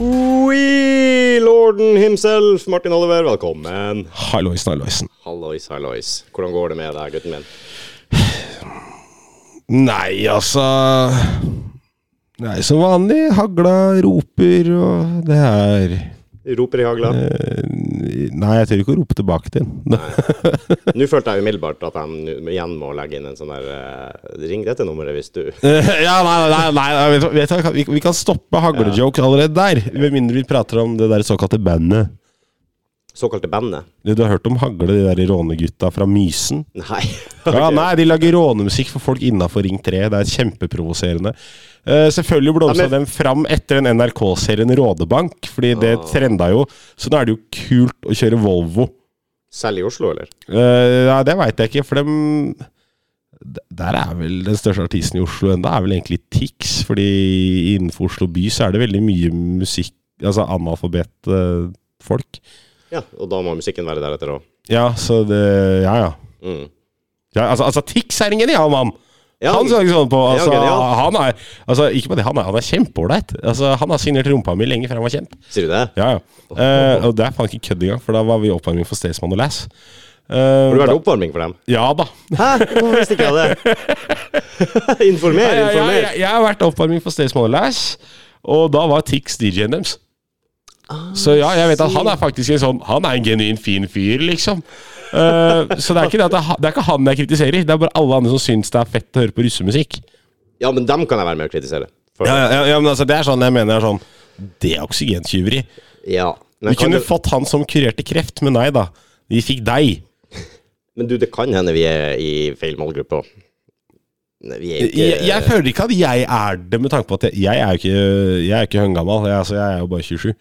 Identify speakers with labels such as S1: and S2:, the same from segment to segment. S1: We, lorden himself, Martin Oliver, velkommen.
S2: Hallois, halloisen.
S1: Hallois, hallois. Hvordan går det med deg, gutten min?
S2: Nei, altså Det er som vanlig. Hagla roper, og det er
S1: Roper i hagla.
S2: eh, Nei, jeg tør ikke å rope tilbake til den.
S1: Nå følte jeg umiddelbart at jeg nu- igjen må legge inn en sånn der eh, Ring dette nummeret hvis du
S2: ja, nei, nei, nei, nei vet, du- vet, du hva, vi, vi kan stoppe haglejokes allerede der. Med mindre vi prater om det der såkalte bandet.
S1: Såkalte bandet.
S2: Det Du har hørt om hagle, de der rånegutta fra Mysen?
S1: Nei.
S2: Ja,
S1: Ok.
S2: nei, de lager rånemusikk for folk innafor Ring 3. Det er kjempeprovoserende. Eh, selvfølgelig blomstra
S1: Ja, men-
S2: dem fram etter den NRK-serien Rådebank, fordi det
S1: Ah.
S2: trenda jo. Så nå er det jo kult å kjøre Volvo.
S1: Selv i Oslo, eller?
S2: Eh, nei, det veit jeg ikke, for dem D- Der er vel den største artisten i Oslo enda er vel egentlig Tix, fordi innenfor Oslo by så er det veldig mye musikk Altså eh, analfabetfolk.
S1: Ja, og da må musikken være deretter òg.
S2: ja, så det Ja, ja.
S1: Mm.
S2: ja altså, altså, Tix er en genial mann!
S1: Ja,
S2: han skal ikke sånn på altså,
S1: Ja, genial.
S2: han, er, altså, ikke bare det, han er, han er kjempeålreit. Altså, han har signert rumpa mi lenge før han var kjent.
S1: Sier du det?
S2: Ja, ja. Eh, og det er faen ikke kødd engang, for da var vi i oppvarming for Staysman og Lass. Eh,
S1: Har du vært
S2: da-
S1: oppvarming for dem?
S2: Ja da.
S1: Hæ? Hvorfor visste ikke jeg det? informer,
S2: Jeg, jeg,
S1: informer.
S2: jeg, jeg har vært oppvarming for Staysman og Lass, og da var Tix DJ-en deres. Så ja, jeg vet at han er faktisk en sånn Han er en genuin fin fyr, liksom. Eh, så det er, ikke det, at det, er, ha- det er ikke han jeg kritiserer, det er bare alle andre som syns det er fett å høre på russemusikk.
S1: Ja, men dem kan jeg være med å kritisere. For.
S2: Ja,
S1: Ja.
S2: ja, ja, men altså, det er sånn jeg mener er sånn Det er oksygentyveri.
S1: Men,
S2: Vi
S1: kan
S2: kunne
S1: det-
S2: fått han som kurerte kreft, men nei da. Vi fikk deg.
S1: men du, det kan hende vi er i feil målgruppe òg. Vi er
S2: Jeg,
S1: ikke
S2: jeg føler ikke at jeg er det, med tanke på at jeg, jeg er jo ikke, jeg er ikke høngammal. Jeg, altså, jeg er jo bare 27.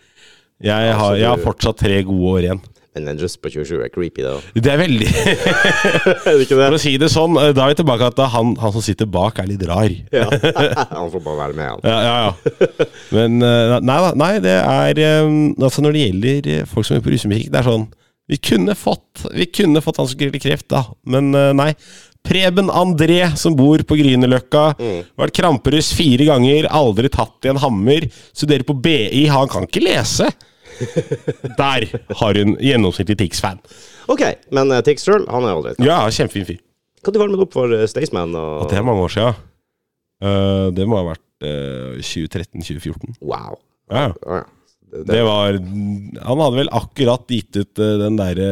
S2: Jeg har, jeg har
S1: du-
S2: fortsatt tre gode år igjen.
S1: Men en russ på 27 er creepy, det òg.
S2: Det er veldig
S1: Er det ikke
S2: For å si det sånn, da er vi tilbake at han, han som sitter bak, er litt rar.
S1: Ja. Han får bare være med, han.
S2: Ja, ja, ja. Men eh, nei da. Nei, det er eh, Altså, når det gjelder eh, folk som er på russemusikk, det er sånn Vi kunne fått Vi kunne fått han som griller kreft, da, men eh, nei. Preben André, som bor på Grünerløkka. Vært kramperuss fire ganger, aldri tatt i en hammer. Studerer på BI, han kan ikke lese! Der har hun gjennomsnittlig Tix-fan.
S1: Ok, men uh, Tix Trull, han er ålreit.
S2: Ja, kjempefin fyr.
S1: Når du varmet opp for eh, Staysman og
S2: Det er mange år sia. Eh, det må ha vært eh, 2013-2014.
S1: Wow.
S2: Ja, ja.
S1: Ja, ja. Det, det,
S2: Det var Han hadde vel akkurat gitt ut eh, den derre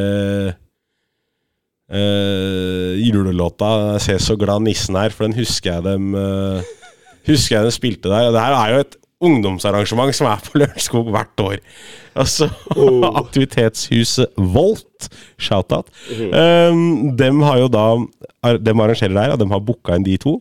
S2: eh, julelåta 'Se så glad nissen er', for den husker jeg dem eh, Husker jeg dem spilte der. Og det her er jo et ungdomsarrangement som er på Lørenskog hvert år. Altså Aktivitetshuset Volt, shout-out. Eh, dem har jo da ar- Dem arrangerer der, og dem har booka inn de to.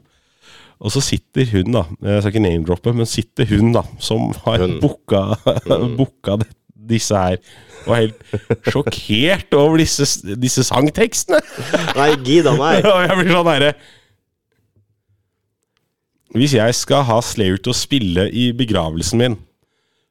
S2: Og så sitter hun, da Jeg skal ikke name-droppe, men sitter hun, da, som har booka, booka det, disse her. Og er helt sjokkert over disse, disse sangtekstene!
S1: Nei, gida meg.
S2: Og jeg blir sånn herre Hvis jeg skal ha Slayer til å spille i begravelsen min,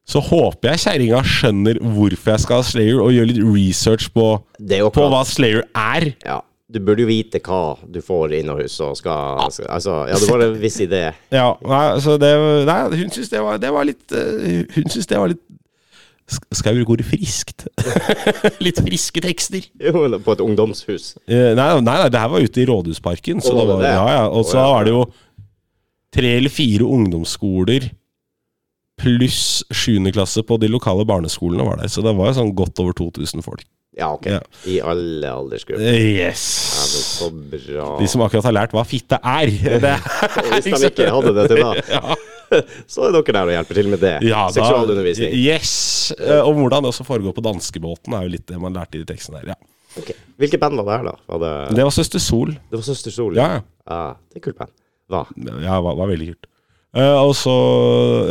S2: så håper jeg kjerringa skjønner hvorfor jeg skal ha Slayer, og gjør litt research på,
S1: Det er jo
S2: på
S1: klart.
S2: hva Slayer er.
S1: Ja. Du burde jo vite hva du får innehus og
S2: Ah.
S1: skal, skal Altså, ja, du har en viss idé.
S2: Ja, nei, så det, nei, hun syntes det, var- det var litt eh, Hun syntes det var litt sk- Skal jeg bruke ordet friskt? litt friske tekster.
S1: Jo, men På et ungdomshus.
S2: Eh, nei, nei, nei, det her var ute i Rådhusparken. Så
S1: Å,
S2: det
S1: var
S2: var,
S1: det det?
S2: ja, ja, og så
S1: Å, ja.
S2: var det jo tre eller fire ungdomsskoler pluss sjuende klasse på de lokale barneskolene var der. Så det var jo sånn godt over 2000 folk.
S1: Ja, ok.
S2: Ja.
S1: I alle aldersgrupper.
S2: Eh,
S1: Ja, men
S2: Yes!
S1: så bra.
S2: De som akkurat har lært hva fitte er.
S1: Og
S2: Det er
S1: Hvis de ikke hadde det til da,
S2: ja.
S1: så er dere der og hjelper til med det.
S2: Ja, da-
S1: Seksualundervisning.
S2: Yes. Eh, Og hvordan det også foregår på danskebåten, er jo litt det man lærte i de tekstene der. Ja.
S1: Ok. Hvilket band var det her, da? Var det,
S2: Det var Søster Sol.
S1: det var Søster Sol?
S2: Ja, ja.
S1: Ja, det er kult band. Hva?
S2: Ja, det var, var veldig kult. Eh, og så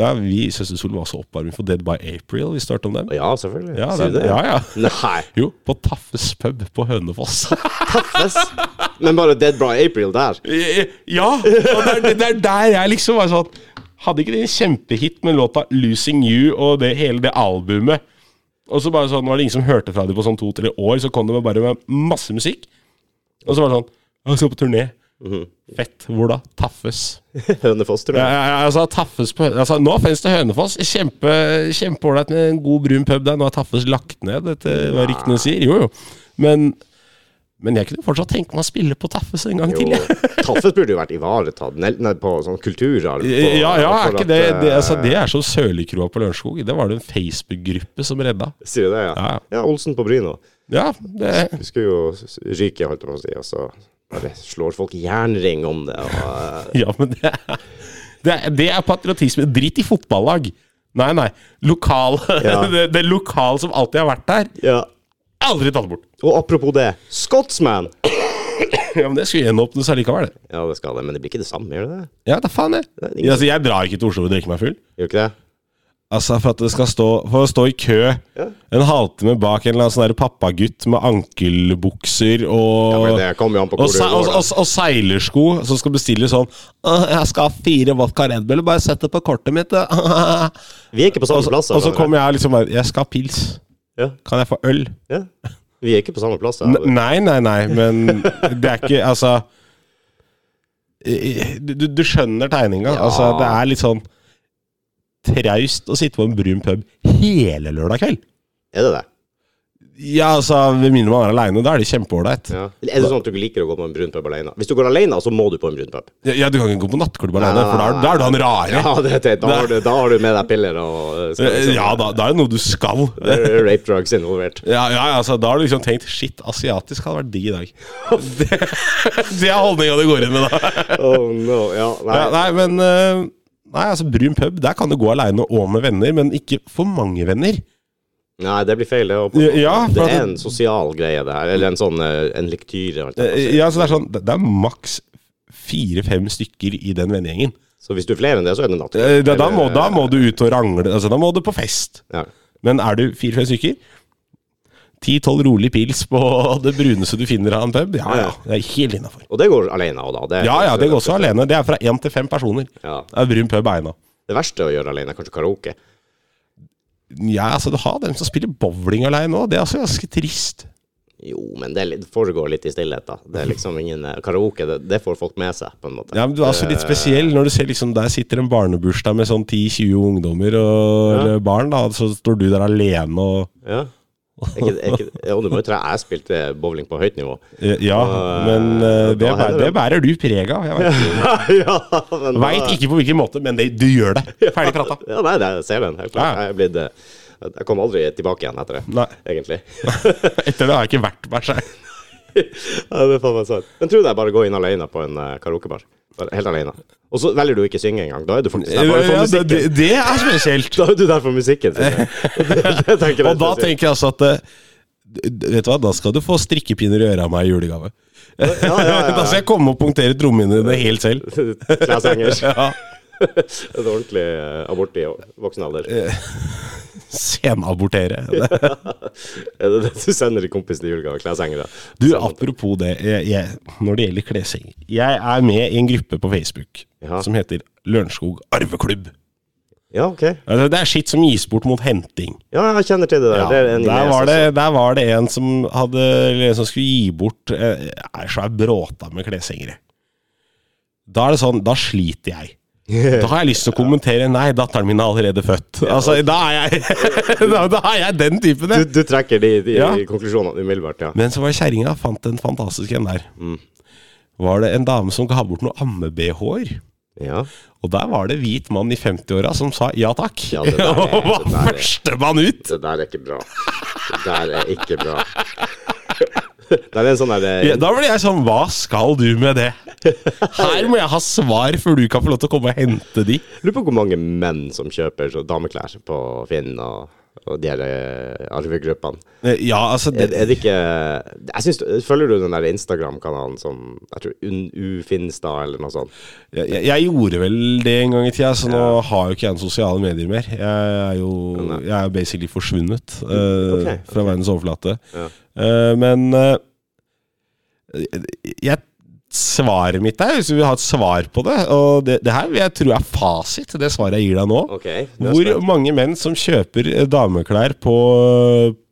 S2: Ja, vi Søster Sol var også oppvarming for Dead by April. Vi startet om dem.
S1: Ja, selvfølgelig.
S2: Ja,
S1: Sier du
S2: det- ja, ja.
S1: Nei,
S2: Jo, på Taffes pub på Hønefoss.
S1: taffes! Men bare Dead Bra April der.
S2: Eh, ja! Og det er, det er der jeg liksom var sånn Hadde ikke det en kjempehit med låta 'Losing You' og det, hele det albumet? Og så bare sånn, var det ingen som hørte fra dem på sånn to-tre år, så kom de med bare med masse musikk. Og så var det sånn Jeg skal på turné. Fett. Mhm. Hvor da? Taffes.
S1: Hønefoss, tror
S2: Ja,
S1: jeg.
S2: ja, ja, altså, taffes på, altså, nå finnes det Hønefoss. Kjempe, Kjempeålreit med en god brun pub der. Nå er Taffes lagt ned, etter hva ryktene sier. Jo, jo. Men, men jeg kunne fortsatt tenke meg å spille på Taffes en gang
S1: Jo,
S2: til. jeg.
S1: Taffes burde jo vært ivaretatt nel- nei, på sånn kulturarv. på-
S2: Ja, ja, er
S1: for
S2: ikke
S1: at,
S2: det Det,
S1: eh,
S2: altså, det er som Sørlikroa på Lørenskog. Det var det en Facebook-gruppe som redda.
S1: Sier du det, ja?
S2: Ja,
S1: Ja, Olsen på Bryna.
S2: ja det,
S1: Vi skulle jo s- ryke, holdt jeg på å si, og så bare slår folk jernring om det. Og, eh,
S2: Ja, men det er, det er, det er patriotisme. Drit i fotballag. Nei, nei. Lokal,
S1: Ja.
S2: det, det lokale som alltid har vært der,
S1: ja.
S2: aldri tatt bort.
S1: og apropos det, Scotsman!
S2: Ja, men Det skulle gjenåpnes allikevel. det.
S1: Ja, det skal det, men det blir ikke det samme, gjør det det?
S2: Ja, da faen jeg.
S1: er ingen-
S2: Altså, jeg drar ikke til Oslo og drikker meg full.
S1: Gjør ikke det?
S2: Altså, For at det skal stå For å stå i kø en halvtime bak en eller annen sånn der pappagutt med ankelbukser og
S1: Men det kommer jo an på
S2: og,
S1: hvor du
S2: se, og,
S1: går. da.
S2: og, og seilersko som skal bestille sånn «Åh, 'Jeg skal ha fire vodka Red Bull, bare sett det på kortet mitt.' da.»
S1: Vi er ikke på
S2: Og
S1: samme
S2: så,
S1: plass. da,
S2: og så
S1: Konrad.
S2: kommer jeg liksom bare 'Jeg skal ha pils.
S1: Ja.
S2: Kan jeg få øl?'
S1: ja. Vi er ikke på samme plass. da.
S2: N- Nei, nei, nei, men det er ikke Altså i- Du, du- du skjønner tegninga.
S1: Ja.
S2: Altså, det er litt sånn traust å sitte på en brun pub hele lørdag kveld.
S1: Er det det?
S2: Ja, altså, Med mindre man er aleine, da er det kjempeålreit.
S1: Ja. Eller Er det sånn at du ikke liker å gå på en brun pub alene? Hvis du går alene, så må du på en brun pub.
S2: Ja. du kan ikke gå på nattklubb aleine,
S1: nei,
S2: for da er,
S1: nei,
S2: da er du han rare.
S1: Ja, det, det, da, har du, da har du med deg piller og eh, skal liksom-
S2: Ja, da, da er det noe du skal.
S1: Det er Rape drugs involvert.
S2: Ja, ja, altså, Da har du liksom tenkt Shit, asiatisk hadde vært digg i dag. Det, det er holdninga du går inn med da.
S1: Oh no, ja, nei.
S2: Ja, nei, men eh, Nei, altså, brun pub, der kan du gå aleine og med venner, men ikke for mange venner.
S1: nei, det blir feil. Det, er å-
S2: Ja, for
S1: det
S2: at
S1: er
S2: det-
S1: en sosial greie, det her. Eller en sånn eh, en lektyre. holdt jeg på å si.
S2: Eh, Ja, så Det er sånn, det det er maks fire-fem stykker i den vennegjengen.
S1: Så hvis du er flere enn det, så er det natt.
S2: Eh, Da, da, må, da må du ut og rangle. Altså, da må du på fest.
S1: Ja.
S2: Men er du fire-fem stykker, ti-tolv rolig pils på det bruneste du finner av en pub, ja ja, det er helt innafor.
S1: Og det går alene òg, da. Det,
S2: Ja, ja, det går også alene. Det er fra én til fem personer.
S1: Ja.
S2: Det er brun pub egna.
S1: Det verste å gjøre alene er kanskje karaoke.
S2: Ja, altså, du har dem som spiller bowling alene òg. Det er også ganske trist.
S1: Jo, men det, er litt- det foregår litt i stillhet, da. Det er liksom ingen eh, Karaoke, det, det får folk med seg, på en måte.
S2: Ja, men Du er altså litt spesiell når du ser liksom der sitter en barnebursdag med sånn 10-20 ungdommer og eller barn, da, så står du der alene og
S1: Eh, Ja. Er ikke, er ikke, ja, og du må jo tro jeg spilte bowling på høyt nivå.
S2: Ja, men eh, det,
S1: da
S2: bærer,
S1: heller
S2: det bærer du preg av. Jeg vet,
S1: ja, men da-
S2: vet ikke på hvilken måte, men det, du gjør det. Ferdig prata.
S1: Ja, nei, det, jeg ser den, helt klart. Jeg,
S2: Ja.
S1: er blitt, eh, jeg kom aldri tilbake igjen etter det,
S2: Nei,
S1: egentlig.
S2: etter det har jeg ikke vært meg sjæl.
S1: Ja, det er faen meg sant. Men tror du det er bare å gå inn alene på en eh, karaokebar? Bare Helt alene. Og så velger du ikke å synge engang. Da er du faktisk der bare for
S2: Ja,
S1: musikken.
S2: det, det er spesielt.
S1: Da er du der for musikken. synes jeg. Det- det tenker jeg
S2: Og da
S1: spesielt.
S2: tenker jeg altså at eh, d- Vet du hva, da skal du få strikkepinner i øra av meg i julegave.
S1: ja, ja, ja.
S2: da skal jeg komme og punktere trommehinnene dine helt selv.
S1: Kleshengers.
S2: Ja,
S1: Et ordentlig eh, abort i voksen alder.
S2: Senabortere.
S1: Er det det du sender til kompisen i julegave? Kleshengere.
S2: Du, apropos det, jeg, jeg, når det gjelder klesheng. Jeg er med i en gruppe på Facebook
S1: Ja.
S2: som heter Lørenskog arveklubb.
S1: Ja, OK.
S2: Altså, det er skitt som gis bort mot henting.
S1: Ja, jeg kjenner til det der. det er en
S2: der,
S1: idé,
S2: var
S1: så-
S2: det, der var det en som, hadde, eller en som skulle gi bort eh, ei svær bråta med kleshengere. Da er det sånn, da sliter jeg. Da har jeg lyst til å kommentere 'nei, datteren min er allerede født'. Altså, da er jeg, da, da er jeg den typen,
S1: Du,
S2: jeg.
S1: du trekker de, de
S2: Ja.
S1: konklusjonene umiddelbart, ja.
S2: Men så var det kjerringa fant en fantastisk en der.
S1: Mm.
S2: Var det en dame som ga bort noen amme-bh-er?
S1: Ja,
S2: Og der var det hvit mann i 50-åra som sa ja takk,
S1: Ja, det der er-
S2: og var
S1: det der er-
S2: førstemann ut!
S1: Det der er ikke bra. Det der er ikke bra. Det er en sånn der
S2: Ja, da ble jeg sånn, hva skal du med det? Her må jeg ha svar før du kan få lov til å komme og hente de.
S1: Lurer sånn på hvor mange menn som kjøper så dameklær på Finn og og de her eh, arvegruppene.
S2: Ja, altså
S1: Er,
S2: det,
S1: er det ikke jeg synes, Følger du den der Instagram-kanalen som jeg tror Un- Ufinstad eller noe sånt?
S2: jeg, jeg- jeg gjorde vel det en gang i tida, så nå har jo ikke jeg noen sosiale medier mer. Jeg er jo
S1: Nei.
S2: jeg er basically forsvunnet eh,
S1: Ok,
S2: fra verdens overflate.
S1: Ja.
S2: Eh, men eh, jeg, svaret mitt er, hvis du vil ha et svar på det, og det, det her vil jeg tro er fasit, det svaret jeg gir deg nå.
S1: Ok.
S2: Hvor mange menn som kjøper eh, dameklær på,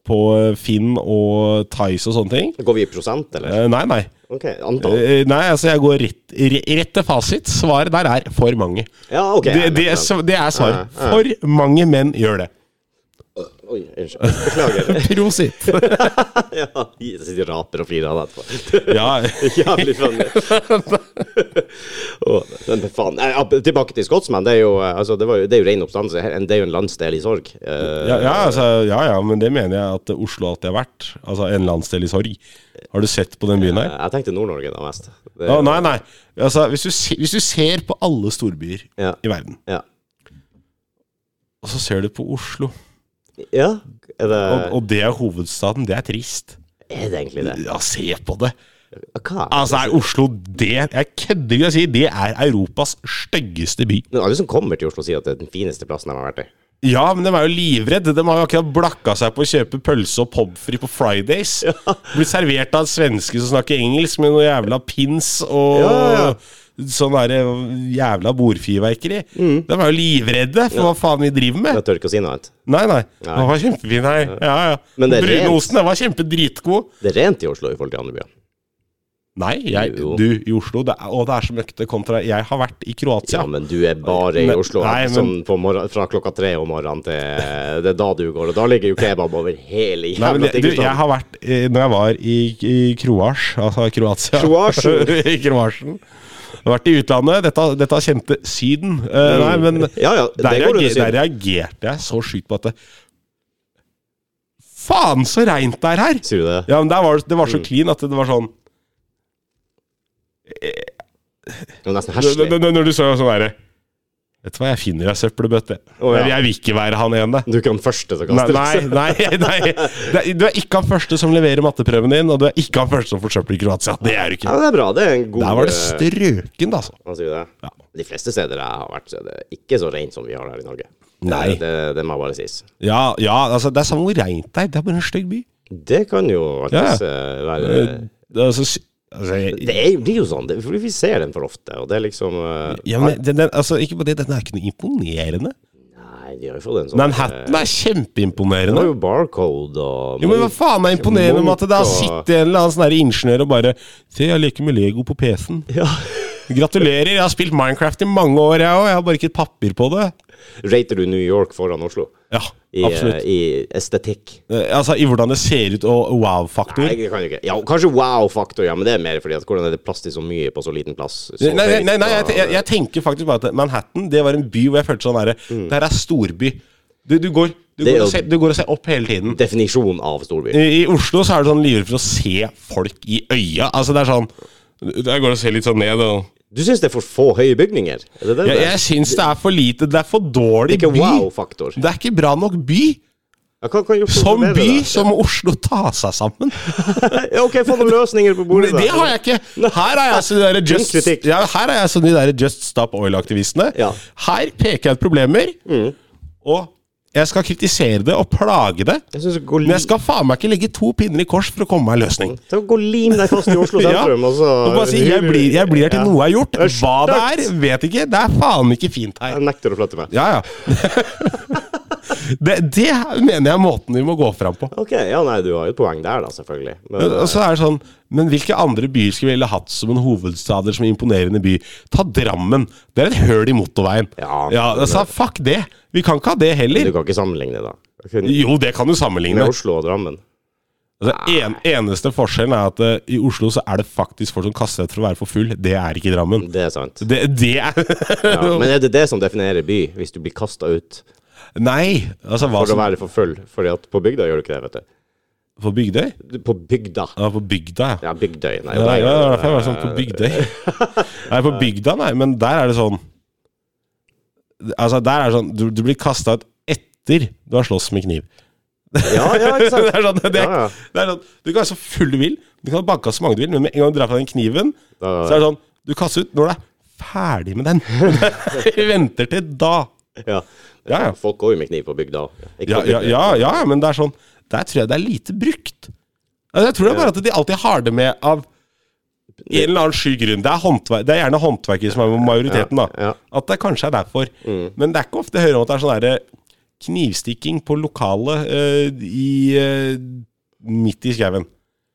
S2: på eh, Finn og Tice og sånne ting?
S1: Går vi i prosent, eller?
S2: Eh, Nei, nei.
S1: Ok, antall.
S2: Eh, Nei, altså jeg går rett, re- rett til fasit. Svaret der er for mange.
S1: Ja, ok.
S2: Det,
S1: jeg
S2: det, er
S1: vet
S2: sv- det er svaret.
S1: Ja, ja.
S2: For mange menn gjør det.
S1: det. Oi, unnskyld. Beklager.
S2: Prosit.
S1: ja, jeg sitter og raper og flirer av det etterpå.
S2: Ja,
S1: Jævlig funny. Åh, men faen. Nei, ja, tilbake til Scotsman. Det er jo, eh, altså, det var jo, det er jo ren oppstandelse. Her- Det er jo en landsdel i sorg. Eh,
S2: ja, ja, altså, ja, ja, men det mener jeg at Oslo alltid har vært. Altså en landsdel i sorg. Har du sett på den byen her?
S1: Jeg tenkte Nord-Norge da mest. Det,
S2: Å, nei, nei. Altså, hvis, du se, hvis du ser på alle storbyer
S1: Ja.
S2: i verden,
S1: Ja.
S2: og så ser du på Oslo,
S1: ja? Er, det,
S2: og, og det er hovedstaden, det er trist.
S1: er det egentlig det?
S2: Ja, se på det.
S1: Hva?
S2: Altså, er Oslo det Jeg kødder ikke, jeg sier det er Europas styggeste by.
S1: Men alle som kommer til Oslo, sier at det er den fineste plassen de har vært i.
S2: Ja, men de er jo livredde. De har jo akkurat blakka seg på å kjøpe pølse og pomfri på Fridays. Blitt servert av en svenske som snakker engelsk med noe jævla pins og
S1: Ja, Mm. ja,
S2: sånn derre jævla bordfyrverkeri. De er jo livredde for hva faen vi driver med.
S1: Jeg tør ikke å si noe annet.
S2: Nei, nei. Den var kjempefin, hei. Ja, ja.
S1: Men det er rent.
S2: Brunosten, den var kjempedritgod.
S1: Det er rent i Oslo i forhold til andre byer.
S2: Nei, jeg,
S1: Jo.
S2: du, i Oslo det er, Og det er så møkkete kontra Jeg har vært i Kroatia.
S1: Ja, men du er bare i
S2: Men-
S1: Oslo
S2: nei, men-
S1: sånn på morgen, fra klokka tre om morgenen til eh, Det er da du går, og da ligger jo kebab over hele
S2: Nei, men
S1: jævla
S2: det, du, jeg
S1: Tigerstaden.
S2: har vært eh, Når jeg var i, i Kroasj, altså Kroatia
S1: Kroasjen.
S2: I Kroasjen. Jeg har vært i utlandet. Dette, dette kjente Syden. Eh, nei, men
S1: Ja, ja, Mm. det
S2: der,
S1: går under
S2: reager,
S1: Syden.
S2: der reagerte jeg så sjukt på at det, Faen, så reint det er her!
S1: Sier du det?
S2: Ja, men der var, det var
S1: Mm.
S2: så clean at det var sånn
S1: Det er nesten
S2: Når,
S1: herselig.
S2: når- når du så sånn derre Vet du hva, jeg finner ei søppelbøtte.
S1: Å, ja.
S2: Men Jeg vil ikke være han ene.
S1: Du er ikke den første som
S2: Nei,
S1: kaster
S2: nei, nei, nei. Det er- Du er ikke han første som leverer matteprøven din, og du er ikke han første som får søppel i Kroatia. Det er du
S1: Ja,
S2: ikke.
S1: men det er bra. Det er en god
S2: Der var det
S1: eh,
S2: strøkent, altså.
S1: Man sier jo det.
S2: Ja.
S1: De fleste steder jeg har vært, så er det ikke så rent som vi har her i Norge.
S2: Nei.
S1: Det, det, det må bare sies.
S2: Ja, ja altså, det er samme hvor reint det er. Det er bare en stygg by.
S1: Det kan jo alltids eh, være
S2: Eh, Altså, sy- altså jeg,
S1: Det er, blir jo sånn, det, fordi vi ser den for ofte, og det er liksom eh,
S2: ja, men den, den, altså, ikke bare det, den er ikke noe imponerende.
S1: Nei, de har jo fått en sånn
S2: Manhattan er
S1: Det var
S2: kjempeimponerende.
S1: jo barcode og
S2: Jo, men hva faen er imponerende med at det har
S1: Munch og-
S2: sittet en eller annen sånn der ingeniør og bare Se, jeg leker med Lego på PC-en.
S1: ja.
S2: Gratulerer, jeg har spilt Minecraft i mange år, jeg òg. Jeg har bare ikke et papir på det.
S1: Rater du New York foran Oslo?
S2: Ja,
S1: I,
S2: absolutt.
S1: eh, I estetikk?
S2: Eh, Altså I hvordan det ser ut og wow-faktor.
S1: Nei,
S2: Nei,
S1: det kan jo ikke. Ja, kanskje wow-faktor, ja, men det er mer fordi at hvordan er det plass til så mye på så liten plass? Så
S2: nei,
S1: høyt,
S2: nei, nei jeg,
S1: og-
S2: jeg, jeg tenker faktisk bare at Manhattan det var en by hvor jeg følte sånn derre Det her er storby. Du, du, går,
S1: Mm.
S2: du,
S1: Det er
S2: går
S1: jo-
S2: og ser, du går og ser opp hele tiden.
S1: Definisjon av storby.
S2: I, I Oslo så er du sånn livredd for å se folk i øya. Altså det er sånn Jeg går og ser litt sånn ned og
S1: Du syns det er for få høye bygninger? Er det det?
S2: Jeg,
S1: det er?
S2: jeg syns det er for lite. Det er for
S1: Det
S2: dårlig
S1: er ikke
S2: by.
S1: wow-faktor.
S2: Det er ikke bra nok by.
S1: Ja, hva kan gjøre for å
S2: Som
S1: forbedre
S2: by
S1: det?
S2: så må Oslo ta seg sammen.
S1: Ja, OK, få noen løsninger på bordet.
S2: Men det har jeg ikke. Her er jeg som de der
S1: Din kritikk.
S2: Just, ja, her er jeg som de der just Stop Oil-aktivistene.
S1: Ja. Mm.
S2: Her peker jeg ut problemer, og jeg skal kritisere det og plage det.
S1: Jeg synes det går
S2: Men
S1: li-
S2: jeg skal faen meg ikke legge to pinner i kors for å komme meg en løsning.
S1: Ta og Gå og lim deg fast i Oslo sentrum, og så
S2: og bare si, jeg blir, jeg blir her til
S1: Ja.
S2: noe er gjort.
S1: Det er
S2: Hva det er,
S1: stygt.
S2: vet ikke. Det er faen ikke fint her.
S1: Jeg nekter å flytte meg.
S2: Ja, ja. det, det mener jeg er måten vi må gå fram på.
S1: OK, ja, nei, du har jo et poeng der, da, selvfølgelig. Men,
S2: Og så er det sånn, Men hvilke andre byer skulle vi ville hatt som en hovedstader som en imponerende by? Ta Drammen. Det er et høl i motorveien.
S1: Ja.
S2: altså, Fuck det! Vi kan ikke ha det
S1: eh,
S2: heller.
S1: du kan ikke sammenligne, da. Kun
S2: Jo, det kan du sammenligne.
S1: med Oslo og Drammen.
S2: Altså, en, eneste forskjellen er at eh, i Oslo så er det faktisk folk som kaster seg ut for å være for full. Det er ikke i Drammen.
S1: Det er sant.
S2: Det, det er
S1: Ja. Men er det det som definerer by, hvis du blir kasta ut
S2: Nei! Altså, hva
S1: for å
S2: som
S1: være for full? Fordi at på bygda gjør du ikke det, vet du.
S2: På Bygdøy?
S1: Du- På bygda.
S2: Ja, på bygda, ja.
S1: Ja, Bygdøy. Nei,
S2: Ja,
S1: der-
S2: ja, derfor jeg var sånn på Bygdøy. Nei, på bygda, nei, men der er det sånn Altså, der er det sånn Du, du blir kasta ut etter etter du har slåss med kniv.
S1: Ja, ja, ikke sant?
S2: det er sånn, det, er-
S1: Ja, ja.
S2: det er sånn, du kan være så full du vil, du kan banke av så mange du vil, men med en gang du drar fra den kniven,
S1: Da-
S2: så er det sånn Du kaster ut når du er ferdig med den. Vi venter til da.
S1: Ja.
S2: sånn- Ja, ja.
S1: Folk går jo med kniv på bygda òg.
S2: Ja, ja, ja, ja, men det er sånn Der tror jeg det er lite brukt. Altså, Jeg tror det er bare at de alltid har det med av en eller annen sky grunn. Det er, håndverk, det er gjerne håndverkere som er majoriteten, da.
S1: Ja, Mm. ja.
S2: At det kanskje er derfor. Men det er ikke ofte jeg hører om at det er sånn derre knivstikking på lokalet eh, i eh, midt i skauen.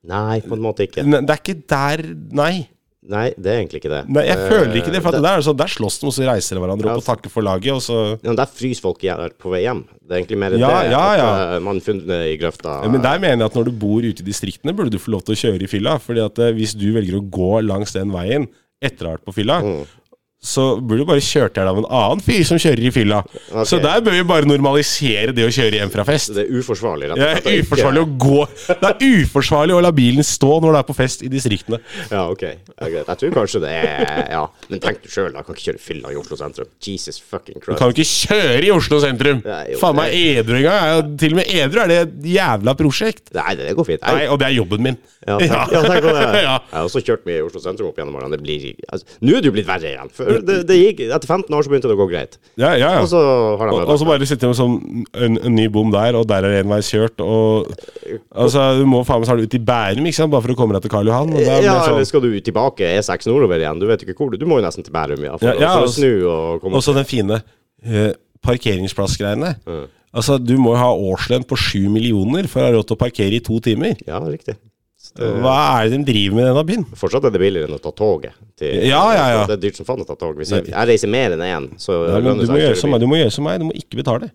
S1: Nei, på en måte ikke.
S2: Ne- Det er ikke der Nei.
S1: Nei, det er egentlig ikke det.
S2: nei jeg
S1: Eh,
S2: føler ikke det. For at der, er det sånn, der slåss de, og så reiser de hverandre opp og takker for laget, og så
S1: Ja, men der fryser folk igjen på vei hjem. Det er egentlig mer
S2: Ja,
S1: det
S2: ja,
S1: at
S2: ja.
S1: eh, man funnet i grøfta.
S2: Ja, Men der mener jeg at når du bor ute i distriktene, burde du få lov til å kjøre i fylla. Fordi at eh, hvis du velger å gå langs den veien etter å ha vært på fylla,
S1: Mm.
S2: så burde du bare kjørt deg av en annen fyr som kjører i fylla. Så der bør vi bare normalisere det å kjøre hjem fra fest.
S1: Det er uforsvarlig, rett
S2: Det
S1: og slett.
S2: er uforsvarlig å gå Det er uforsvarlig å la bilen stå når du er på fest i distriktene.
S1: Ja, ok. Ja, greit. Jeg tror kanskje det er Ja. Men tenk du sjøl, da. Kan ikke kjøre fylla i Oslo sentrum. Jesus fucking
S2: Du
S1: Christ.
S2: kan jo ikke kjøre i Oslo sentrum!
S1: Nei, jo,
S2: Faen meg edru engang. er jo- Til og med edru er det et jævla prosjekt.
S1: Nei, det går fint.
S2: Nei,
S1: Jeg,
S2: og det er jobben min.
S1: ja, tenk, ja, tenk på det.
S2: Ja.
S1: Jeg har også kjørt mye i Oslo sentrum opp gjennom årene. Det blir altså, Nå er det jo blitt verre igjen. Før, det, det gikk, etter 15 år så begynte det å gå greit.
S2: Ja, ja, ja.
S1: Og så har
S2: Og,
S1: jeg
S2: og så bare sitter de med sånn en, en ny bom der, og der er enveiskjørt, og Altså, du må faen meg snart ut i Bærum, ikke sant, bare for å komme deg til Karl Johan. Og det er
S1: Ja,
S2: mer
S1: eller
S2: sånn.
S1: skal du tilbake E6 nordover igjen? Du vet ikke hvor du Du må jo nesten til Bærum, ja. For,
S2: Ja, ja,
S1: for å
S2: altså-
S1: snu og komme
S2: Og så den fine eh, parkeringsplassgreiene. Altså, du må jo ha årslønn på sju millioner for å ha råd til å parkere i to timer.
S1: Ja, riktig. Så det-
S2: Hva er det de driver med i denne byen?
S1: Fortsatt er det billigere enn å ta toget. Til,
S2: Ja, ja, ja.
S1: Det er dyrt som faen å ta tog. Hvis jeg, jeg reiser mer enn én, så
S2: Ja, men
S1: lønner
S2: du,
S1: det seg
S2: må
S1: å
S2: gjøre
S1: kjøre
S2: som
S1: bil.
S2: meg, du må gjøre som meg, du må ikke betale.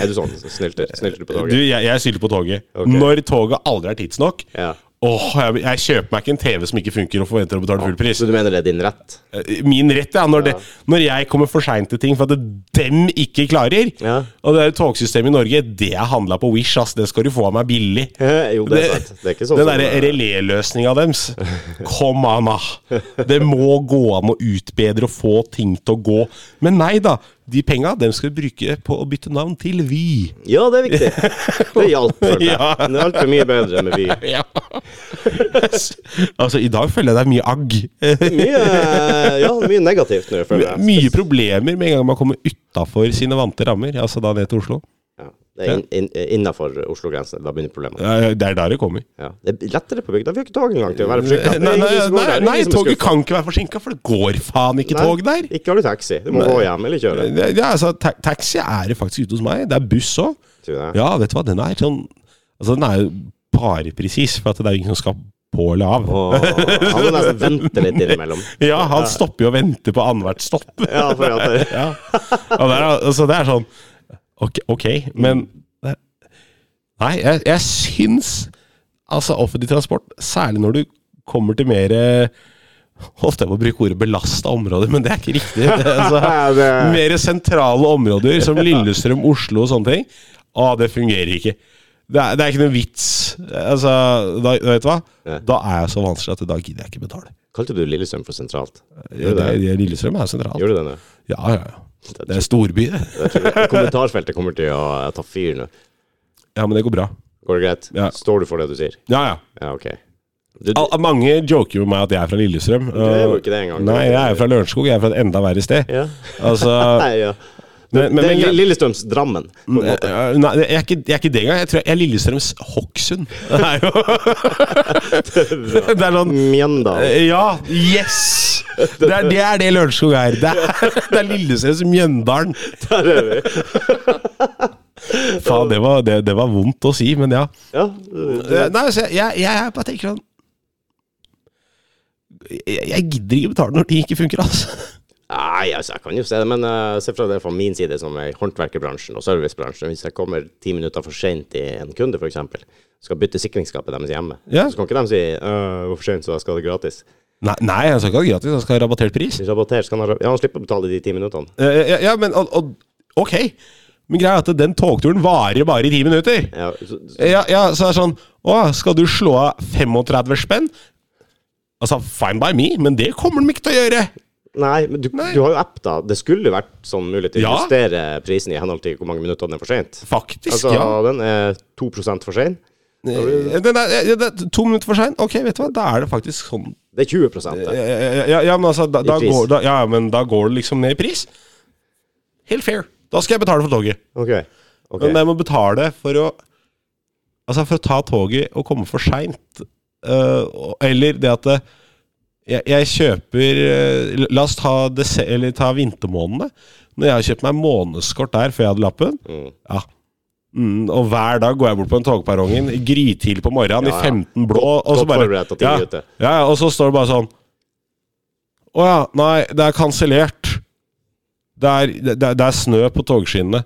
S1: Er du sånn? Snylter, snylter på
S2: Du,
S1: toget?
S2: jeg, jeg stiller på toget. Når toget aldri er tidsnok
S1: Ja.
S2: Åh, jeg, jeg kjøper meg ikke en TV som ikke funker, og forventer å betale full pris.
S1: Så du mener det er din rett?
S2: Eh, min rett, ja. Når, det, når jeg kommer for seint til ting for at det- dem ikke klarer.
S1: Ja.
S2: Og det der togsystemet i Norge, det er handla på Wish, ass. Det skal du få av meg billig.
S1: Jo, det er sant. Det er ikke sånn
S2: den
S1: som-
S2: derre reléløsninga deres. Kom an, da. Det må gå an å utbedre og få ting til å gå. Men nei da. De penga, dem skal vi bruke på å bytte navn til Vy.
S1: Ja, det er viktig. Det hjalp for meg.
S2: Ja.
S1: Det er altfor mye bedre med Vy.
S2: Ja. altså, i dag føler jeg det er mye agg.
S1: Mye, ja, mye negativt nå, føler jeg.
S2: Mye problemer med en gang man kommer utafor sine vante rammer, altså da ned til Oslo.
S1: Ja, det er in, in, innafor Oslo-grensen. Da begynner problemet.
S2: Ja, Det er der det kommer.
S1: Ja. Det er lettere på bygda. Vi har ikke tog engang til å være
S2: Nei,
S1: forsinka.
S2: nei, nei, nei toget kan ikke være forsinka, for det går faen ikke tog der.
S1: Ikke har du taxi. Du må gå hjem eller kjøre.
S2: Det, det er altså, ta taxi er det faktisk ute hos meg. Det er buss òg.
S1: Tror jeg.
S2: Ja, vet du hva, den er sånn Altså, den er jo bare presis, for at det er jo ingen som skal på eller av.
S1: Åh, han må nesten vente altså, litt innimellom.
S2: Ja, han stopper jo og venter på annethvert stopp.
S1: Ja, for at det,
S2: Ja. Og det er, altså, det er sånn Ok, ok, men det- Nei, jeg, jeg syns altså offentlig transport, særlig når du kommer til mer eh, Holdt jeg på å bruke ordet belasta områder, men det er ikke riktig.
S1: Ja,
S2: Altså,
S1: det-
S2: mer sentrale områder som Lillestrøm, Oslo og sånne ting. Å, det fungerer ikke. Det er, det er ikke noen vits. Altså, da, vet du hva? Da er jeg så vanskelig at da gidder jeg ikke betale.
S1: Kalte du Lillestrøm for sentralt?
S2: Det,
S1: Gjorde du det?
S2: det, Lillestrøm er sentralt.
S1: Gjorde du det nå?
S2: Ja, ja, ja. Det er storby, det.
S1: Jeg tror det- Kommentarfeltet kommer til å ta fyr nå.
S2: Ja, men det går bra.
S1: Går det greit?
S2: Ja.
S1: Står du for det du sier?
S2: Ja, ja.
S1: Ja, OK. Du, du,
S2: Al mange joker jo med meg at jeg er fra Lillestrøm. Du
S1: er jo ikke det engang.
S2: Nei, jeg er fra Lørenskog. Jeg er fra et enda verre sted.
S1: Ja.
S2: Altså
S1: Nei, ja.
S2: men, men,
S1: Det er Li-
S2: men,
S1: Lillestrøms Drammen. på en måte.
S2: Nei, jeg er ikke, jeg er ikke det engang. Jeg tror jeg er Lillestrøms Hokksund. Det er jo Det er sånn
S1: Mjøndalen.
S2: Ja! Yes! Det er det, er det Lørenskog er. Det er, det er Lillestrøms Mjøndalen.
S1: Der er vi.
S2: Faen, det var, det, det var vondt å si, men ja.
S1: Ja.
S2: Eh, Nei, altså, jeg, jeg, jeg bare tenker sånn jeg, jeg gidder ikke betale når ting ikke funker, altså.
S1: Nei, altså, jeg kan jo se det, men eh, se fra det fra min side, som er i håndverkerbransjen og servicebransjen. Hvis jeg kommer ti minutter for sent i en kunde, f.eks., skal bytte sikringsskapet deres hjemme,
S2: Ja.
S1: så kan ikke de si «Øh, hvor for sent, så jeg skal ha det gratis.
S2: Nei, nei jeg skal ikke ha det gratis, jeg skal ha rabattert pris.
S1: Hvis rabatter, så kan han, ra- ja, han slipper å betale de ti minuttene.
S2: Eh, ja, ja, men og, og, ok. Men greia er at den togturen varer bare i ti minutter.
S1: Ja, så, så,
S2: Ja, ja, så er det sånn Å, skal du slå av 35 spenn? Altså, fine by me, men det kommer de ikke til å gjøre.
S1: Nei, men du, du har jo app, da. Det skulle vært sånn mulig til å
S2: Ja.
S1: justere prisen i henhold til hvor mange minutter den er for sent.
S2: Faktisk,
S1: Altså,
S2: ja.
S1: den er 2 for sen.
S2: Eh, Den er, ja, det er to minutter for sein? Ok, vet du hva, da er det faktisk sånn.
S1: Det er 20
S2: Ja,
S1: det.
S2: ja, ja, ja, men altså, da, da,
S1: pris.
S2: går, da, ja, men da går det liksom ned i pris. Helt fair. Da skal jeg betale for toget.
S1: Ok. ok.
S2: Men jeg må betale for å Altså for å ta toget og komme for seint. eller det at det, jeg, jeg kjøper eh, La oss ta, dese, eller ta vintermånedene. Når jeg har kjøpt meg månedskort der før jeg hadde lappen
S1: Mm.
S2: ja. mm, Og hver dag går jeg bort på den togperrongen grytidlig på morgenen
S1: Ja, ja.
S2: i 15 blå, og
S1: godt
S2: så bare
S1: forberedt og tidlig
S2: ja,
S1: ute.
S2: ja, ja, og så står det bare sånn Å ja, nei, det er kansellert. Det er, det, det det er snø på togskinnene.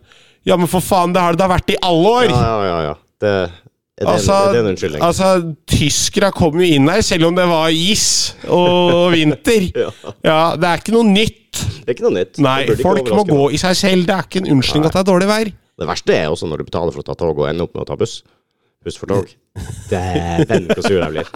S2: Ja, men for faen, det har det da vært i alle år!
S1: Ja, ja, ja. ja. Det, er, det en,
S2: Altså,
S1: er det en unnskyldning?
S2: altså tyskere kom jo inn her, selv om det var is og vinter.
S1: Ja.
S2: ja, det er ikke noe nytt.
S1: det er ikke noe nytt. Det
S2: Nei,
S1: burde ikke
S2: folk må
S1: overraske
S2: gå
S1: noen.
S2: i seg selv. Det er ikke en unnskyldning at det er dårlig vær.
S1: Det verste er også når du betaler for å ta tog og ender opp med å ta buss. Buss for tog. Dæven, så sur jeg blir.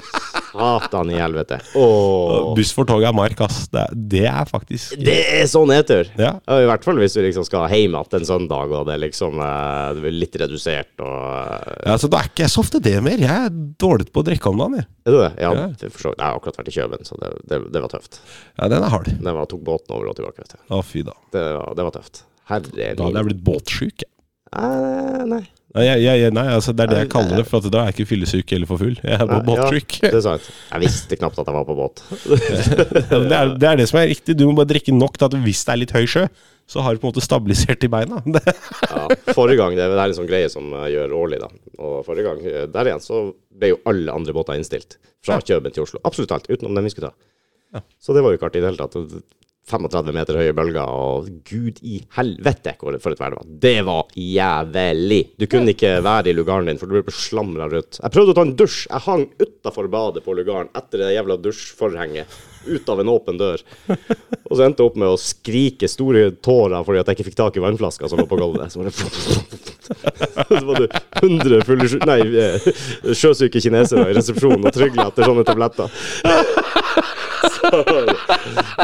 S1: Satan i helvete. Åh.
S2: Buss for tog er mark, ass. Det er, det er faktisk
S1: Det er så nedtur.
S2: Ja.
S1: Ja, I hvert fall hvis du liksom skal hjem igjen en søndag, og det er liksom eh, det blir litt redusert og eh,
S2: Altså, da er ikke jeg så ofte det mer. Jeg er dårlig på å drikke om dagen, jeg.
S1: Er du det? Ja,
S2: Ja.
S1: det forstår jeg. Jeg har akkurat vært i Kjøben, så det, det, det var tøft.
S2: Ja, den er hard.
S1: Men jeg tok båten over og tilbake, vet du.
S2: Å, fy da.
S1: Det var, det var tøft. Herre
S2: Da
S1: min.
S2: hadde jeg blitt båtsjuk, jeg.
S1: Eh, Nei.
S2: Nei, jeg, jeg, jeg- nei altså, det er det jeg kaller det, for at da er jeg ikke fyllesyk eller for full. Jeg er på
S1: Nei,
S2: båtsjuk.
S1: Ja, det er sant. Jeg visste knapt at jeg var på båt.
S2: Det, er- det er det som er riktig. Du må bare drikke nok til at hvis det er litt høy sjø, så har du på en måte stabilisert i beina. Det,
S1: Ja, forrige gang, Det er det er en sånn greie som jeg gjør årlig, da. Og forrige gang, eh, der igjen, så ble jo alle andre båter innstilt. Fra Kjøben til Oslo. Absolutt alt, utenom den vi skulle ta. Så det var jo ikke artig i det hele tatt. 35 meter høye bølger, og gud i helvete hvor- for et vær det var. Det var jævlig! Du kunne ikke være i lugaren din, for du ble beslamra rundt. Jeg prøvde å ta en dusj. Jeg hang utafor badet på lugaren etter det jævla dusjforhenget. Ut av en åpen dør. Og så endte jeg opp med å skrike store tårer fordi at jeg ikke fikk tak i vannflaska som lå på gulvet. Så var det og så var det 100 fulle sj- nei, eh, sjøsyke kinesere i resepsjonen og trygla etter sånne tabletter. Så,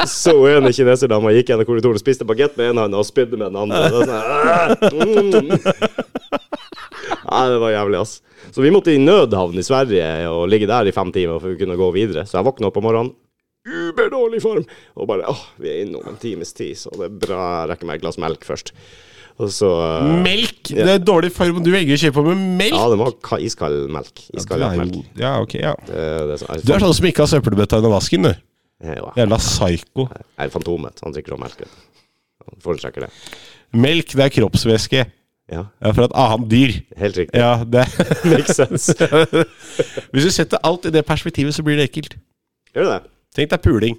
S1: så ene kineserdama gikk gjennom korridoren og spiste bagett med en hånd og spydde med den andre. Det var sånn, «Åh, mm. Nei, det var jævlig, ass. Så vi måtte i nødhavn i Sverige og ligge der i fem timer for å kunne gå videre. Så jeg våkna opp om morgenen. Uberdårlig form! Og bare åh, vi er innom en times tid, så det er bra jeg rekker meg et glass melk først. Og så eh,
S2: melk! Det er dårlig form. Du velger å kjøpe på med melk!
S1: ja, det var ka- iskald melk. Iskald
S2: Ja,
S1: melk.
S2: ja, ok, ja.
S1: Det er det som er
S2: Du er sånn som ikke har søppelbøtta under vasken, du.
S1: ja,
S2: Jævla psyko.
S1: Jeg er Fantomet. Han drikker også melk. vet du. Han foretrekker det.
S2: Melk, det er kroppsvæske.
S1: Ja,
S2: Ja, fra et annet dyr.
S1: helt riktig.
S2: Ja, det
S1: Makes sense.
S2: Hvis du setter alt i det perspektivet, så blir det ekkelt.
S1: Gjør du det?
S2: Tenk deg puling.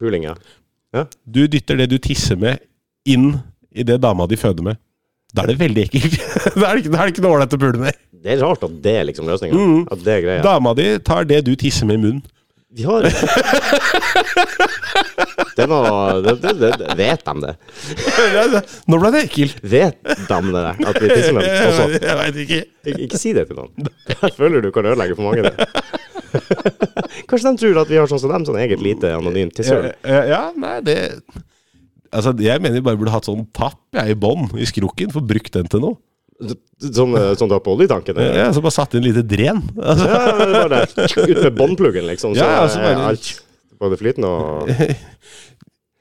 S1: Puling, ja.
S2: Du dytter det du tisser med, inn i det dama di føder med. Da er det veldig ekkelt. da, er det ikke, da er det ikke noe ålreit å pule med.
S1: Det er rart at det er liksom løsninga.
S2: Mm.
S1: At det er greia.
S2: Dama di tar det du tisser med i munnen.
S1: Vi har Det var det, det, det, det- Vet de det?
S2: Nå ble det ekkelt.
S1: Vet de det? At vi tisser med dem? Også,
S2: Jeg veit ikke.
S1: ikke, ikke si det til noen. Jeg føler du kan ødelegge for mange. det. Kanskje de tror at vi har sånn som dem, sånn eget lite anonymt tissehøl.
S2: Ja, ja, nei, det Altså, Jeg mener vi bare burde hatt sånn tapp jeg, i bånn i skrukken, for brukt den til noe.
S1: Sånn, eh, sånn du har på oljetankene?
S2: Ja, så bare satt inn lite dren. Altså,
S1: Ja, det var det. Ut med båndpluggen, liksom. Så
S2: Ja, ja, så
S1: er
S2: bare-
S1: alt både flytende og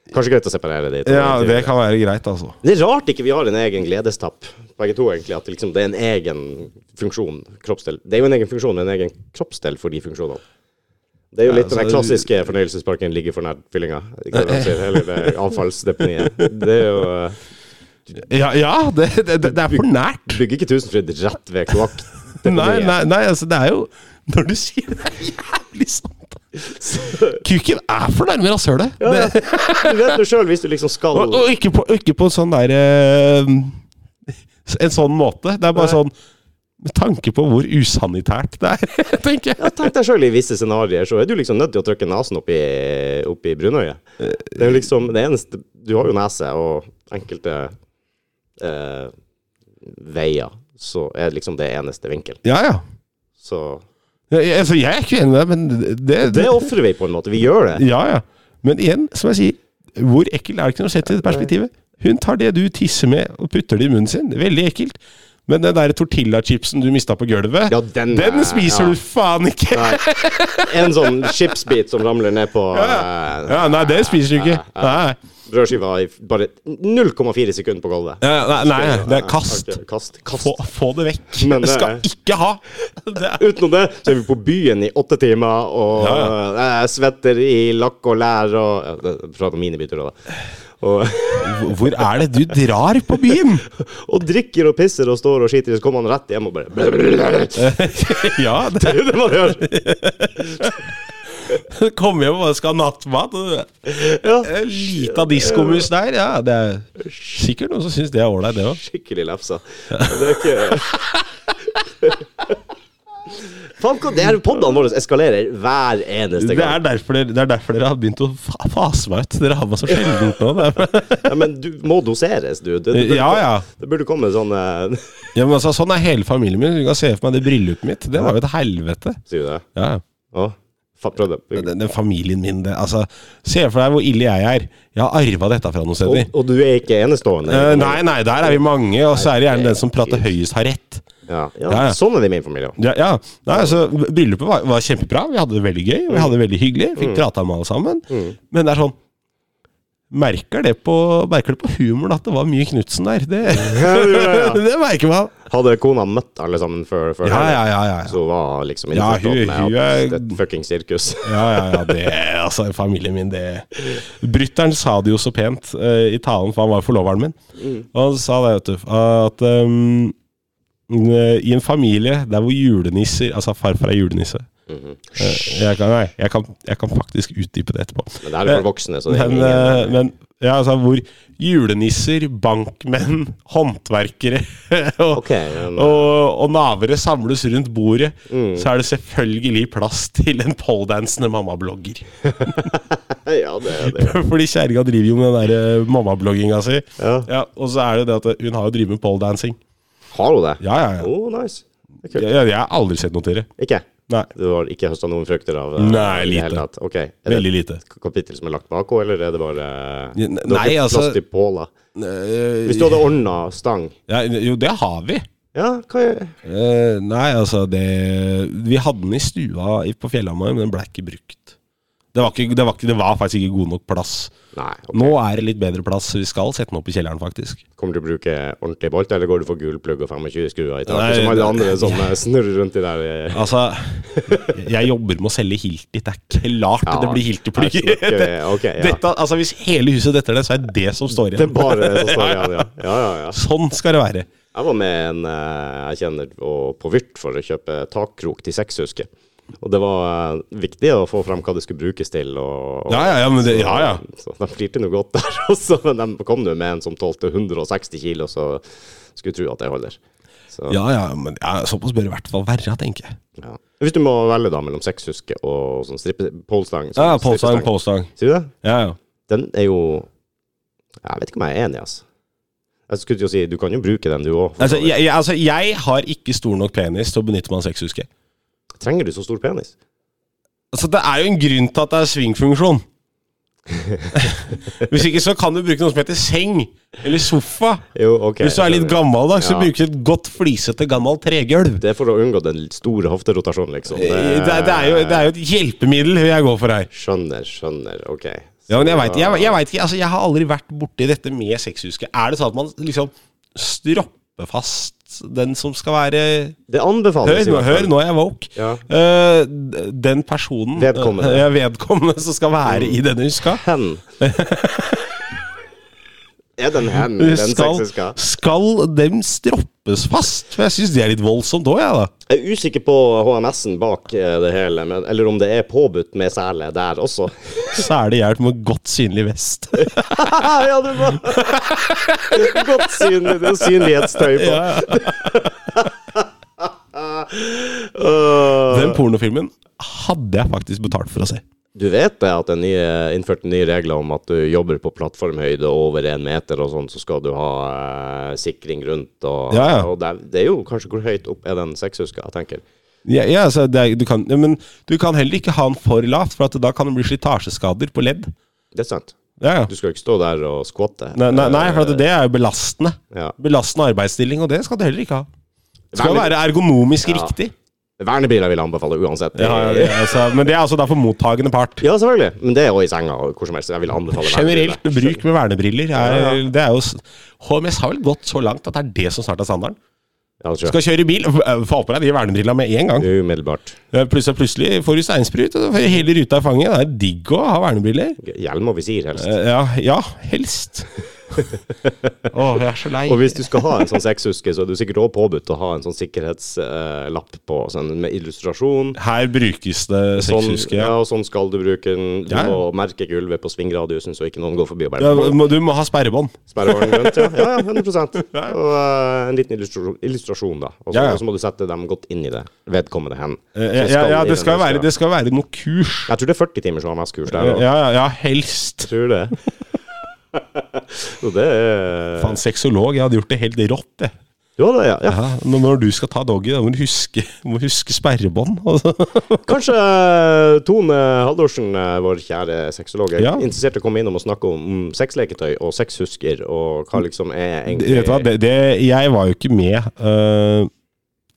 S1: Kanskje greit å separere de to.
S2: ja, det kan være greit, altså.
S1: Det er rart ikke vi har en egen gledestapp, begge to, egentlig. At liksom, det er en egen funksjon. Kroppsdel. Det er jo en egen funksjon, men en egen kroppsdel for de funksjonene. Det er jo
S2: Ja,
S1: litt den der
S2: altså-
S1: klassiske fornøyelsesparken ligger for nær fyllinga. ikke sant hva de sier, Eller det avfallsdeponiet. Det er jo eh,
S2: Ja, ja det, det, det er for nært.
S1: Du bygger ikke Tusenfryd rett ved
S2: Nei,
S1: kloakkdeponiet.
S2: nei, nei, altså det er jo Når du sier det, det er jævlig sant. Kuken er for nærme rasshølet.
S1: Ja, ja.
S2: Det-
S1: Du vet jo sjøl, hvis du liksom skal
S2: Og, og ikke, på, ikke på en sånn der eh, En sånn måte. Det er bare sånn Med tanke på hvor usanitært det er, tenker jeg.
S1: Ja, tenk deg sjøl i visse scenarioer, så er du liksom nødt til å trykke nesen opp i, opp i brunøyet. Det er jo liksom det eneste Du har jo nese, og enkelte eh, veier så er liksom det eneste vinkel.
S2: Ja, ja.
S1: Så
S2: Jeg, jeg- altså, jeg er ikke enig med deg, men det,
S1: det ofrer vi på en måte. Vi gjør det.
S2: Ja, ja. Men igjen, som jeg sier, Hvor ekkelt er det ikke når du setter det i perspektivet? Hun tar det du tisser med og putter det i munnen sin. Veldig ekkelt. Men den der tortillachipsen du mista på gulvet,
S1: Ja, den,
S2: den
S1: eh,
S2: spiser
S1: ja.
S2: du faen ikke!
S1: En sånn chipsbit som ramler ned på eh,
S2: Ja, nei, det spiser du ikke. Nei,
S1: brødskiva i bare 0,4 sekunder på gulvet.
S2: nei, nei, nei det er kast.
S1: Artig. Kast.
S2: Få,
S1: kast.
S2: få det vekk.
S1: Men
S2: Det
S1: det
S2: skal
S1: er-
S2: ikke ha! Det er,
S1: Utenom det, så er vi på byen i åtte timer, og
S2: Ja,
S1: eh, jeg svetter i lakk og lær og ja, det- Fra mine byturer, da. Og,
S2: hvor er det du drar på byen?
S1: og drikker og pisser og står og skiter, så kommer han rett hjem og bare
S2: Ja,
S1: Det
S2: det
S1: er det man gjør.
S2: kommer hjem og skal ha nattmat. og-
S1: Ja.
S2: Lita diskomus der, ja. Det er sikkert noen som syns det er ålreit, det òg.
S1: Skikkelig lefsa. Det er ikke Faen, hva- det her podene våre eskalerer hver eneste
S2: Det, er
S1: gang.
S2: derfor dere- det er derfor dere har begynt å fa- fase meg ut. Dere har meg så sjeldent nå. det er-
S1: Ja, men du må doseres, du. Det, det, burde-
S2: Ja, ja.
S1: det burde komme sånn eh,
S2: Ja, men altså, sånn er hele familien min. Du kan se for meg det bryllupet mitt. Det var jo et helvete.
S1: Sier du det?
S2: Ja, ja.
S1: Å, faen, prøv
S2: Men
S1: det.
S2: Den, den familien min, det, altså Se for deg hvor ille jeg er. Jeg har arva dette fra noen
S1: Og,
S2: steder.
S1: og du er ikke enestående?
S2: Eh, nei, nei, der er vi mange, og så er det gjerne den som prater høyest, har rett.
S1: Ja. Ja,
S2: Ja, ja.
S1: Sånn er det i min familie òg.
S2: Ja, ja. Nei, altså, Bryllupet var, var kjempebra. Vi hadde det veldig gøy. og Vi hadde det veldig hyggelig. Fikk prata med alle sammen. Men det er sånn Merker det på, merker det på humoren at det var mye Knutsen der. Det, det merker man.
S1: Hadde kona møtt alle sammen før, før
S2: Ja,
S1: det,
S2: ja, ja. ja, ja.
S1: så var liksom
S2: Ja,
S1: innforstått
S2: hun- hun
S1: med
S2: er-
S1: at det er et fucking sirkus.
S2: Ja, ja, ja, det Altså, familien min, det Brytteren sa det jo så pent eh, i talen, for han var jo forloveren min.
S1: Mm.
S2: Og han sa det, vet du, at ehm, eh, i en familie der hvor julenisser Altså, farfar er julenisse.
S1: Mhm.
S2: Eh, jeg, kan, nei, jeg, kan, jeg kan faktisk utdype det etterpå.
S1: Men det er jo for voksne, så det er
S2: Men,
S1: ingen
S2: eh, men ja, altså, hvor julenisser, bankmenn, håndverkere og,
S1: Ok, men- eh, Mm.
S2: og, og navere samles rundt bordet, så er det selvfølgelig plass til en poledansende mammablogger.
S1: Ja, det er det.
S2: Fordi kjerringa driver jo med den der eh, mammablogginga si.
S1: Ja.
S2: og så er det det at eh, hun har jo drevet med poledancing.
S1: Har hun det?
S2: Ja, ja, ja.
S1: Oh, nice. Det er kult.
S2: Jeg, jeg, jeg har aldri sett noe til det.
S1: Ikke?
S2: Nei.
S1: Du har ikke høsta noen frukter av eh,
S2: Nei,
S1: i det hele
S2: lite.
S1: tatt? Ok. Er det
S2: Veldig lite.
S1: et kapittel som er lagt bak henne, eller er det bare
S2: Ja,
S1: Det er
S2: nei,
S1: ikke
S2: altså-
S1: Plass til påla. Hvis du hadde ordna stang
S2: Ja, jo, det har vi.
S1: Ja, hva er
S2: Eh, nei, altså det Vi hadde den i stua i- på Fjellhamar, men den ble ikke brukt. Det var, ikke, det, var ikke, det var faktisk ikke god nok plass.
S1: Nei. ok.
S2: Nå er det litt bedre plass, så vi skal sette den opp i kjelleren, faktisk.
S1: Kommer du å bruke ordentlig bolt, eller går du for gul plugg og 25 skruer i
S2: Nei,
S1: taket, som alle
S2: det-
S1: andre som eh, snurrer rundt i der? eh,
S2: Altså, jeg jobber med å selge Hilti. Det er klart
S1: Ja,
S2: det blir Hilti-plugger.
S1: det er klart, ok, ja.
S2: Dette- Altså, hvis hele huset detter ned, så er det som står
S1: Det er
S2: igjen.
S1: bare det som står igjen, ja. ja, ja, ja.
S2: Sånn skal det være.
S1: Jeg var med en eh, jeg kjenner og på Vyrt for å kjøpe takkrok til seks, husker jeg. Og det var eh, viktig å få frem hva det skulle brukes til. Og, og,
S2: Ja, ja, ja. Men det, ja, ja.
S1: Så de flirte noe godt der også, men de kom nå med en som tålte 160 kilo, så skulle tro at det holder. Så,
S2: ja, ja men ja, såpass bør det i hvert fall være, tenker jeg.
S1: ja. Hvis du må velge da mellom sekshuske og sånn strippe, polestang sånn
S2: Ja, Polstang,
S1: strippestang.
S2: Polstang.
S1: Sier du det?
S2: Ja, ja.
S1: Den er jo Jeg vet ikke om jeg er enig, altså. Jeg skulle til å si, du kan jo bruke den du òg.
S2: Altså jeg, jeg, altså, jeg har ikke stor nok penis til å benytte meg av sexhuske.
S1: Trenger du så stor penis?
S2: Altså, det er jo en grunn til at det er svingfunksjon. Hvis ikke så kan du bruke noe som heter seng, eller sofa.
S1: Jo, ok.
S2: Hvis du er
S1: jeg
S2: litt
S1: skjønner.
S2: gammeldags, så
S1: Ja.
S2: bruker du et godt flisete, gammelt tregulv.
S1: Det er for å unngå den store hofterotasjonen, liksom.
S2: Det, Eh, det, er jo, det er jo et hjelpemiddel jeg går for her.
S1: Skjønner, skjønner. Ok.
S2: Ja, men jeg veit jeg, jeg vet ikke. Altså, jeg har aldri vært borti dette med sexhuske. Er det sånn at man liksom stropper fast den som skal være
S1: Det anbefales
S2: Hør,
S1: i
S2: nå,
S1: hvert fall.
S2: hør, nå er jeg woke.
S1: Ja.
S2: Eh, d- den personen
S1: Vedkommende.
S2: eh, ja, vedkommende som skal være i denne huska,
S1: Hen. er den hen, den
S2: skal,
S1: sexiska?
S2: skal dem stroppes fast? For jeg syns det er litt voldsomt òg, jeg, da.
S1: Jeg er usikker på HMS-en bak eh, det hele, men, eller om det er påbudt med sele der også.
S2: Særlig hjelp med godt synlig vest.
S1: ja, du må Godt synlig, det er synlighetstøy på. Øh,
S2: Den pornofilmen hadde jeg faktisk betalt for å se.
S1: du vet det at det er nye, innført nye regler om at du jobber på plattformhøyde over én meter og sånn, så skal du ha eh, sikring rundt og,
S2: Ja, ja.
S1: og det, er, det er jo kanskje hvor høyt opp er den sekshuska, jeg tenker.
S2: Ja, ja, altså, det er, du kan, ja, men du kan heller ikke ha den for lavt, for at da kan det bli slitasjeskader på ledd.
S1: Det er sant.
S2: Ja, ja.
S1: Du skal jo ikke stå der og skvatte.
S2: Nei, nei, nei, for at det er jo belastende.
S1: Ja.
S2: Belastende arbeidsstilling, og det skal du heller ikke ha. Det skal
S1: Vernebil-
S2: være ergonomisk
S1: Ja.
S2: riktig.
S1: Vernebiler vil jeg anbefale uansett.
S2: Ja, altså, men det er altså da for mottagende part.
S1: Ja, selvfølgelig. Men det er òg i senga og hvor som helst. Jeg vil anbefale vernebriller.
S2: Generelt bruk med vernebriller.
S1: altså. Ja,
S2: Er, det er jo, s- HMS har vel gått så langt at det er det som snart er standarden.
S1: Ja, det tror jeg.
S2: Skal kjøre bil, øh, få på deg de vernebrillene med en gang.
S1: Umiddelbart.
S2: Plutselig, plutselig får du steinsprut, og så får du hele ruta i fanget. Det er digg å ha vernebriller.
S1: Hjelm og visir, helst.
S2: Eh, Ja, ja helst. Å, jeg er så lei.
S1: Og hvis du skal ha en sånn sekshuske, så er du sikkert også påbudt å ha en sånn sikkerhetslapp på, sånn med illustrasjon.
S2: Her brukes det
S1: Sånn,
S2: sexhuske.
S1: ja,
S2: Ja.
S1: og sånn skal du bruke den. Du
S2: Ja, ja.
S1: må merke gulvet på svingradiusen, så ikke noen går forbi og
S2: Ja,
S1: bærer på.
S2: må- du må ha sperrebånd.
S1: Sperrevaren grønt, ja. Ja, ja, 100 Og eh, en liten illustrasjon, illustrasjon da. Og så,
S2: Ja, ja.
S1: og så må du sette dem godt inn i det vedkommende hen.
S2: Eh, Ja,
S1: Så
S2: ja, ja,
S1: i
S2: det
S1: den
S2: skal være,
S1: huska.
S2: det skal være noe kurs.
S1: Jeg tror det er 40 timer som har mest kurs der.
S2: Ja,
S1: også.
S2: ja, ja helst.
S1: Jeg tror det. Så det er
S2: Faen, sexolog. Jeg hadde gjort det helt rått, jeg.
S1: Jo, det, ja. ja.
S2: Ja, når når du skal ta doggy, da må du huske, må huske sperrebånd. Altså.
S1: Kanskje eh, Tone Haldorsen, eh, vår kjære sexolog, er
S2: Ja.
S1: interessert i å komme innom og snakke om mm, sexleketøy og sexhusker, og hva liksom er egentlig
S2: Vet du hva, det, det, jeg var jo ikke med øh,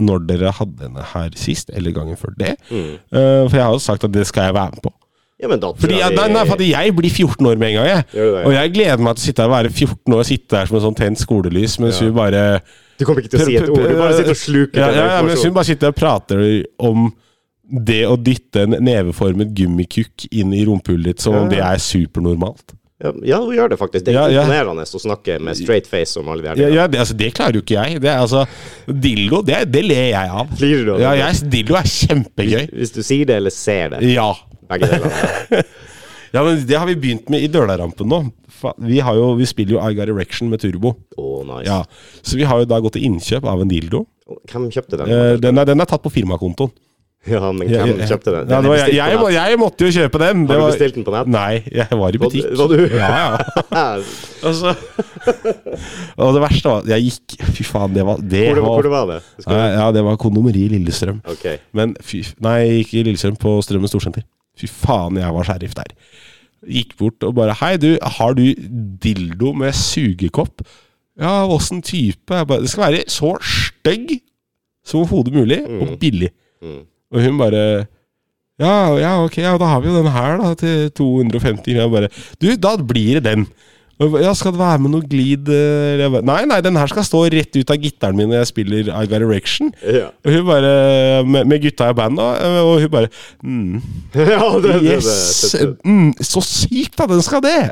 S2: når dere hadde henne her sist, eller gangen før det.
S1: Mm.
S2: Øh, for jeg har jo sagt at det skal jeg være med på.
S1: Ja, men da tror
S2: Fordi,
S1: jeg
S2: at-
S1: vi-
S2: nei, nei, fordi jeg blir 14 år med en gang, jeg.
S1: Gjør du det?
S2: Og jeg gleder meg til å sitte her og være 14 år og sitte her som en sånn tent skolelys mens hun bare
S1: Du kommer ikke til å si et ord, du bare sitter og sluker
S2: ja,
S1: den
S2: ja, ja, men Hun
S1: informasjonen.
S2: bare sitter og prater om det å dytte en neveformet gummikukk inn i rumpehullet ditt som om
S1: Ja,
S2: det
S1: ja.
S2: er supernormalt.
S1: Ja, ja, hun gjør det faktisk. Det er
S2: Ja, ja.
S1: imponerende å snakke med straight face om alle de her
S2: Ja,
S1: tingene.
S2: ja, det, altså, det klarer jo ikke jeg. Det er, altså, dildo, det, er- det ler jeg av.
S1: Flirer du av det?
S2: Ja, jeg, dildo er kjempegøy.
S1: Hvis du sier det eller ser det.
S2: Ja.
S1: Begge deler.
S2: ja, men det har vi begynt med i Dølarampen nå. Fa- Vi, har jo, vi spiller jo I Got Erection med Turbo.
S1: Å, nice.
S2: Ja. Så vi har jo da gått til innkjøp av en dildo.
S1: Hvem kjøpte den?
S2: Eh, Den er, den er tatt på firmakontoen.
S1: Ja, men hvem kjøpte den?
S2: Ja, det var,
S1: Den er
S2: jeg, jeg,
S1: bestilt på
S2: må- jeg måtte jo kjøpe den.
S1: nett.
S2: Det
S1: Har du
S2: var-
S1: bestilt den på nett?
S2: Nei, jeg var i butikk.
S1: Var du?
S2: Ja, ja. Altså. Og det verste var at jeg gikk Fy faen, det var det
S1: Hvor, det,
S2: var,
S1: hvor det var det? Skal,
S2: Nei, Ja, det var kondomeri i Lillestrøm.
S1: ok.
S2: Men fy Nei, ikke i Lillestrøm, på Strømmen storsenter. Fy faen, jeg var sheriff der. Gikk bort og bare Hei, du, har du dildo med sugekopp? Ja, åssen type? Jeg bare, det skal være så stygg som overhodet mulig, og billig.
S1: Mm.
S2: Og hun bare ja, ja, ok, ja, da har vi jo den her, da, til 250 kroner. Jeg bare Du, da blir det den. Og jeg bare, Ja, skal det være med noe glid eh?» Jeg bare, Nei, nei, den her skal stå rett ut av gitaren min når jeg spiller I Got Erection.
S1: Ja,
S2: Og hun bare Med, med gutta i bandet, og- og hun bare mm,
S1: ja det, det,
S2: Yes!
S1: det, det.
S2: Mm, så sykt at den skal det!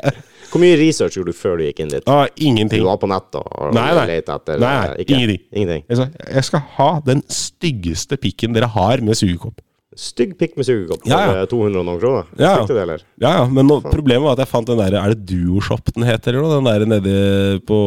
S1: Hvor mye research gjorde du før du gikk inn dit?
S2: Ah,
S1: Du
S2: ingenting.
S1: var på nett og, og
S2: Nei, nei.
S1: lette etter
S2: Nei, nei,
S1: eh,
S2: ingenting.
S1: ingenting.
S2: Jeg sa jeg skal ha den styggeste pikken dere har med sugekopp.
S1: Stygg pikk med sugekopp for
S2: Ja, ja.
S1: eh, 200 og noen kroner.
S2: Ja, ja.
S1: Fikk du det, eller?
S2: Ja, ja, men nå, problemet var at jeg fant den der Er det Duoshop den heter, eller noe? Den der nede på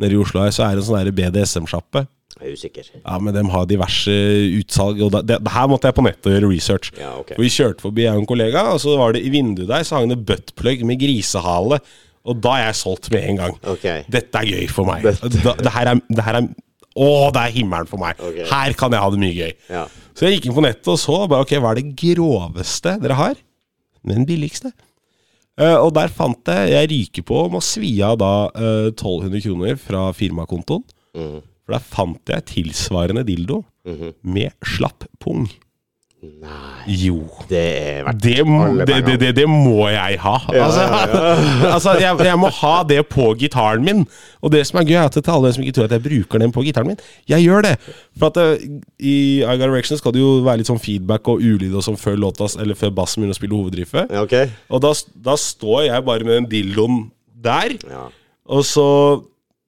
S2: Nede i Oslo her, så er det en sånn der BDSM-sjappe.
S1: Jeg er usikker.
S2: Ja, men dem har diverse utsalg, og da, det, det her måtte jeg på nettet og gjøre research.
S1: Ja, ok.
S2: Og vi kjørte forbi jeg og en kollega, og så var det i vinduet der så hang det buttplug med grisehale. Og da er jeg solgt med en gang.
S1: Ok.
S2: Dette er gøy for meg.
S1: Dette-
S2: Da, det her er, det her er Å, det er himmelen for meg.
S1: Ok.
S2: Her kan jeg ha det mye gøy.
S1: Ja.
S2: Så jeg gikk inn på nettet og så. bare, Ok, hva er det groveste dere har? Den billigste. Eh, og der fant jeg Jeg ryker på om å svi av da eh, 1200 kroner fra firmakontoen.
S1: Mhm.
S2: For der fant jeg tilsvarende dildo med slapp pung.
S1: Nei,
S2: Jo.
S1: det er verdt
S2: Det må,
S1: Alle
S2: det, det, det, det må jeg ha. altså, altså jeg, jeg må ha det på gitaren min. Og det som er gøy, er at til alle dem som ikke tror at jeg bruker den på gitaren min, jeg gjør det. For at eh, i I Got Erection skal det jo være litt sånn feedback og ulyd og sånn før låta, eller før bassen begynner å spille hoveddriffet.
S1: Ja, ok.
S2: Og da, da står jeg bare med den dildoen der.
S1: Ja.
S2: Og så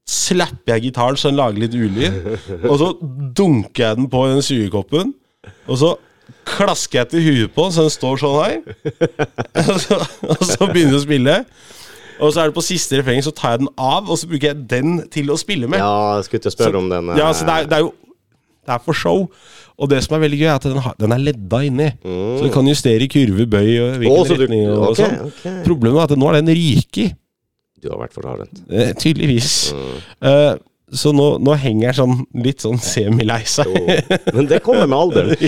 S2: slapper jeg gitaren så den lager litt ulyd. Og så dunker jeg den på den sugekoppen. Og så klasker jeg til huet på den så den står sånn her. Og så, og så begynner vi å spille. Og så er det på siste refrenget, så tar jeg den av, og så bruker jeg den til å spille med.
S1: ja, jeg skulle til å spørre om den. eh,
S2: Ja, altså det er, det er jo Det er for show. Og det som er veldig gøy, er at den, har, den er ledda inni. Så du kan justere kurve, bøy og hvilken
S1: Mm. Å, så du-
S2: retning og,
S1: ok,
S2: sånn.
S1: ok.
S2: Problemet er at nå er den ryket.
S1: Du har vært for hardhendt.
S2: Eh, tydeligvis.
S1: Mm.
S2: Eh, så nå, nå henger jeg sånn litt sånn semilei seg.
S1: Jo. Men det kommer med alderen.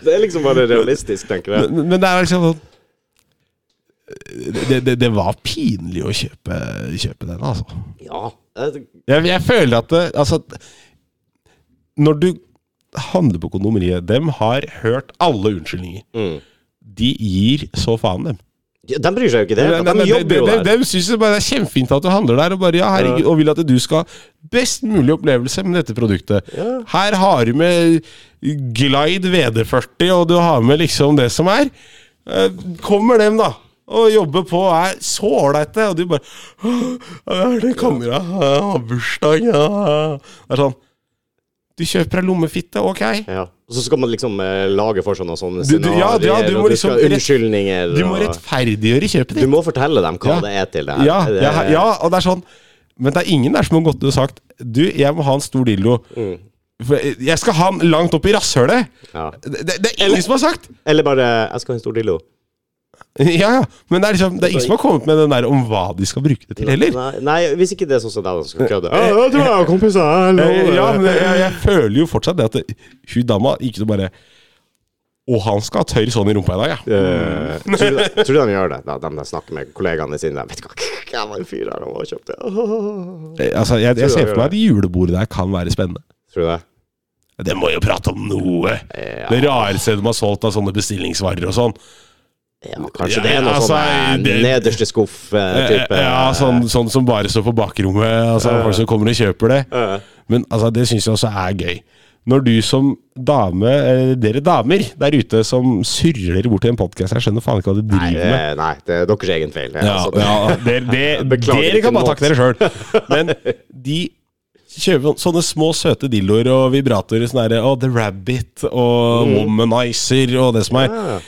S1: Det er liksom bare realistisk, tenker jeg.
S2: Men men det er liksom sånn det, det, det var pinlig å kjøpe, kjøpe den, altså.
S1: Ja. eh,
S2: Jeg, jeg føler at det, altså, at Når du handler på kondomeriet Dem har hørt alle unnskyldninger.
S1: Mm.
S2: De gir så faen, dem.
S1: De bryr seg jo ikke i det. hele tatt. De
S2: de,
S1: jobber jo der.
S2: syns det bare er kjempefint at du handler der, og bare ja, herregud, og vil at du skal ha best mulig opplevelse med dette produktet.
S1: Ja.
S2: Her har du med Glide VD40, og du har med liksom det som er. Eh, Kommer dem, da. Og jobber på, er så ålreite, og du bare «Åh, er det kamera? Ja, bursdag, ja Det er sånn Du kjøper deg lommefitte, ok?
S1: Ja. Og så skal man liksom eh, lage for seg noen sånne
S2: Du- du-
S1: scenarioer,
S2: ja, ja, du må
S1: og du
S2: liksom
S1: skal
S2: rett-
S1: unnskyldninger
S2: Du må
S1: og-
S2: rettferdiggjøre kjøpet ditt.
S1: Du må fortelle dem hva
S2: Ja.
S1: det er til det her.
S2: Ja,
S1: det,
S2: ja, ja, og det er sånn Men det er ingen der som har gått ut og sagt Du, jeg må ha en stor dildo.
S1: Mm.
S2: For jeg skal ha den langt opp i rasshølet!
S1: ja.
S2: Det, det, det er ingen som har sagt!
S1: Eller bare 'Jeg skal ha en stor dildo'.
S2: Ja, ja, Men det er liksom Det er ingen som har kommet med den der om hva de skal bruke det til, heller.
S1: Nei, nei, hvis ikke det er sånn som deg som skal kødde.
S2: Eh,
S1: Eh, Ja, jeg tror jeg har kompiser jeg lover det.
S2: Ja, men jeg, jeg føler jo fortsatt det at det, hun dama ikke bare Og han skal ha tørr sånn i rumpa i dag, ja.
S1: Eh, tror, du, tror du de gjør det? Da, de der snakker med kollegaene sine. De vet ikke hva jeg var en fyr der og kjøpte Åh.
S2: Altså, jeg, jeg
S1: Tror
S2: ser
S1: jeg
S2: for meg at julebordet der kan være spennende.
S1: Tror du det? Eh,
S2: Det må jo prate om noe!
S1: Ja.
S2: Det rareste de har solgt av sånne bestillingsvarer og sånn.
S1: Ja, kanskje
S2: Ja,
S1: det er noe
S2: altså,
S1: sånn eh,
S2: det- Eh,
S1: nederste eh, skuff-type.
S2: Ja, sånn, sånn som bare står på bakrommet. Altså, Folk som kommer og kjøper det. Men altså, det syns jeg også er gøy. Når du som dame, eh, dere damer der ute som surrer bort til en podkast Jeg skjønner faen ikke hva du
S1: Nei,
S2: driver
S1: det,
S2: med.
S1: nei, det er deres egen feil.
S2: Ja,
S1: altså, det,
S2: ja, dere, dere-
S1: Beklager
S2: dere
S1: ikke
S2: kan bare
S1: noe.
S2: takke dere sjøl. Men de kjøper sånne små, søte dildoer og vibratorer. Sånn derre oh, The Rabbit og Womanizer og det som er.
S1: Mm. Ja.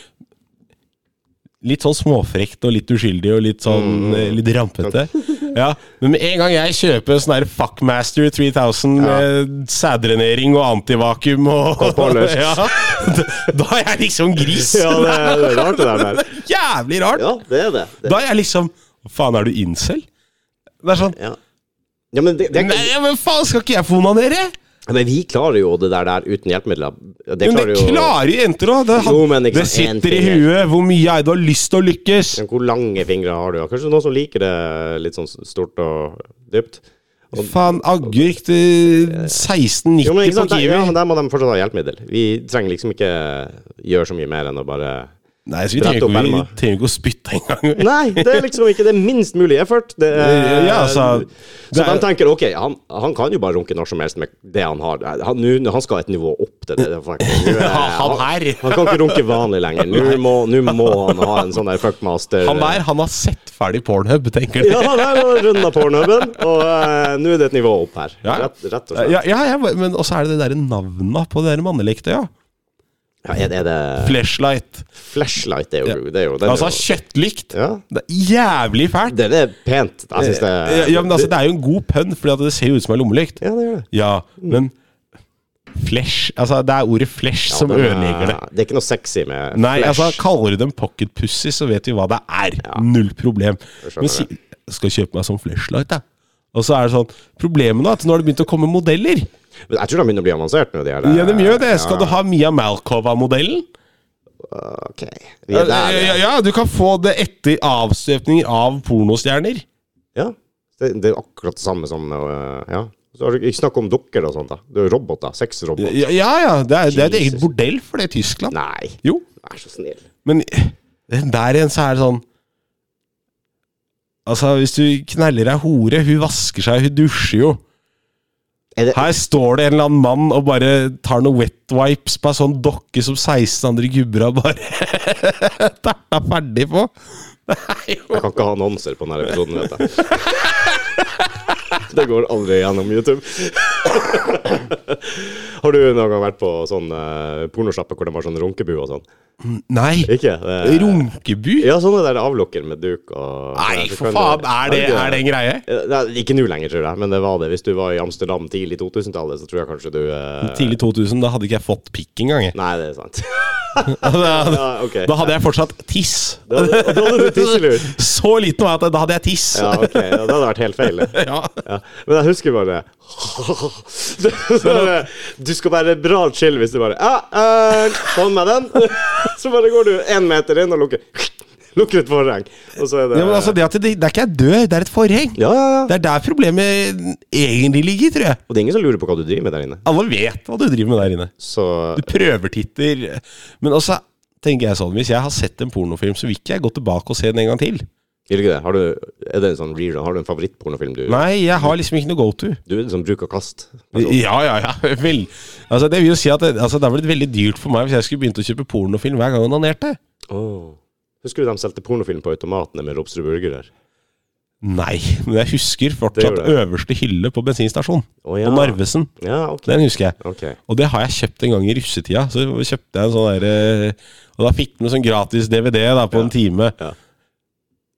S2: Litt sånn småfrekt og litt uskyldig og litt sånn
S1: Mm.
S2: eh, litt rampete. Ja, Men med en gang jeg kjøper sånn her Fuckmaster 3000 med sædrenering og antivakuum og
S1: Kopåløs.
S2: ja, da, da er jeg liksom gris!
S1: ja, det, det er rart, det der. Men.
S2: Jævlig rart!
S1: Ja, det er det. det
S2: Da er jeg liksom Hva Faen, er du incel? Det er sånn
S1: ja. ja, men det, det,
S2: Nei, men faen, skal ikke jeg få noen av dere?
S1: Men vi klarer jo det der, der uten hjelpemidler. Det
S2: Men
S1: klarer
S2: det
S1: jo
S2: klarer jo jenter òg! Det,
S1: Jo, men ikke
S2: det
S1: sant, en
S2: sitter i
S1: finger.
S2: huet hvor mye er det du har lyst til å lykkes?
S1: Men Hvor lange fingre har du? da? Kanskje noen som liker det litt sånn stort og dypt?
S2: Faen, agurk til 16,90
S1: Jo, men ikke
S2: på
S1: sant? Der, ja,
S2: Kiwi.
S1: men der må de fortsatt ha hjelpemiddel. Vi trenger liksom ikke gjøre så mye mer enn å bare
S2: Nei, så vi
S1: Brett
S2: trenger
S1: opp
S2: ikke,
S1: erma.
S2: vi trenger ikke å spytte engang.
S1: Nei, det er liksom ikke det minst mulig effort. Det er,
S2: Ja, altså,
S1: så
S2: det er-
S1: de tenker ok, han, han kan jo bare runke når som helst med det han har. Han, nå- han skal et nivå opp til det. det er faktisk- nå er-
S2: Han her
S1: Han kan ikke runke vanlig lenger. Nå må, nå må han ha en sånn der fuckmaster.
S2: Han der, han har sett ferdig pornhub, tenker du.
S1: Ja, han er runda pornoben, og eh, nå er det et nivå opp her.
S2: Ja.
S1: Rett, rett og slett.
S2: Ja, ja, ja, men også er det det derre navnet på det der mannelektøya.
S1: Ja, er, det- er det
S2: Flashlight.
S1: Flashlight, det er jo det. Er jo, det er jo-
S2: Altså kjøttlykt.
S1: ja.
S2: Det er jævlig fælt.
S1: Det er pent. Jeg syns det
S2: Ja, men altså, det er jo en god pønn, fordi at det ser jo ut som en lommelykt.
S1: Ja, det gjør det.
S2: Ja, men flesh Altså, det er ordet flesh som
S1: Den, eh,
S2: ødelegger det.
S1: Det er ikke noe sexy med
S2: Nei,
S1: flash.
S2: altså, kaller du dem pocketpussy, så vet vi hva det er. Null problem.
S1: skjønner
S2: Men si, jeg skal kjøpe meg sånn flashlight, da. Og så er det sånn Problemet nå er at nå har det begynt å komme modeller.
S1: Men jeg tror de begynner å bli avansert nå, de her. eh,
S2: Ja, de gjør det. Skal du ha Mia Malkova-modellen?
S1: OK. Vi
S2: Ja,
S1: er der.
S2: ja,
S1: Ja.
S2: ja, du kan få det etter avstøpninger av pornostjerner.
S1: ja. Det, det er akkurat det samme som eh, Ja. Så har du ikke snakk om dukker og sånt, da. Det er jo roboter. Sexroboter.
S2: Ja, ja. ja det, er, det er et eget
S1: Jesus.
S2: bordell for det i Tyskland.
S1: Nei,
S2: Jo,
S1: vær så snill.
S2: men eh, der igjen så er det sånn Altså, hvis du kneller ei hore Hun vasker seg, hun dusjer jo.
S1: Er det,
S2: Her står det en eller annen mann og bare tar noen wet wipes på ei sånn dokke som 16 andre gubber har bare terta ferdig på. Det er jo
S1: Jeg kan ikke ha annonser på denne episoden, vet jeg. Det går aldri gjennom YouTube. Har du noen gang vært på sånn eh, pornosjappe hvor de har sånn runkebu og sånn?
S2: Nei!
S1: Ikke? Eh,
S2: Runkebu?
S1: ja, sånne der avlukker med duk og
S2: Nei,
S1: Så
S2: for
S1: kan
S2: faen!
S1: du-
S2: Er det, er det en greie?
S1: Eh, Nei, ikke nå lenger, tror jeg, men det var det. Hvis du var i Amsterdam tidlig 2000-tallet, så tror jeg kanskje du eh,
S2: Tidlig 2000, da hadde ikke jeg fått pikk engang. jeg.
S1: Nei, det er sant.
S2: Da
S1: Ja, ok.
S2: da hadde jeg fortsatt tiss.
S1: Da hadde da hadde du tisselur.
S2: Så liten var jeg at da hadde jeg tiss.
S1: Ja, ok. Ja, det hadde vært helt feil. det.
S2: Ja.
S1: Ja. Men jeg husker bare Så bare, Du skal være bra chill hvis du bare ja, eh, Sånn med den. Så bare går du én meter inn og lukker. Lukker et forheng, og så er det
S2: Ja, men altså, det, at det, det er ikke jeg dør, det er et forheng.
S1: ja, ja, ja.
S2: Det er der problemet egentlig ligger, tror jeg.
S1: Og det er ingen som lurer på hva du driver med der inne.
S2: Alle vet hva du driver med der inne.
S1: Så
S2: Du prøvertitter. Men også tenker jeg sånn, hvis jeg har sett en pornofilm, så vil ikke jeg gå tilbake og se den en gang til.
S1: gjør du ikke det? Har du, er det en sånn rerun? Har du en favorittpornofilm du,
S2: Nei, jeg har liksom ikke noe go to.
S1: du er liksom bruk og kast?
S2: Ja, ja, ja. Vel. Altså, det vil jo si at det, altså, det har blitt veldig dyrt for meg hvis jeg skulle begynt å kjøpe pornofilm hver gang jeg onanerte.
S1: Åh. Husker du de solgte pornofilm på automatene med Robsrud Burgerer?
S2: Nei, men jeg husker
S1: Det
S2: fortsatt
S1: gjør det.
S2: øverste hylle på bensinstasjonen.
S1: Å, ja.
S2: På Narvesen.
S1: Ja, ok.
S2: Den husker jeg.
S1: Ok.
S2: Og det har jeg kjøpt en gang i russetida. Så kjøpte jeg en sånn derre Og da fikk den med sånn gratis DVD da, på en time.
S1: Ja.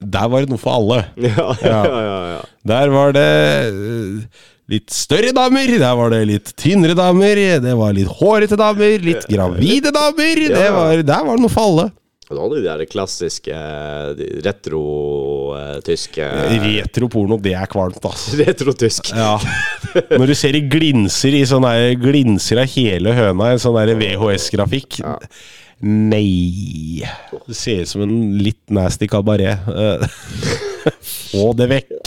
S2: Der var det noe for alle.
S1: Ja, ja, ja, ja.
S2: Der var det eh, litt større damer, der var det litt tynnere damer, det var litt hårete damer, litt gravide damer. Det var, der var det noe for alle.
S1: Og Du hadde de der klassiske eh, retro-tyske
S2: Retro porno, det er kvalmt, ass.
S1: Retro-tysk.
S2: Eh, Ja. Når du ser det glinser i sånn der glinser av hele høna i en sånn der VHS-grafikk. Nei. Det ser ut som en litt nasty kabaret. Eh, Få det vekk.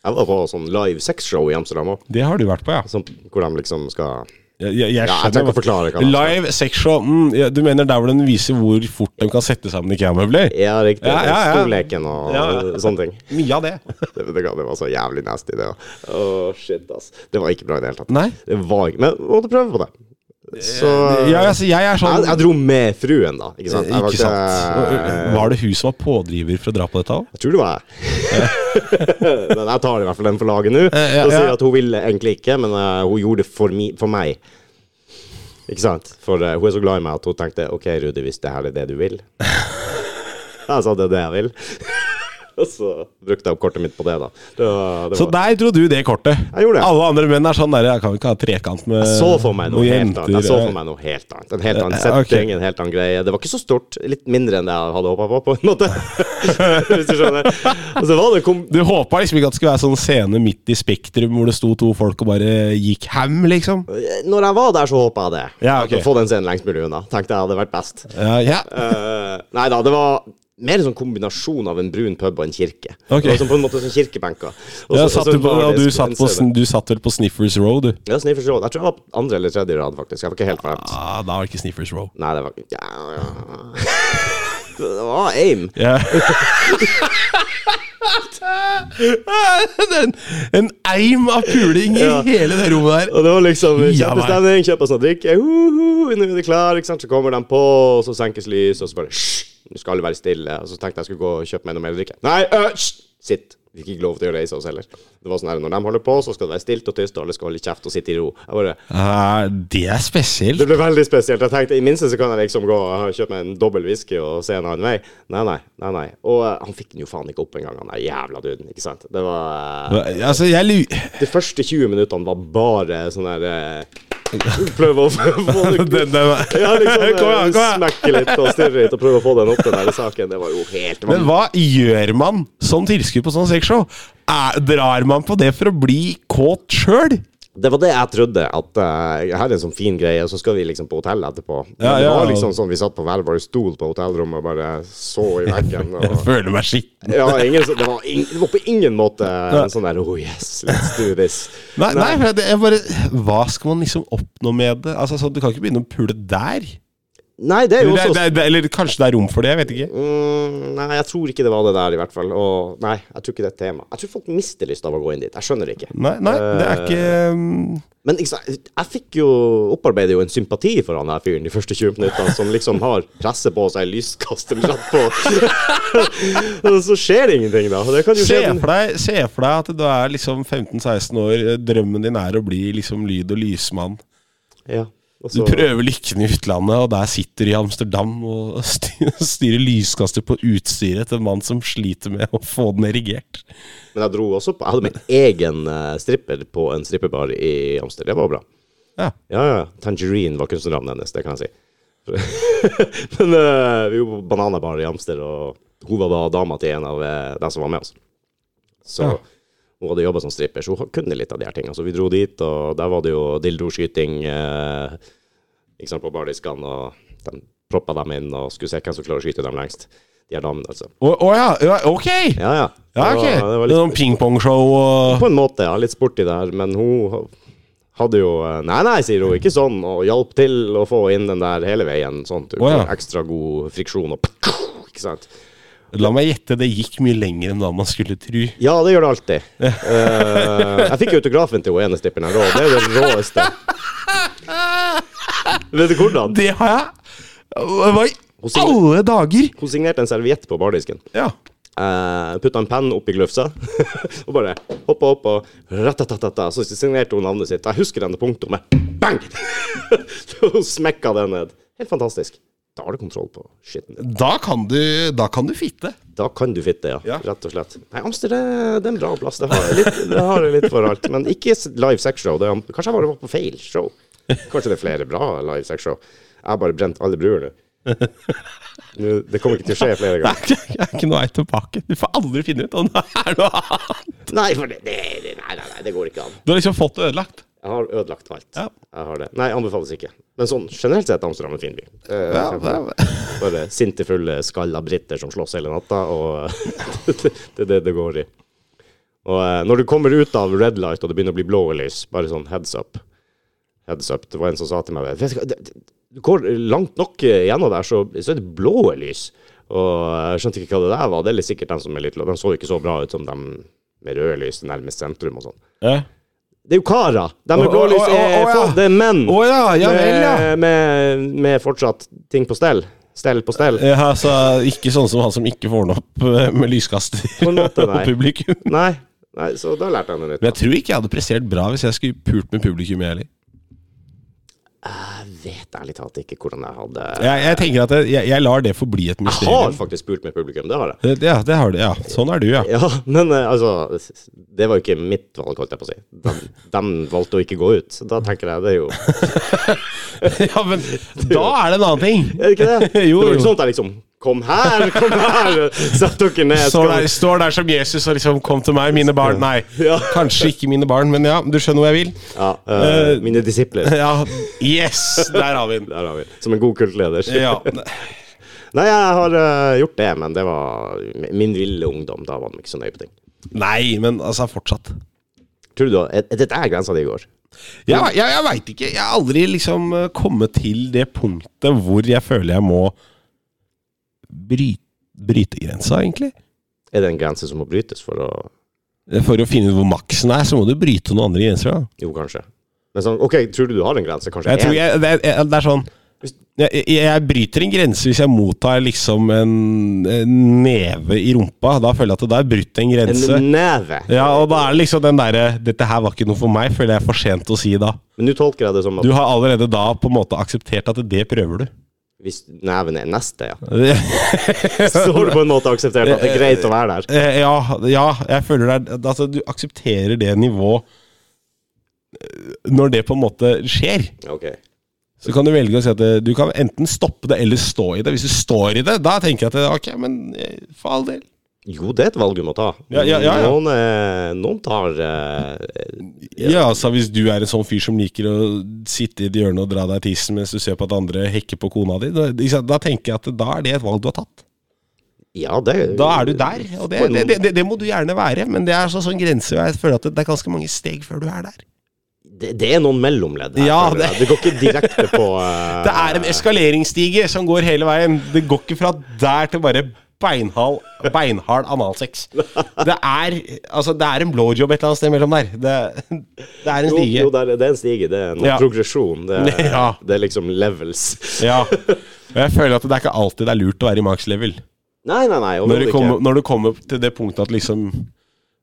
S1: Jeg var på sånn live sexshow i Amsterdam òg,
S2: Det har du vært på, ja.
S1: hvor de liksom skal
S2: Jeg, jeg, jeg
S1: Ja, jeg
S2: skjønner
S1: trenger ikke å forklare hva det er.
S2: Live sexshow. Mm, ja, du mener der hvor den viser hvor fort de kan sette sammen IKEA-møbler?
S1: Ja, riktig.
S2: Ja, ja, ja.
S1: Storleken og
S2: Ja, ja.
S1: sånne ting.
S2: Mye av det.
S1: Det, det, det var så jævlig nasty, det. Å, shit, ass. Det var ikke bra i det hele tatt.
S2: Nei.
S1: Det var ikke Men måtte prøve på det. Så
S2: Ja, altså, jeg er sånn Eh,
S1: jeg, jeg dro med fruen, da. Ikke sant? Jeg var
S2: Ikke sant. Var det hun som var pådriver for å dra på dette òg?
S1: Jeg tror det var jeg. men jeg tar i hvert fall den for laget nå.
S2: Eh, ja,
S1: og sier
S2: ja.
S1: at hun ville egentlig ikke, men eh, hun gjorde det for, mi, for meg. Ikke sant? For eh, hun er så glad i meg at hun tenkte OK, Rudi, hvis det her er det du vil Jeg sa det er det jeg vil. og så brukte jeg opp kortet mitt på det, da. Det var, det
S2: Så
S1: var.
S2: der dro du det kortet.
S1: Jeg gjorde det.
S2: Alle andre menn er sånn der Jeg kan ikke ha trekant med
S1: Jeg så for meg noe
S2: noen
S1: helt annet. Jeg så for meg noe helt annet. En helt annen setting,
S2: ok.
S1: en helt annen greie. Det var ikke så stort. Litt mindre enn det jeg hadde håpa på, på en måte. Hvis du skjønner. Og så var det kom,
S2: Du håpa liksom ikke at det skulle være sånn scene midt i Spektrum hvor det sto to folk og bare gikk ham, liksom?
S1: Når jeg var der, så håpa jeg det.
S2: Ja,
S1: At
S2: ok.
S1: å Få den scenen lengst mulig unna. Tenkte jeg hadde vært best.
S2: Ja, ja.
S1: Eh, nei da, det var mer en sånn kombinasjon av en brun pub og en kirke.
S2: Ok.
S1: Det var sånn på en måte som kirkebenker. Og
S2: ja
S1: så-
S2: satt
S1: og så
S2: du, på,
S1: var
S2: ja
S1: det
S2: du,
S1: en
S2: satt på,
S1: scene.
S2: sn- du satt vel på Sniffers Row, du?
S1: Ja, Sniffers Row. Jeg tror jeg var på andre eller tredje rad, faktisk. Jeg var ikke helt ferdig.
S2: Ah, da var det ikke Sniffers Row.
S1: Nei, det var ja, ja. Det var aim.
S2: Ja. en, en eim av puling i
S1: Ja.
S2: hele det rommet der.
S1: Og det var liksom
S2: Ja, nei.
S1: kjempestemning, Eh, kjøper oss noe å drikke, uhu, nå er det klar, ikke sant? Så kommer de på, og så senkes lyset, og så bare «Hysj, Nå skal alle være stille. Og så tenkte jeg skulle gå og kjøpe meg noe mer å drikke. Nei, øh, hysj, sitt. Vi fikk ikke lov til å reise oss heller. Det var sånn her, Når de holder på, så skal det være stilt og tyst, og alle skal holde kjeft og sitte i ro. Jeg bare,
S2: Ah, det er spesielt.
S1: det ble veldig spesielt. Jeg tenkte i minste så kan jeg liksom gå og kjøpe meg en dobbel whisky og se en annen vei. Nei, nei, nei. nei. Og eh, han fikk den jo faen ikke opp engang, han der jævla duden. Ikke sant. Det var eh,
S2: Altså, jeg lurer
S1: de første 20 minuttene var bare sånn her eh, Prøve å få få det
S2: Den- den-
S1: ja, liksom, eh,
S2: Kom igjen, kom igjen.
S1: Smekke litt og stirre litt og prøve å få den opp, den der saken. Det var jo helt
S2: Men hva gjør man som tilskuer på sånn sexshow? Er, drar man på det for å bli kåt sjøl?
S1: Det var det jeg trodde. At eh, her er en sånn fin greie, og så skal vi liksom på hotell etterpå. Men
S2: Ja,
S1: det
S2: ja.
S1: var liksom sånn vi satt på hver vår stol på hotellrommet og bare så i veggen. Og,
S2: Jeg føler meg skitten.
S1: ja, ingen, så- det, var ing- det var på ingen måte en sånn der Oh yes, let's do this.
S2: Nei, nei, for det er bare Hva skal man liksom oppnå med det? Altså, sånn, Du kan ikke begynne å pule der.
S1: Nei, det er jo
S2: Eller, det,
S1: også
S2: det, det, eller kanskje det er rom for det, jeg vet ikke.
S1: Mm, nei, jeg tror ikke det var det der, i hvert fall. Og nei, jeg tror ikke det er et tema. Jeg tror folk mister lyst av å gå inn dit. Jeg skjønner det ikke.
S2: Nei, nei, det er
S1: Eh,
S2: ikke um,
S1: Men ikke sant, jeg fikk jo opparbeidet jo en sympati for han her fyren de første 20 minuttene, som liksom har presset på seg lyskaster rett på. Og så skjer det ingenting, da. Og Det kan jo
S2: Se
S1: skje.
S2: for, deg, se for deg at du er liksom 15-16 år, eh, drømmen din er å bli liksom lyd- og lysmann.
S1: Ja, og
S2: Du
S1: så,
S2: prøver lykken i utlandet, og der sitter du i Amsterdam og styr- styrer lyskaster på utstyret til en mann som sliter med å få den erigert.
S1: men jeg dro også på Jeg hadde min egen eh, stripper på en stripperbar i Amsterdam. Det var bra.
S2: Ja.
S1: Ja, ja. Tangerine var kunstnernavnet hennes, det kan jeg si. Men eh, vi var på Bananabar i Amster, og hun var da dama til en av eh, dem som var med oss. Så
S2: Ja.
S1: hun hadde jobba som stripper, så hun kunne litt av de her tinga. Så vi dro dit, og der var det jo dildoskyting eh, ikke sant, på bardiskene, og de proppa dem inn og skulle se hvem som klarer å skyte dem lengst. de her damene, altså.
S2: Å å ja, ja, ok! Ja,
S1: Ja, ja.
S2: ok.
S1: Det var, det
S2: Det
S1: var
S2: er
S1: litt,
S2: Noen pingpongshow og
S1: på en måte, ja. Litt sporty der. Men hun hadde jo eh, Nei, nei, sier hun. Ikke sånn. Og hjalp til å få inn den der hele veien. Sånn at du
S2: Å, ja.
S1: får ekstra god friksjon og Ikke sant.
S2: La meg gjette, det gikk mye lenger enn hva man skulle tro.
S1: Ja, det gjør det alltid. Eh, jeg fikk autografen til hun ene stipperen her òg. Det er det råeste. Vet du hvordan?
S2: Det har jeg Hva i
S1: Hos Ingrid.
S2: alle dager?!
S1: Hun signerte en serviett på bardisken.
S2: Ja.
S1: Uh, Putta en penn oppi glufsa og bare hoppa opp og ratatatata, Så signerte hun navnet sitt. Jeg husker denne punktummet. Bang! Så hun smekka den ned. Helt fantastisk. Da har du kontroll på skitten din.
S2: Da kan du, da kan du fitte.
S1: Da kan du fitte, ja.
S2: Ja.
S1: Rett og slett. Nei, Amsterdam det er en bra plass. Det har jeg litt, det har jeg litt for alt. Men ikke s- live sexshow. Det er, kanskje jeg bare var på feil show. Kanskje det er flere bra live sexshow. Jeg har bare brent alle bruer nå. Nå- Det kommer ikke til å skje flere
S2: Det
S1: ganger.
S2: er, ikke- det er ikke noe vei tilbake. Du får aldri finne ut om det er noe annet.
S1: Nei, for det, det, det, nei, nei, nei, det går ikke an.
S2: Du har liksom fått det ødelagt.
S1: Jeg har ødelagt alt.
S2: Ja.
S1: Jeg har det. Nei, anbefales ikke. Men sånn generelt sett Amsterdam er en fin by. Eh, Bare sintefulle, skalla briter som slåss hele natta, og det er det det går i. Og eh, når du kommer ut av red light og det begynner å bli blå lys, bare sånn heads up Heads up. Det var en som sa til meg Vet du hva, det- det- Du går langt nok eh, gjennom der, så, så er det blå lys. Og jeg skjønte ikke hva det der var. Det er litt sikkert dem som er litt De så ikke så bra ut som dem med røde lys nærmest sentrum og sånn.
S2: Ja.
S1: Det er jo karer. De med
S2: Å,
S1: blå
S2: å,
S1: lys
S2: å,
S1: er
S2: å, å, ja.
S1: faen, Det er menn.
S2: Å ja, ja vel, ja.
S1: med, med, med fortsatt ting på stell. Stell på stell.
S2: Ja, altså, ikke sånn som han som ikke får den opp eh, med lyskaster
S1: en måte,
S2: og
S1: nei.
S2: publikum.
S1: Nei. Nei, så da lærte jeg noe nytt.
S2: Men jeg tror ikke jeg hadde prestert bra hvis jeg skulle pult med publikum, jeg heller.
S1: Jeg vet ærlig talt ikke hvordan jeg hadde
S2: Jeg, jeg tenker at jeg, jeg, jeg lar det forbli et
S1: Jeg har
S2: mysterium.
S1: faktisk spurt med publikum, det har jeg.
S2: Det- Ja, det har du. Ja, sånn er du, ja.
S1: Ja, men eh, altså Det var jo ikke mitt valg, holdt jeg på å si. De, de valgte å ikke gå ut. Så da tenker jeg det er jo Er
S2: Ja, men da er det en annen ting.
S1: det ikke det? det
S2: Jo,
S1: var
S2: jo.
S1: ikke sånn at jeg liksom Kom her, kom her! Sett dere ned. skal-
S2: Står der, står der som Jesus og liksom 'Kom til meg, mine barn'. Nei,
S1: Ja.
S2: kanskje ikke mine barn, men ja, du skjønner hvor jeg vil.
S1: Ja, eh, mine disipler.
S2: Ja, Yes! Der har vi den.
S1: Der har vi Som en god kultleder.
S2: Ja.
S1: Nei, jeg har eh, gjort det, men det var min ville ungdom. Da var de ikke så nøye på ting.
S2: Nei, men altså, fortsatt.
S1: Tror du, er, er dette er grensa di går?
S2: Ja, jeg, jeg veit ikke. Jeg har aldri liksom eh, kommet til det punktet hvor jeg føler jeg må bryte, bryte grensa, egentlig. Eh,
S1: Er det en grense som må brytes for å
S2: For å finne ut hvor maksen er, så må du bryte noen andre grenser. Da.
S1: Jo, kanskje. Men sånn, OK, tror du du har en grense? Kanskje
S2: Jeg tror
S1: en?
S2: jeg, det, er- jeg, det er sånn jeg, jeg- jeg bryter en grense hvis jeg mottar liksom en, en neve i rumpa. Da føler jeg at det der er brutt en grense.
S1: en neve.
S2: Ja, og da er det liksom den derre 'Dette her var ikke noe for meg', føler jeg er for sent å si da.
S1: Men nå tolker jeg det som at
S2: Du har allerede da på en måte akseptert at det prøver du.
S1: hvis neven er neste, ja,
S2: Eh,
S1: så har du på en måte akseptert at det er greit å være der.
S2: Eh, Ja, ja jeg føler det er Altså, du aksepterer det nivået eh, når det på en måte skjer.
S1: OK.
S2: Så kan du velge å si at det- du kan enten stoppe det eller stå i det. Hvis du står i det, da tenker jeg at det- ok, men eh, for all del.
S1: Jo, det er et valg du må ta.
S2: Ja, ja, ja, ja.
S1: Noen, eh, noen tar eh,
S2: Ja, altså hvis du er en sånn fyr som liker å sitte i et hjørne og dra deg i tissen mens du ser på at andre hekker på kona di, da, ikke sant? da tenker jeg at da er det et valg du har tatt.
S1: Ja, det
S2: Da er du der. Og det, det, det, det, det må du gjerne være, men det er altså sånn grense, og jeg føler at det, det er ganske mange steg før du er der.
S1: det, det er noen mellomledd her.
S2: Ja,
S1: føler jeg. det går ikke direkte på eh,
S2: Det er en eskaleringsstige som går hele veien. Det går ikke fra der til bare beinhard, beinhard analsex. Det er, altså, det er en blowjob et eller annet sted mellom der. Det, det er en
S1: Jo,
S2: stige.
S1: jo det, er, det er en stige. Det er en
S2: Ja.
S1: progresjon. Det er,
S2: Ja.
S1: det er liksom levels.
S2: Ja. Og jeg føler at det er ikke alltid det er lurt å være i max-level.
S1: Nei, nei, nei.
S2: Når, du
S1: overhodet
S2: kommer-
S1: ikke.
S2: når du kommer til det punktet at liksom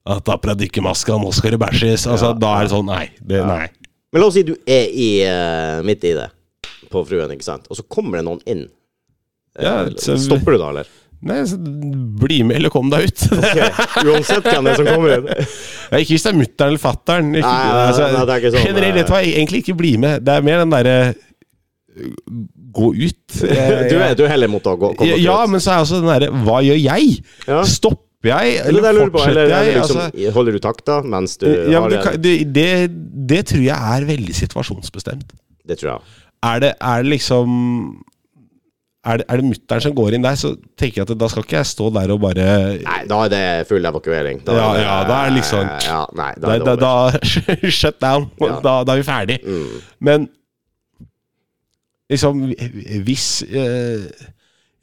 S2: at Ta på deg dykkermaska, nå skal det bæsjes. Altså, Da er det sånn Nei. Det, nei.
S1: Men la oss si du er i, eh, midt i det på Fruen, ikke sant. Og så kommer det noen inn. Eh,
S2: Ja, så-
S1: Stopper du da, eller?
S2: nei så, bli med, eller kom deg ut.
S1: Ok, Uansett hvem det er som kommer inn.
S2: Ja, ikke hvis det er mutter'n eller fatter'n. Ikke-
S1: Nei, nei, nei, det er ikke sånn,
S2: generelt,
S1: nei.
S2: vet du hva, egentlig ikke bli med. Det er mer den derre Gå ut.
S1: Du er, du er heller mot å gå, komme
S2: ja,
S1: til
S2: ja,
S1: et-
S2: men så er også den derre Hva gjør jeg?
S1: Ja.
S2: Stopper jeg,
S1: Det er
S2: eller
S1: det jeg lurer på.
S2: fortsetter
S1: Eller, eller
S2: jeg?
S1: liksom,
S2: altså,
S1: holder du takta mens du
S2: ja,
S1: har
S2: men du
S1: det?
S2: kan, det, det, det tror jeg er veldig situasjonsbestemt.
S1: Det tror jeg.
S2: Er det, er det liksom er det, er det mutter'n som går inn der, så tenker jeg at da skal ikke jeg stå der og bare
S1: Nei, da er det full evakuering. Da
S2: Ja, ja, da er det liksom-
S1: ja, Nei, da
S2: Da,
S1: er det
S2: da,
S1: over.
S2: da Shut down.
S1: Ja.
S2: Da, da er vi ferdig.
S1: Mm.
S2: Men liksom Hvis eh,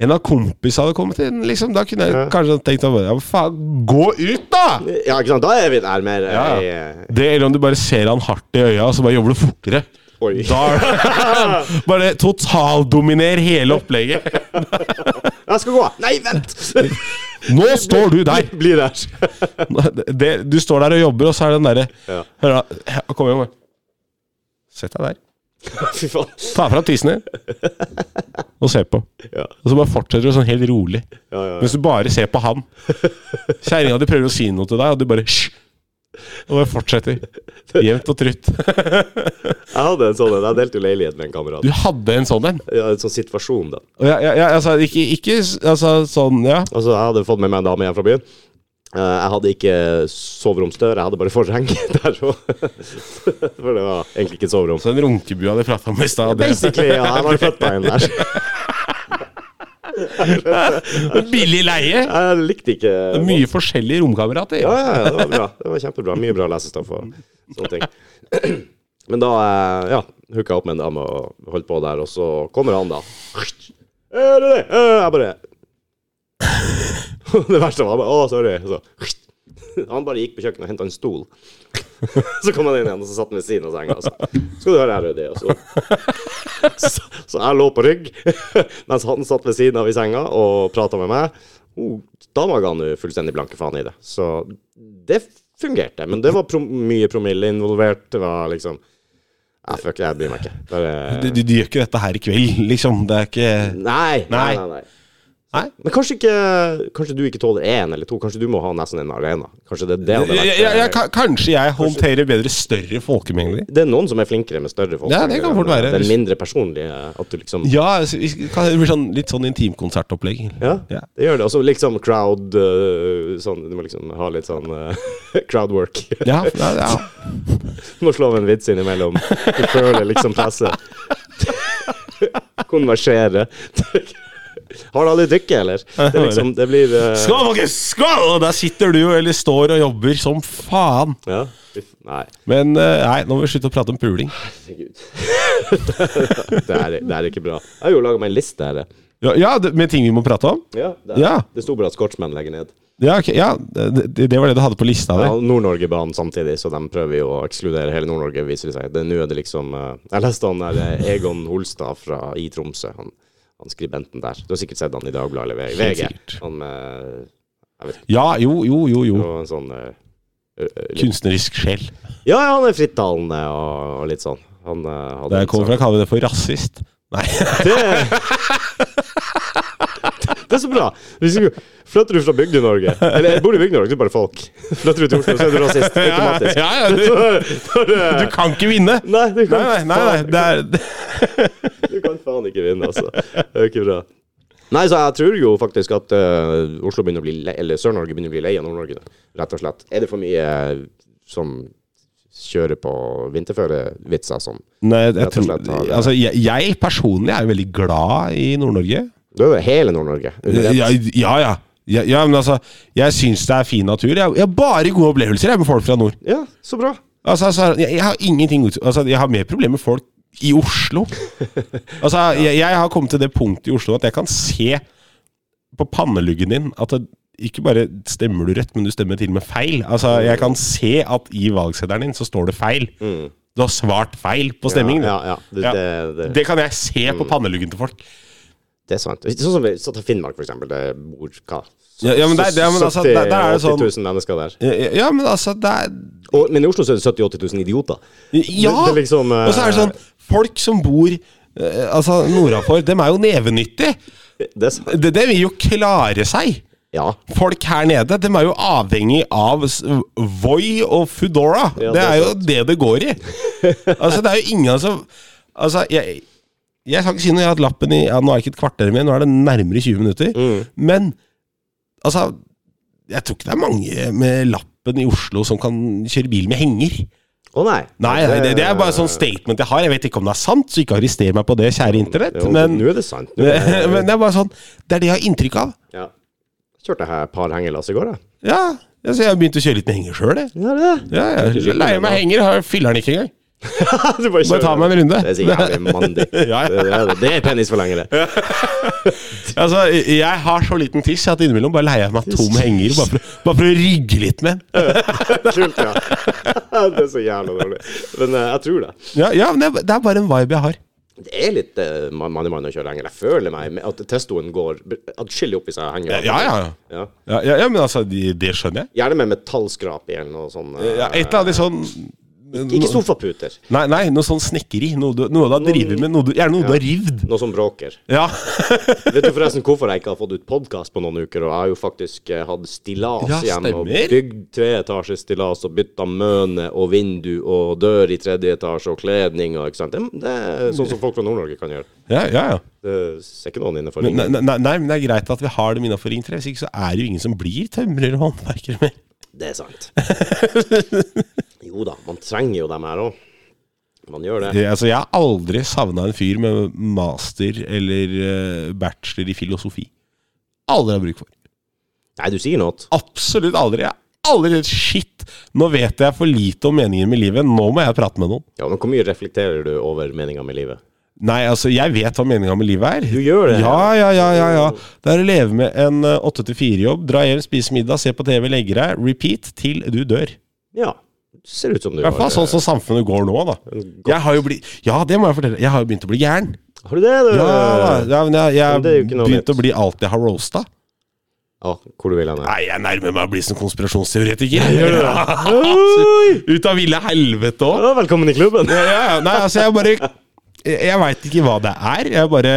S2: en av kompisene hadde kommet inn, liksom, da kunne jeg
S1: Ja.
S2: kanskje tenkt at, Ja, men faen, gå ut, da!
S1: Ja, ikke sant. Da er vi der mer eh, ja.
S2: Ja, Det, eller om du bare ser han hardt i øya, og så bare jobber du fortere.
S1: Oi.
S2: Da er det Bare totaldominer hele opplegget.
S1: Jeg skal gå! Nei, vent!
S2: Nå står du der!
S1: Bli der.
S2: Det, du står der og jobber, og så er det den derre
S1: Ja.
S2: Hør, da. Kom igjen, bare. Sett deg der.
S1: Fy faen.
S2: Ta fram tissen din, og se på.
S1: Ja,
S2: Og så bare fortsetter du sånn helt rolig.
S1: ja, ja.
S2: Mens du bare ser på han. Kjerringa di prøver å si noe til deg, og du bare Hysj! Og bare fortsetter. Jevnt og trutt.
S1: Jeg hadde en sånn en. Jeg delte jo leilighet med en kamerat.
S2: Du hadde en sånn en.
S1: Ja, en sånn situasjon, da.
S2: Og jeg, jeg, jeg, altså, ikke, ikke s- altså, sånn, ja.
S1: Altså, jeg hadde fått med meg en dame hjem fra byen. Eh, Jeg hadde ikke soveromsdør, jeg hadde bare forheng der òg. For det var egentlig ikke et soverom.
S2: Så den runkebua du prata om i stad det-
S1: Basically, ja. Jeg var født på en der.
S2: Billig leie!
S1: Jeg likte ikke
S2: Det er mye forskjellige romkamerater.
S1: Ja, ja, ja, det var bra. Det var kjempebra. Mye bra lesestoff og sånne ting. Men da eh, ja, hooka jeg opp med en dame og holdt på der, og så kommer han, da. «Eh, det er det. Eh, Jeg bare Det verste var bare Å, sorry. Så. Han bare gikk på kjøkkenet og henta en stol. Så kom han inn igjen, og så satt han ved siden av senga. og så, Skal du høre her, Rudi? Og Så. Så, så jeg lå på rygg, mens han satt ved siden av i senga og prata med meg. Oh, dama ga nå fullstendig blanke faen i det. Så det fungerte. Men det var prom mye promille involvert. Det var liksom Nei, fuck, jeg bryr meg ikke.
S2: Du,
S1: Bare
S2: du, du gjør ikke dette her i kveld, liksom. Det er ikke
S1: Nei. Nei,
S2: Nei.
S1: nei, nei.
S2: Nei.
S1: Men kanskje, ikke, kanskje du ikke tåler én eller to? Kanskje du må ha nesten en alene? Kanskje det er det hadde
S2: jeg,
S1: vært
S2: jeg, jeg, ka- Kanskje jeg håndterer bedre større folkemengder?
S1: Det er noen som er flinkere med større folk.
S2: Ja, det kan fort være.
S1: Den mindre personlige. At du liksom
S2: Ja, altså, vi skal- det blir sånn, litt sånn intimkonsertopplegg.
S1: Ja,
S2: Ja.
S1: det gjør det. Og så liksom crowd øh, sånn, Du må liksom ha litt sånn øh, crowd work.
S2: Ja, ja, ja.
S1: Du må slå av en vits innimellom. Du føler liksom presset. Konversere. Har du aldri drikke, eller? Det er liksom Det blir øh,
S2: Skål, folkens! Skål! Og der sitter du jo, eller står og jobber som faen.
S1: Ja. Uff, Nei.
S2: Men eh, nei, nå må vi slutte å prate om puling.
S1: Herregud. det, er, det er ikke bra. Jeg har jo laga meg en liste her.
S2: Ja, ja det, Med ting vi må prate om?
S1: Ja, det,
S2: Ja.
S1: det sto bare at Scotsman legger ned.
S2: Ja, ok, ja det, det- det var det du hadde på lista
S1: Ja,
S2: der.
S1: Nord-Norge-banen samtidig, så de prøver jo å ekskludere hele Nord-Norge, viser det seg. Det, nå er det liksom eh, Jeg leste han der eh, Egon Holstad fra i Tromsø, han, han skribenten der. Du har sikkert sett han i Dagbladet eller
S2: Helt
S1: VG.
S2: sikkert.
S1: Han med
S2: Ja, jo, jo, jo. jo.
S1: og en sånn eh, ø- ø- litt-
S2: Kunstnerisk sjel.
S1: Ja, ja, han er frittalende og, og litt sånn. Han eh, hadde
S2: Der jeg
S1: litt sånn-
S2: kommer fra, kaller vi det for rasist. Nei,
S1: Det, det er så bra. Hvis du flytter du fra Bygde-Norge, eller bor i Bygde-Norge, så er du bare folk. Flytter du til Oslo, så er du rasist. Automatisk.
S2: Ja, ja, du,
S1: Da er det-
S2: du kan ikke vinne!
S1: Nei, du
S2: Nei,
S1: kan,
S2: nei, nei, nei det er det-
S1: Du kan faen ikke vinne, altså. Det er jo ikke bra. Nei, så jeg tror jo faktisk at eh, Oslo begynner å bli lei, eller Sør-Norge begynner å bli lei av Nord-Norge, da. rett og slett. Er det for mye eh, som kjører på vinterføre-vitser som
S2: Nei, jeg
S1: Rett og
S2: tror
S1: slett har det.
S2: Altså, jeg, jeg personlig er jo veldig glad i Nord-Norge.
S1: Det er jo hele Nord-Norge. under ett.
S2: Ja, ja. ja. Ja, ja, men altså, jeg syns det er fin natur. Jeg jeg har bare gode opplevelser jeg, med folk fra nord.
S1: Ja, så bra.
S2: Altså, altså jeg, jeg har ingenting ut- altså, Jeg har mer problemer med folk i Oslo. Altså, jeg, jeg har kommet til det punktet i Oslo at jeg kan se på panneluggen din at det, ikke bare stemmer du rett, men du stemmer til og med feil. Altså, jeg kan se at i valgseddelen din så står det feil. Du har svart feil på stemmingen.
S1: Mm. Ja, ja, ja. Mm. Det,
S2: Ja.
S1: det, det,
S2: Det kan jeg se på panneluggen til folk.
S1: det er sant. Sånn som vi så tar Finnmark, for eksempel. Det bor hva?
S2: Ja, ja, men der- ja, men altså, der- der er
S1: 70
S2: det sånn-
S1: 000 mennesker der.
S2: Ja, men altså, det er
S1: Og, men i Oslo så er det 70 000-80 000 idioter. Det-
S2: Ja!
S1: det er liksom, eh,
S2: og så er det sånn Folk som bor eh, altså nordafor, dem er jo nevenyttige.
S1: Det er sant.
S2: De, de vil jo klare seg.
S1: Ja.
S2: Folk her nede dem er jo avhengig av s- Voi og Foodora.
S1: Ja,
S2: det,
S1: det er
S2: er jo det det går i. altså, det er jo ingen som Altså, jeg, jeg skal ikke si noe, jeg har hatt lappen i ja, Nå er det ikke et kvarter mer, nå er det nærmere 20 minutter.
S1: Mm.
S2: Men altså Jeg tror ikke det er mange med lappen i Oslo som kan kjøre bil med henger.
S1: Å nei.
S2: Nei, nei, det, det er bare sånn statement jeg har. Jeg vet ikke om det er sant, så ikke arrester meg på det, kjære internett.
S1: Jo,
S2: Men,
S1: Nå er det sant. Nå er det,
S2: men det er bare sånn Det er det jeg har inntrykk av.
S1: ja. Kjørte jeg et par hengelass i går, jeg.
S2: Ja, altså, jeg har begynt å kjøre litt med henger sjøl, jeg.
S1: Ja, det.
S2: Ja, jeg er lei meg henger, har- fyller den ikke engang.
S1: du bare
S2: Bare ta meg en runde.
S1: Det er så jævlig mandig.
S2: Ja, ja.
S1: Det, er det. det er penisforlengere.
S2: Altså, jeg har så liten tiss at innimellom bare leier jeg meg tom henger. Bare for, bare for å rygge litt med den.
S1: Kult, ja. Det er så jævla dårlig. Men eh, jeg tror det.
S2: Ja, ja men det, er- det er bare en vibe jeg har.
S1: Det er litt eh, mann mann i mann å kjøre henger. Jeg føler meg med at testoen går atskillig opp hvis jeg henger.
S2: Ja, ja, ja.
S1: Ja.
S2: Ja, ja, ja men altså, det, det skjønner jeg.
S1: Gjerne med metallskrap i eller noe sånn. eh,
S2: Ja, et eller annet sånn
S1: Ikke sofaputer.
S2: Nei, nei, noe sånn snekkeri. Noe du, noe du har drevet med. Noe du, gjerne noe du har rivd.
S1: Noe som bråker.
S2: Ja.
S1: Vet du forresten hvorfor jeg ikke har fått ut podkast på noen uker? Og jeg har jo faktisk eh, hatt stillas
S2: Ja,
S1: igjen, og
S2: stemmer.
S1: bygd treetasjes stillas, og bytta møne og vindu og dør i tredje etasje og kledning og ikke sant. Det, det er sånn som folk fra Nord-Norge kan gjøre.
S2: ja, ja, ja.
S1: Det ser ikke noen innenfor.
S2: Men,
S1: ringen.
S2: nei, nei, nei, men det er greit at vi har dem innafor Ring 3. Hvis ikke så er det jo ingen som blir tømrer og håndverkere mer.
S1: Det er sant. Jo da, man trenger jo dem her òg. Man gjør det.
S2: Det- Altså, jeg har aldri savna en fyr med master eller eh, bachelor i filosofi. Aldri har bruk for.
S1: Nei, du sier noe.
S2: Absolutt aldri. Jeg har aldri redd shit. Nå vet jeg for lite om meningen med livet. Nå må jeg prate med noen.
S1: Ja, men hvor mye reflekterer du over meninga med livet?
S2: Nei, altså, jeg vet hva meninga med livet er.
S1: Du gjør det?
S2: Ja, ja, ja, ja, ja. Det er å leve med en eh, 8-4-jobb, dra hjem, spise middag, se på TV, legge deg, repeat til du dør.
S1: Ja. Det ser ut som du
S2: I hvert fall sånn som samfunnet går nå, da. Jeg har jo blitt Ja, det må jeg fortelle. Jeg har jo begynt å bli gæren.
S1: Har du det, du?
S2: Ja, ja, men jeg jeg
S1: Men det er jo ikke noe
S2: begynt
S1: nytt.
S2: å bli alt jeg har roasta.
S1: Ja, hvor du vil hen? ja.
S2: Nei, jeg nærmer meg å bli som konspirasjonsteoretiker. Ja.
S1: Oi!
S2: Ut av ville helvete òg.
S1: Ja, velkommen i klubben.
S2: Ja, ja, nei, altså, jeg bare Jeg, jeg veit ikke hva det er. Jeg bare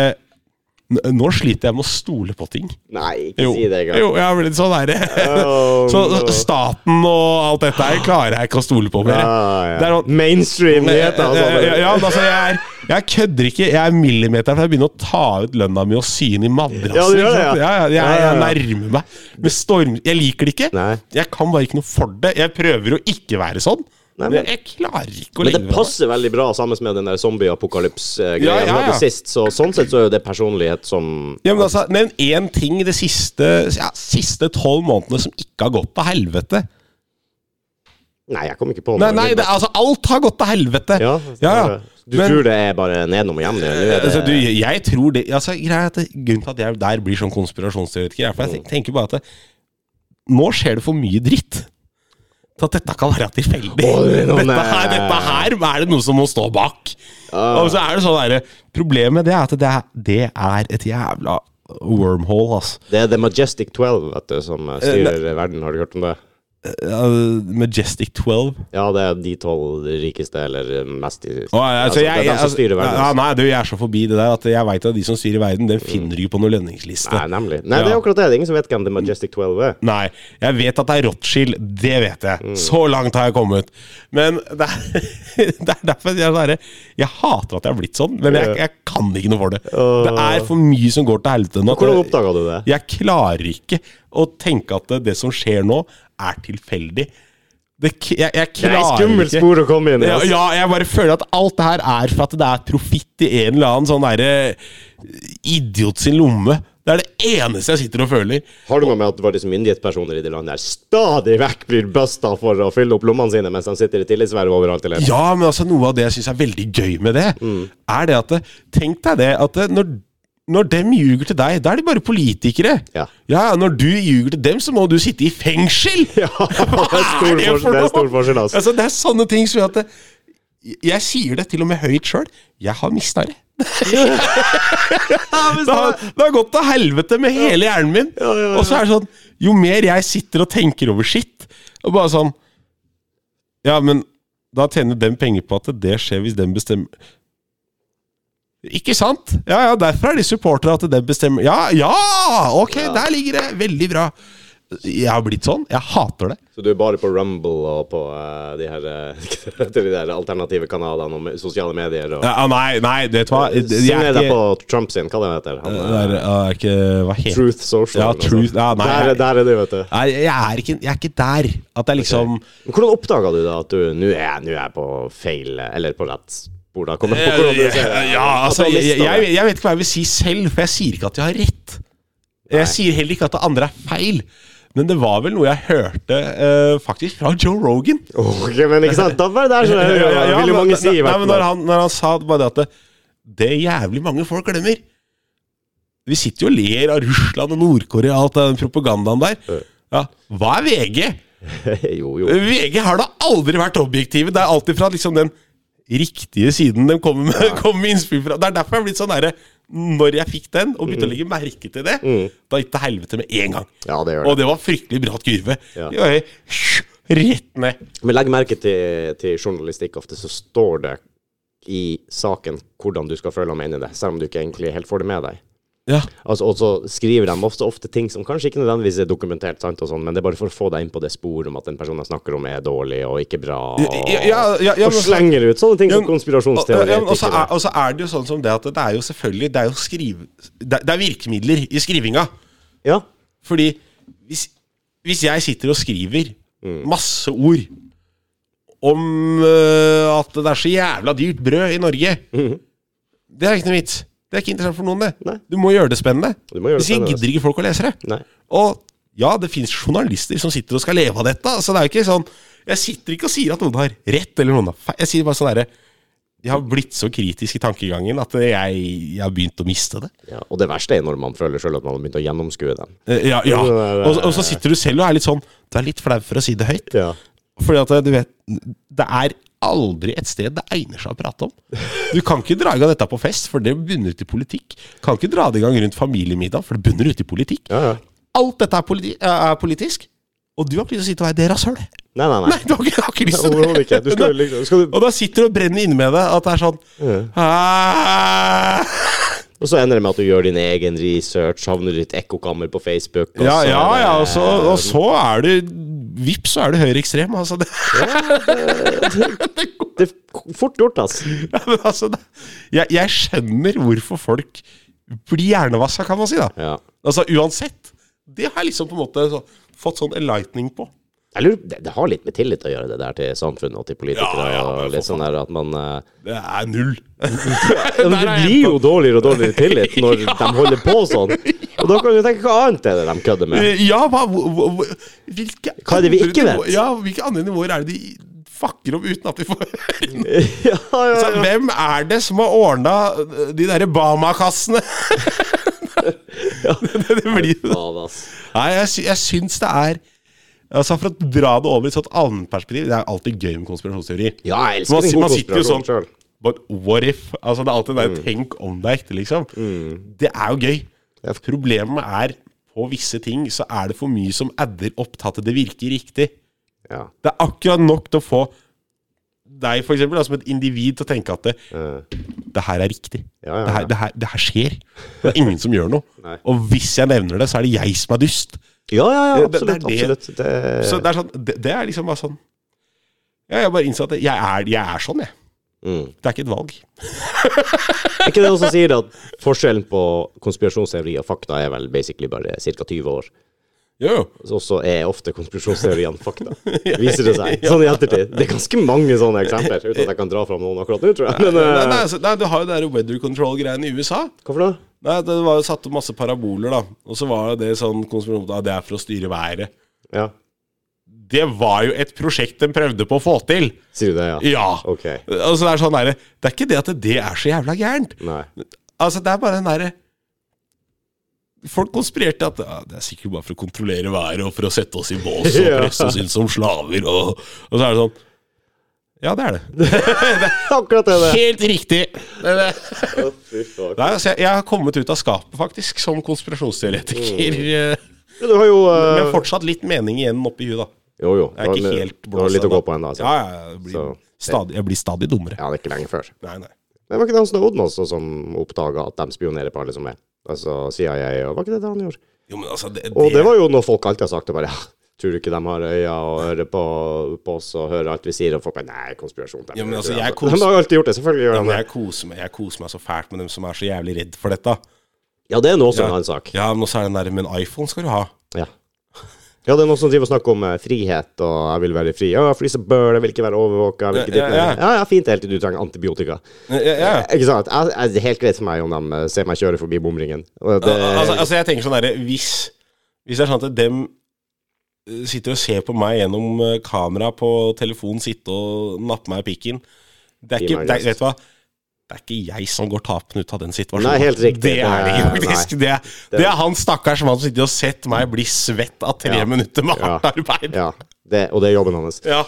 S2: N- Nå sliter jeg med å stole på ting.
S1: Nei, ikke
S2: Jo,
S1: si det engang.
S2: jo jeg har blitt sånn derre
S1: Oh,
S2: Så staten og alt dette her klarer jeg ikke å stole på mer.
S1: ah, ja.
S2: Det er noe-
S1: Mainstream-nyheter.
S2: Ja,
S1: Altså.
S2: ja, ja, men altså, jeg, er, jeg kødder ikke. Jeg er millimeter fra jeg begynner å ta ut lønna mi og sy den i madrasser.
S1: Ja, du gjør
S2: ikke
S1: det,
S2: sant?
S1: ja.
S2: ja. ja, jeg,
S1: Ja, ja,
S2: jeg
S1: ja.
S2: nærmer meg med storm... Jeg liker det ikke.
S1: Nei.
S2: Jeg kan bare ikke noe for det. Jeg prøver å ikke være sånn.
S1: Nei,
S2: men
S1: men-
S2: jeg klarer ikke å
S1: Men
S2: legge
S1: det
S2: meg på.
S1: passer veldig bra sammen med den der zombie-apokalypse-greia.
S2: Ja, ja, ja.
S1: vi hadde sist, Så sånn sett så er jo det personlighet som
S2: Ja, men altså, Nevn én ting de siste ja, siste tolv månedene som ikke har gått til helvete.
S1: Nei, jeg kom ikke på
S2: Nei,
S1: noe.
S2: nei, det, altså Alt har gått til helvete.
S1: ja,
S2: ja, ja.
S1: Du
S2: Men-
S1: tror det er bare nedenom og hjem? nå? Nå er det-
S2: Altså, du, jeg tror det altså, greia er at det- Grunnen til at jeg der blir sånn konspirasjonsteoretiker, er
S1: Mm.
S2: for jeg tenker bare at det, nå skjer det for mye dritt. Til at dette kan være tilfeldig.
S1: Å, det er noe-
S2: dette, her, dette her er det noe som må stå bak.
S1: Ah.
S2: Og så er det sånn derre Problemet det er at det er, det er et jævla wormhole, altså.
S1: Det er The Majestic 12 vet du, som eh, styrer verden, har du hørt om det? Eh,
S2: Uh, Majestic 12.
S1: Ja, det er de tolv rikeste, eller mest i
S2: Å, altså,
S1: Det
S2: jeg,
S1: er
S2: jeg,
S1: de som
S2: altså,
S1: styrer verden. Mm.
S2: ja, nei, du, jeg er så forbi det der at jeg veit at de som styrer verden, den finner du ikke på noen lønningsliste.
S1: Nei, nemlig. Nei, det
S2: Ja.
S1: er akkurat det. Det er ingen som vet hvem The Majestic 12 er.
S2: Nei, jeg vet at det er Rothschild, det vet jeg.
S1: Mm.
S2: Så langt har jeg kommet. Men det er, det er derfor jeg, er sånn herre, jeg hater at jeg har blitt sånn, men jeg, jeg kan ikke noe for det. Det er for mye som går til helvete nå.
S1: Hvordan oppdaga du det?
S2: Jeg klarer ikke å tenke at det, det som skjer nå, er tilfeldig. Det, k- jeg, jeg
S1: Det er
S2: klarer
S1: et skummelt
S2: ikke-
S1: spor å komme inn i.
S2: ja,
S1: altså.
S2: ja, jeg bare føler at alt det her er for at det er profitt i en eller annen sånn derre idiot sin lomme. Det er det eneste jeg sitter og føler.
S1: Har du noe med at faktisk myndighetspersoner i det landet her stadig vekk blir busta for å fylle opp lommene sine mens de sitter i tillitsverv overalt? Eller?
S2: Ja, men altså noe av det jeg syns er veldig gøy med det, er det at det- Tenk deg det at det, når, når dem ljuger til deg, da er de bare politikere.
S1: Ja.
S2: ja, Når du ljuger til dem, så må du sitte i fengsel!
S1: Ja, det er stor forskjell, det er stor forskjell, altså.
S2: Altså, det er sånne ting som gjør at det, Jeg sier det til og med høyt sjøl. Jeg har misnøye. Det har, det har gått til helvete med hele hjernen min.
S1: ja, ja.
S2: Og så er det sånn Jo mer jeg sitter og tenker over shit, og bare sånn Ja, men da tjener dem penger på at det skjer hvis dem bestemmer Ikke sant? Ja, ja, derfor er de supportere at dem bestemmer Ja, ja! Ok, der ligger det. Veldig bra. Jeg har blitt sånn. Jeg hater det.
S1: Så du er bare på Rumble og på eh, de her eh, de der alternative kanalene og me- sosiale medier og
S2: Ja, nei, nei, det vet du hva. Jeg
S1: Signer
S2: er
S1: deg på
S2: ikke
S1: Trump sin, hva det heter han? eh,
S2: det er, jeg er ikke, Hva heter
S1: Truth Social.
S2: Ja,
S1: eller noe
S2: Truth-
S1: sånt.
S2: ja, nei,
S1: der, er- der er det, vet du.
S2: Nei, jeg er ikke, jeg er ikke der. At jeg liksom
S1: Men Hvordan oppdaga du da at du nå er, jeg- nå er jeg på feil Eller på rett spor? da? Kommer det på hvordan du ser det?
S2: Eh, Ja, altså,
S1: At du har
S2: jeg, jeg,
S1: mistet det?
S2: jeg vet ikke hva jeg vil si selv, for jeg sier ikke at jeg har rett. Jeg sier heller ikke at det andre er feil. Men det var vel noe jeg hørte eh, faktisk fra Joe Rogan.
S1: Ok, men ikke sant? Da var det der, så det
S2: Ja, ja, ja,
S1: vil jo
S2: men-
S1: mange si. i
S2: nei,
S1: hvert
S2: men
S1: fall.
S2: når han, når han sa bare det at det, det er jævlig mange folk glemmer Vi sitter jo og ler av Russland og Nord-Korea og alt den propagandaen der. Ja, hva er VG?
S1: jo, jo.
S2: VG har da aldri vært objektive. Det er alltid fra liksom den riktige siden de kommer med, kommer med innspill fra. Det er derfor jeg har blitt sånn derre Når jeg fikk den, og
S1: Mm.
S2: begynte å legge merke til det, da gikk det helvete med en gang.
S1: Ja, det gjør det.
S2: Og det var fryktelig bratt kurve.
S1: Ja.
S2: Det var helt Rett ned.
S1: Men legg merke til, til journalistikk. Ofte så står det i saken hvordan du skal føle og mene det, selv om du ikke egentlig helt får det med deg.
S2: Ja.
S1: Altså, og så skriver de ofte, ofte ting som kanskje ikke nødvendigvis er dokumentert, sant, og sånn, men det er bare for å få deg inn på det sporet om at den personen jeg snakker om, er dårlig og ikke bra. Og,
S2: Ja, ja, ja, ja,
S1: og
S2: men-
S1: slenger ut sånne ting
S2: Ja,
S1: som
S2: men- og- ja, men også
S1: konspirasjonsteoretikere.
S2: er- Og så er det jo sånn som det at det er jo selvfølgelig Det er jo skrive... Det, det er virkemidler i skrivinga.
S1: Ja,
S2: Fordi hvis, hvis jeg sitter og skriver masse ord om øh, at det er så jævla dyrt brød i Norge Det er ikke noe vits. Det er ikke interessant for noen, det.
S1: Mhm. Nei.
S2: Du må gjøre det spennende.
S1: Du må gjøre det
S2: hvis ikke
S1: spennende.
S2: gidder ikke folk å lese det.
S1: Nei.
S2: Og ja, det fins journalister som sitter og skal leve av dette. Så det er jo ikke sånn Jeg sitter ikke og sier at noen har rett eller noen har feil. Jeg sier bare sånn derre Jeg har blitt så kritisk i tankegangen at jeg, jeg har begynt å miste det.
S1: ja. Og det verste er når man føler selv at man har begynt å gjennomskue den.
S2: Eh, Ja, ja.
S1: Det er- eh,
S2: Og, og så sitter du selv og er litt sånn Du er litt flau for å si det høyt.
S1: Ja.
S2: Fordi at eh, du vet Det er aldri et sted det egner seg å prate om. Du kan ikke dra i gang dette på fest, for det bunner ut i politikk. Kan ikke dra det i gang rundt familiemiddag, for det bunner ut i politikk.
S1: Ja, ja.
S2: Alt dette er, politi er politisk. Og du har lyst til å sitte og være det rasshølet.
S1: Nei, nei, nei.
S2: Nei, du har ikke, du har ikke lyst til det.
S1: Overhodet ikke. Du skal, liksom, skal du,
S2: Og da sitter du og brenner inne med det, at det er sånn «Ah!»
S1: og så ender det med at du gjør din egen research, havner i et ekkokammer på Facebook. og
S2: Ja,
S1: så er
S2: ja,
S1: det-
S2: ja. Og så, og så er du Vips, så er du høyreekstrem. Altså, det,
S1: Det er fort gjort, ass.
S2: ja, men altså det, jeg, jeg skjønner hvorfor folk blir hjernevaska, kan man si. da
S1: Ja.
S2: Altså uansett. Det har jeg liksom på en måte så, fått sånn enlightening på.
S1: Jeg lurer, det, det har litt med tillit å gjøre, det der til samfunnet og til politikere.
S2: Ja, ja, men
S1: og litt
S2: for
S1: sånn der at man... eh,
S2: Det er null.
S1: Ja, men det blir jo dårligere og dårligere tillit når de holder på sånn. Og da kan du tenke, hva annet er det de kødder med?
S2: Ja, hva, hvor- hvor- hvor- hvilke
S1: Hva er det vi
S2: andre
S1: ikke vet?
S2: nivå- Ja, hvilke andre nivåer er det de fucker om uten at vi får høre?
S1: Ja, ja,
S2: Så
S1: ja.
S2: Hvem er det som har ordna de derre Bama-kassene? det, det blir jo
S1: Faen, ass.
S2: Nei, jeg, sy jeg syns det er Altså For å dra det over i et sånt allmennperspektiv Det er alltid gøy med konspirasjonsteorier.
S1: Ja, jeg elsker
S2: man,
S1: en
S2: si-
S1: god
S2: man sitter jo
S1: konspirasjon
S2: sånn
S1: selv. Mm.
S2: But what if? Altså Det er alltid det der tenk om det er ekte, liksom. Det er jo gøy. Problemet er på visse ting så er det for mye som adder opp til at det virker riktig.
S1: Ja.
S2: Det er akkurat nok til å få deg for eksempel, da, som et individ til å tenke at det,
S1: Eh,
S2: det her er riktig.
S1: Ja, ja, ja.
S2: Det, her, det, her, det her skjer. Det er ingen som gjør noe.
S1: Nei.
S2: Og hvis jeg nevner det, så er det jeg som er dust.
S1: Ja, ja, ja,
S2: Det- det er
S1: absolutt, absolutt. Det,
S2: Så det er, sånn, det, det er liksom bare sånn ja, Jeg bare innså at jeg er, jeg er sånn, jeg.
S1: Mm.
S2: Det er ikke et valg.
S1: er ikke det noen som sier at forskjellen på konspirasjonsteori og fakta er vel basically bare cirka 20 år?
S2: Jo, jo.
S1: Og så er ofte konspirasjonsteoriene fakta, viser det seg. Sånn i ettertid. Det er ganske mange sånne eksempler, uten at jeg kan dra fram noen akkurat nå, tror jeg. Men
S2: Nei,
S1: eh,
S2: nei, altså, nei, du har jo det der weather control-greiene i USA.
S1: hvorfor det?
S2: Nei, Det var jo satt opp masse paraboler, da. Og så var det sånn konspirasjon at det er for å styre været.
S1: Ja.
S2: Det var jo et prosjekt de prøvde på å få til.
S1: Sier du det, ja?
S2: Ja.
S1: Ok.
S2: Altså, det er sånn derre Det er ikke det at det er så jævla gærent.
S1: Nei.
S2: Altså, det er bare den derre Folk konspirerte at ja, det er sikkert bare for å kontrollere været og for å sette oss i bås og
S1: Ja.
S2: presse oss inn som slaver, og, og så er det sånn Ja, det er det.
S1: Akkurat det det.
S2: Helt riktig! Det er det.
S1: Å, fy faen.
S2: Nei, altså, jeg, jeg har kommet ut av skapet, faktisk, som konspirasjonsteoretiker.
S1: Mm.
S2: eh,
S1: Men Du har jo
S2: Men
S1: eh,
S2: fortsatt litt mening igjen oppi huet, da.
S1: Jo, jo.
S2: Jeg er
S1: Du har-
S2: ikke helt
S1: Du har litt å gå
S2: ennå.
S1: på ennå. altså.
S2: Ja, ja, jeg blir,
S1: Så-
S2: stadig, jeg blir stadig dummere.
S1: Ja, det er ikke lenge før.
S2: Nei, nei.
S1: Men var ikke det han Snowden også som oppdaga at de spionerer på alle som er? Altså CIA og Var ikke det det han gjorde?
S2: Jo, men altså, det,
S1: Og det var jo noe folk alltid har sagt. Det bare, ja, tror du ikke de har øyne og ører på, på oss og hører alt vi sier? Og folk bare nei, konspirasjon. De,
S2: Ja, men
S1: gjør
S2: altså,
S1: ikke det.
S2: jeg kos-
S1: de har jo alltid gjort det, selvfølgelig gjør
S2: Ja,
S1: de
S2: men
S1: det.
S2: jeg koser, meg, jeg koser meg så fælt med dem som er så jævlig redd for dette.
S1: Ja, det er nå også
S2: Ja.
S1: en annen sak.
S2: Ja, men også er den der Men iPhone skal du ha.
S1: Ja. Ja, det er noen som driver og snakker om eh, frihet, og jeg vil være fri. Ja, fly så bør jeg vil ikke være overvåka. Jeg vil ikke
S2: Ja,
S1: ditt,
S2: ja, ja.
S1: ja, ja, fint helt til du trenger antibiotika.
S2: Ja, ja, ja.
S1: Ikke sant? Jeg, jeg, det er helt greit for meg om de eh, ser meg kjøre forbi bomringen. Og Det,
S2: Al- altså, altså, jeg tenker sånn derre hvis, hvis det er sånn at dem eh, sitter og ser på meg gjennom eh, kamera på telefonen, sitte og nappe meg i pikken Det er
S1: Gi
S2: ikke
S1: meg
S2: det, er-
S1: gass.
S2: Vet du hva? Det er ikke jeg som går tapende ut av den situasjonen.
S1: Nei, helt riktig.
S2: Det er det ikke,
S1: Det er-
S2: faktisk. Det er, det er han stakkars mann som sitter og setter meg bli svett av tre
S1: Ja.
S2: minutter med
S1: Ja.
S2: hardt arbeid.
S1: ja, det, og det er jobben hans.
S2: Ja.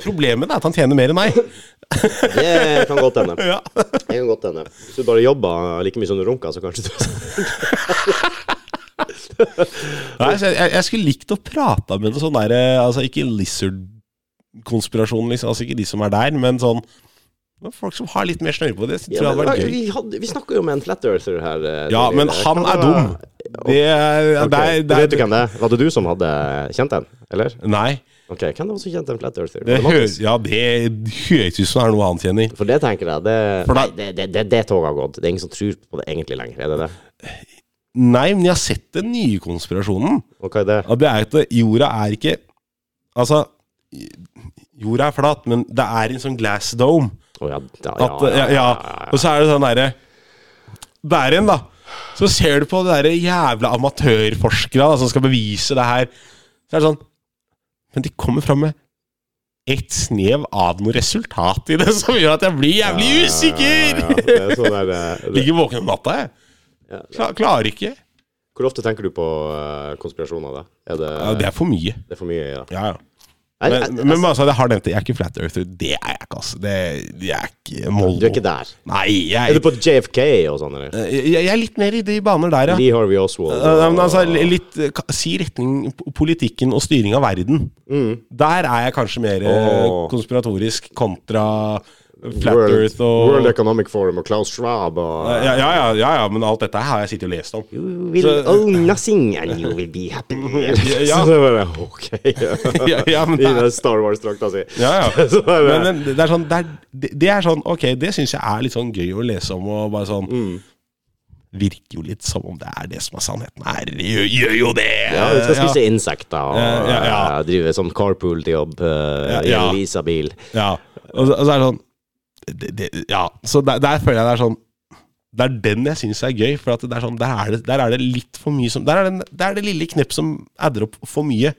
S2: Problemet er at han tjener mer enn meg.
S1: Det kan godt hende.
S2: Ja.
S1: Det kan godt hende. Hvis du bare jobber like mye som du runker, så kanskje du
S2: Nei, så jeg, jeg skulle likt å prate med noen sånne der eh, altså Ikke lizard-konspirasjonen, liksom, altså ikke de som er der, men sånn Folk som har litt mer snøre på det. Så tror
S1: Ja,
S2: jeg det
S1: men,
S2: hadde vært gøy.
S1: vi, hadde, vi snakker jo med en flat earther her. eh,
S2: Ja,
S1: tidligere.
S2: men han
S1: Kan
S2: er
S1: det
S2: dum.
S1: være-
S2: Det
S1: Ok,
S2: er, det er, det
S1: Vet du
S2: er
S1: hvem det er? Var det du som hadde kjent den, eller?
S2: Nei.
S1: Ok, hvem var det som kjente en flat earther?
S2: Det
S1: Var det Mattis?
S2: høres ja, det høres ut som det er noe annet, Jenny.
S1: For det tenker jeg, det,
S2: For da-
S1: nei, det, det, det, det toget har gått. Det er ingen som tror på det egentlig lenger. Er det det?
S2: Nei, men jeg har sett den nye konspirasjonen.
S1: Og hva er det?
S2: Og det er at jorda er ikke Altså, jorda er flat, men det er en sånn glass dome.
S1: Å ja, da, ja,
S2: At, ja, ja. Og så er det sånn derre Der igjen, da. Så ser du på de der jævla amatørforskere da, som skal bevise det her. Så er det sånn Men de kommer fram med et snev av noe resultat i det som gjør at jeg blir jævlig usikker!
S1: Ja, det er sånn der, eh, det,
S2: Ligger våken om natta, jeg.
S1: Ja.
S2: Kla- klarer ikke.
S1: Hvor ofte tenker du på eh, konspirasjoner, da? Er det,
S2: Ja, det er for mye.
S1: det er for mye, ja?
S2: Ja, ja.
S1: Nei,
S2: Men,
S1: jeg-
S2: men altså, jeg har nevnt det. Jeg er ikke flat earther. Det er jeg ikke, altså. Det, jeg er ikke Moldo.
S1: du er ikke der?
S2: Nei,
S1: Er
S2: jeg,
S1: du på JFK og sånn, eller?
S2: jeg, jeg er litt mer i de baner der, ja.
S1: Lee Harvey Oswald?
S2: Ja, ja, men
S1: og-
S2: altså, li- litt, eh, ka- si retning p- politikken og styring av verden. Der er jeg kanskje mer eh,
S1: Mm. Åh.
S2: konspiratorisk kontra Flat
S1: World,
S2: Earth og
S1: World Economic Forum og Klaus Schwab og
S2: ja, ja, ja, ja, ja, men alt dette her har jeg sittet og lest om.
S1: You will own nothing and you will be happy.
S2: ja.
S1: Mm. Så det bare, ok.
S2: Ja, ja, men
S1: I
S2: det er-
S1: den Star Wars-drakta si.
S2: Ja, ja.
S1: Så det er det.
S2: Men, men det er sånn, det er, det- det er sånn Ok, det syns jeg er litt sånn gøy å lese om, og bare sånn
S1: Mm.
S2: Virker jo litt som om det er det som er sannheten her. Det Gjør, gjør jo det!
S1: Ja, du skal
S2: Ja.
S1: spise insekter og
S2: Ja, ja, ja.
S1: eh, drive som carpool-jobb eh, i
S2: Ja, ja.
S1: en Lisa-bil.
S2: Ja, og så, og så er det sånn det, det, Ja, så der, der føler jeg det er sånn Det er den jeg syns er gøy, for at det er sånn, der, er det, der er det litt for mye som Der er det, der er det lille knepp som adder opp for mye,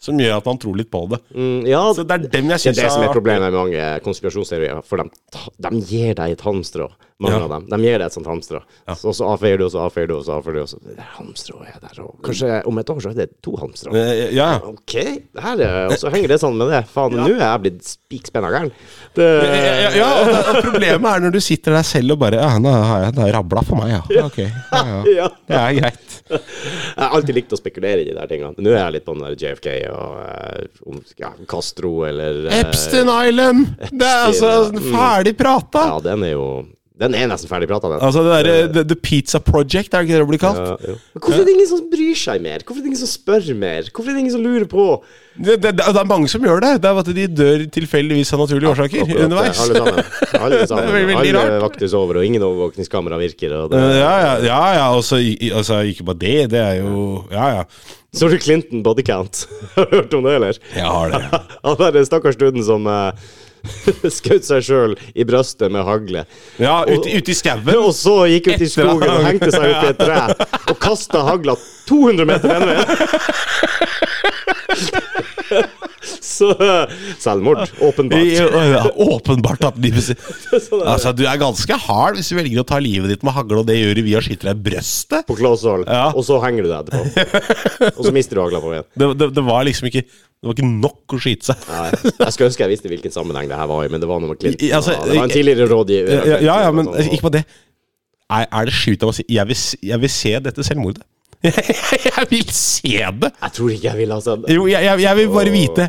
S2: som gjør at man tror litt på det.
S1: Mm, ja,
S2: Så det er dem
S1: Mm. det
S2: jeg
S1: er
S2: syns
S1: det som er problemet med mange konspirasjonsteorier, for de, ta- de gir deg et hamstrå. Mange
S2: Ja.
S1: av dem. De gir deg et sånt hamstrå. Så, så avfeier du, og så avfeier du, og så avfeier du. Og så, det er hamstrå er der, og kanskje om et år så er det to hamstrå.
S2: Eh, Ja.
S1: Ok, det her er, og så henger det sammen med det. Faen, nå er jeg blitt spikspenna gæren. Det,
S2: Eh, Ja, ja, ja og, det, og problemet er når du sitter der selv og bare Ja, nå har jeg det har rabla for meg, ja. Ja, Ok. Ja, ja.
S1: ja.
S2: Det er greit.
S1: Jeg har alltid likt å spekulere i de der tingene. Nå er jeg litt på den der JFK og eh, om, ja, Castro eller eh,
S2: Epstein Island! Det er altså ferdig prata!
S1: Mm. Ja, den er jo Den er nesten ferdig prata, den.
S2: Altså det derre the, the Pizza Project, er det ikke det det blir kalt?
S1: Ja, jo. Men hvorfor er det ingen som bryr seg mer? Hvorfor er det ingen som spør mer? Hvorfor er det ingen som lurer på?
S2: Det, det, det er mange som gjør det. Det er bare at De dør tilfeldigvis av naturlige årsaker
S1: Akkurat det,
S2: underveis.
S1: Alle sammen. Alle, sammen.
S2: veldig
S1: alle
S2: rart. Eh.
S1: vaktes over, og ingen overvåkningskamera virker. Og det.
S2: Ja, ja, ja, ja altså, i- altså ikke bare det. Det er jo Ja, ja.
S1: Så du Clinton bodycount? Har du hørt om det, eller?
S2: Jeg har det.
S1: Han derre stakkars duden som uh, skjøt seg sjøl i brøstet med hagle.
S2: Ja, ute ute i skauen.
S1: Og så gikk ut i
S2: Etter at
S1: skogen og
S2: han-
S1: hengte seg opp i et tre og kasta hagla 200 meter den veien. Så eh, selvmord, åpenbart.
S2: Ja, Åpenbart at livet sitt
S1: Sånn er det.
S2: Altså, du er ganske hard hvis du velger å ta livet ditt med hagle, og det gjør du via skyter deg i brøstet.
S1: På klåshold,
S2: Ja.
S1: og så henger du deg etterpå. Og så mister du hagla på veien.
S2: Det, det, det var liksom ikke Det var ikke nok å skyte seg.
S1: Nei, Jeg skulle ønske jeg visste hvilken sammenheng det her var i, men det var noe med Clinton.
S2: I- altså,
S1: og det var en tidligere rådgiver.
S2: Ja, ja, ja men
S1: og sånn, og-
S2: ikke bare det. Er, er det sjukt av å si jeg vil, s- jeg vil se dette selvmordet. jeg vil se det!
S1: Jeg tror ikke jeg altså. ville ha sett det.
S2: Jo, jeg, jeg, jeg vil bare vite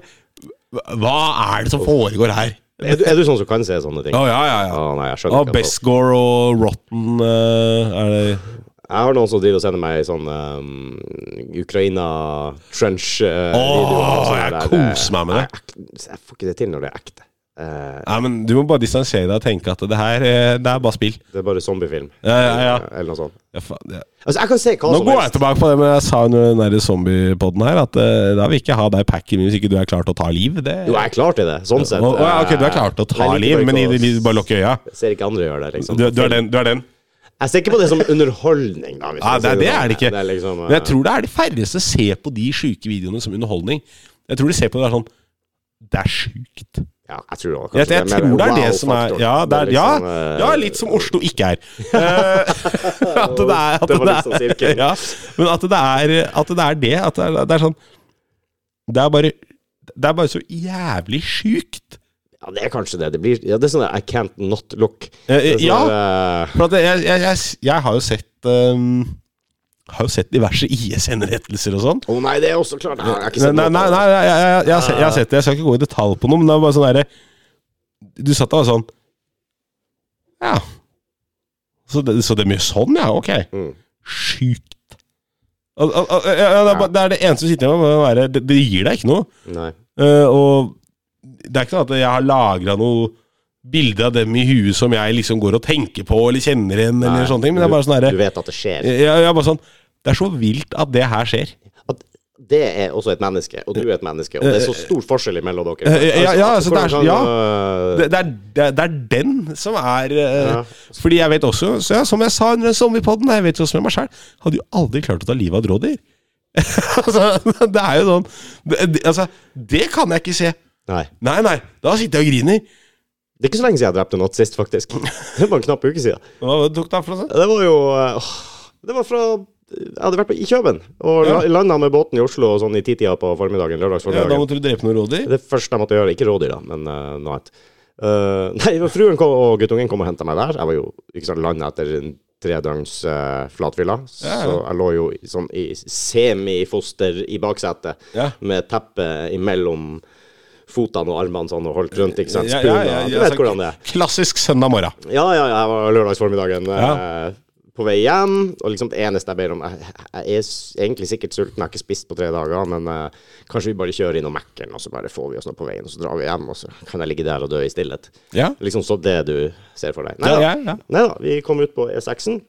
S2: hva- Hva er det som foregår her?
S1: Er du, er du sånn som kan se sånne ting?
S2: Å, ja, ja, ja.
S1: Å, nei, jeg skjønner ikke.
S2: Ah,
S1: at folk-
S2: Bestgore og Rotten eh, er det
S1: Jeg har noen som driver og sender meg sånn ehm, eh, Ukraina-trench-videoer.
S2: Åh, jeg koser meg med det.
S1: Jeg, jeg får ikke det til når det er ekte. Eh,
S2: Nei, men Du må bare distansere deg og tenke at det her eh, det er bare spill.
S1: det er bare zombiefilm.
S2: Ja, ja, ja.
S1: Eller- Eller noe sånt.
S2: Ja, faen, ja.
S1: Altså, jeg kan se hva
S2: Nå
S1: som
S2: går jeg tilbake på det men jeg sa under den der zombiepodden her, at eh, da vil jeg ikke ha deg packy hvis ikke du er klar til å ta liv. Det
S1: Jo, jeg er klar til det, sånn sett.
S2: Å, å, ja, ok, du er klar til å ta
S1: Jeg liker
S2: liv,
S1: bare
S2: men i,
S1: ikke å-
S2: i, bare lukke øya.
S1: Jeg ser ikke andre gjøre det, liksom.
S2: Du, du er den. du er den
S1: Jeg ser ikke på det som underholdning, da. hvis
S2: Nei,
S1: jeg
S2: det,
S1: sier
S2: det
S1: sånn.
S2: er det ikke.
S1: Det er liksom,
S2: Men jeg tror det er de færreste ser på de sjuke videoene som underholdning. Jeg tror de ser på det der sånn Det er sjukt.
S1: eh, ja, jeg tror, også, kanskje
S2: Jeg, jeg tror det er det som er
S1: wow-faktoren.
S2: Ja, det er,
S1: Det
S2: ja,
S1: er liksom, eh,
S2: ja litt som Oslo ikke er. Eh, at det er at
S1: Det var
S2: det
S1: litt sånn
S2: er-
S1: cirkel.
S2: ja, Men at det er at det. Er det, at det, er, det er sånn Det er bare det er bare så jævlig sjukt.
S1: Ja, det er kanskje det. Det, blir, ja, det er sånn der, I can't not look.
S2: Eh, eh,
S1: Det er sånn
S2: ja.
S1: der, eh,
S2: For at jeg, jeg, jeg, jeg har jo sett um, Har jo sett diverse IS-henrettelser og sånn.
S1: Å nei, det er også klart. Nei, jeg har ikke
S2: Nei,
S1: sett
S2: nei,
S1: noe
S2: nei,
S1: på det.
S2: nei jeg, jeg, jeg, har sett- jeg har sett det. Jeg skal ikke gå i detalj på noe, men det var bare sånn derre Du satt der og var sånn Ja. Så det, så det er mye sånn, ja? Ok.
S1: Mm.
S2: Sjukt. Al- al- al- ja, ja, det, er bare- det er det eneste du sitter igjen med. med å være- Det, det gir deg ikke noe.
S1: Nei.
S2: Eh, og det er ikke sånn at jeg har lagra noe bilde av dem i huet som jeg liksom går og tenker på eller kjenner igjen, eller
S1: Nei,
S2: sånne ting. Men det er bare
S1: Du
S2: sånn derre
S1: vet at det skjer.
S2: jeg, jeg er bare sånn Det er så vilt at det her skjer.
S1: At det er også et menneske, og du er et menneske, og det er så stor forskjell mellom dere.
S2: Eh, ja, ja,
S1: Altså,
S2: altså, det er-
S1: hvordan kan, eh,
S2: Det, det, er, det, er- det er den som er eh,
S1: Ja.
S2: Fordi jeg vet også, så ja, som jeg sa under den zombiepodden, jeg vet jo også med meg selv hadde jo aldri klart å ta livet av et rådyr. altså, det er jo sånn det, det, Altså, det kan jeg ikke se.
S1: Nei.
S2: Nei, nei, da sitter jeg og griner.
S1: Det er ikke så lenge siden jeg drepte en natt sist, faktisk. Det var en knapp uke siden.
S2: Hva tok det av for noe? sånt?
S1: Det var jo eh, åh, Det var fra Jeg hadde vært på, i Kjøben og
S2: Ja.
S1: la- landa med båten i Oslo sånn i titida på formiddagen.
S2: Ja,
S1: lørdagsformiddagen.
S2: da måtte du drepe noen rådyr?
S1: Det første jeg måtte gjøre, ikke rådyr da, men eh, noe annet. Eh, nei, det var fruen kom, og guttungen kom og henta meg der. Jeg var jo ikke sant, landet etter en tredøgns eh, flatfylla,
S2: Ja, ja.
S1: så jeg lå jo i- sånn i semifoster i baksetet
S2: Ja.
S1: med teppet imellom fotene og armene sånn og holdt rundt, ikke sant.
S2: Ja,
S1: Spuna.
S2: ja, ja, ja,
S1: du vet
S2: altså,
S1: hvordan det er.
S2: Klassisk søndag morgen.
S1: Ja, ja, ja, jeg var lørdagsformiddagen eh,
S2: Ja.
S1: på vei hjem, og liksom det eneste jeg ber om Jeg, jeg er s- egentlig sikkert sulten, jeg har ikke spist på tre dager, men eh, kanskje vi bare kjører innom Mækkern, og så bare får vi oss noe på veien, og så drar vi hjem, og så kan jeg ligge der og dø i stillhet.
S2: Ja.
S1: Liksom så det du ser for deg.
S2: Ja,
S1: Neida.
S2: ja, ja.
S1: Neida, vi kom ut på E6-en.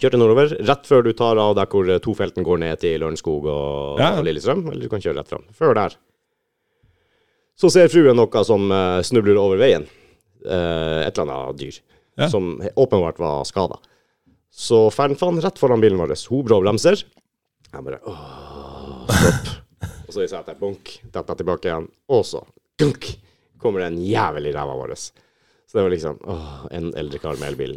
S1: Kjørte nordover, rett før du tar av der hvor eh, tofelten går ned til Lørenskog og,
S2: Ja.
S1: og Lillestrøm. Eller du kan kjøre rett fram. Før der. Så ser fruen noe som eh, snubler over veien. Eh, et eller annet dyr.
S2: Ja.
S1: Som he- åpenbart var skada. Så fant han rett foran bilen vår. Hun brå bremser. Jeg bare åh, stopp. og så i setet, bunk. Detter tilbake igjen. Og så, dunk, kommer det en jævel i ræva vår. Så det var liksom åh, en eldre kar med elbil.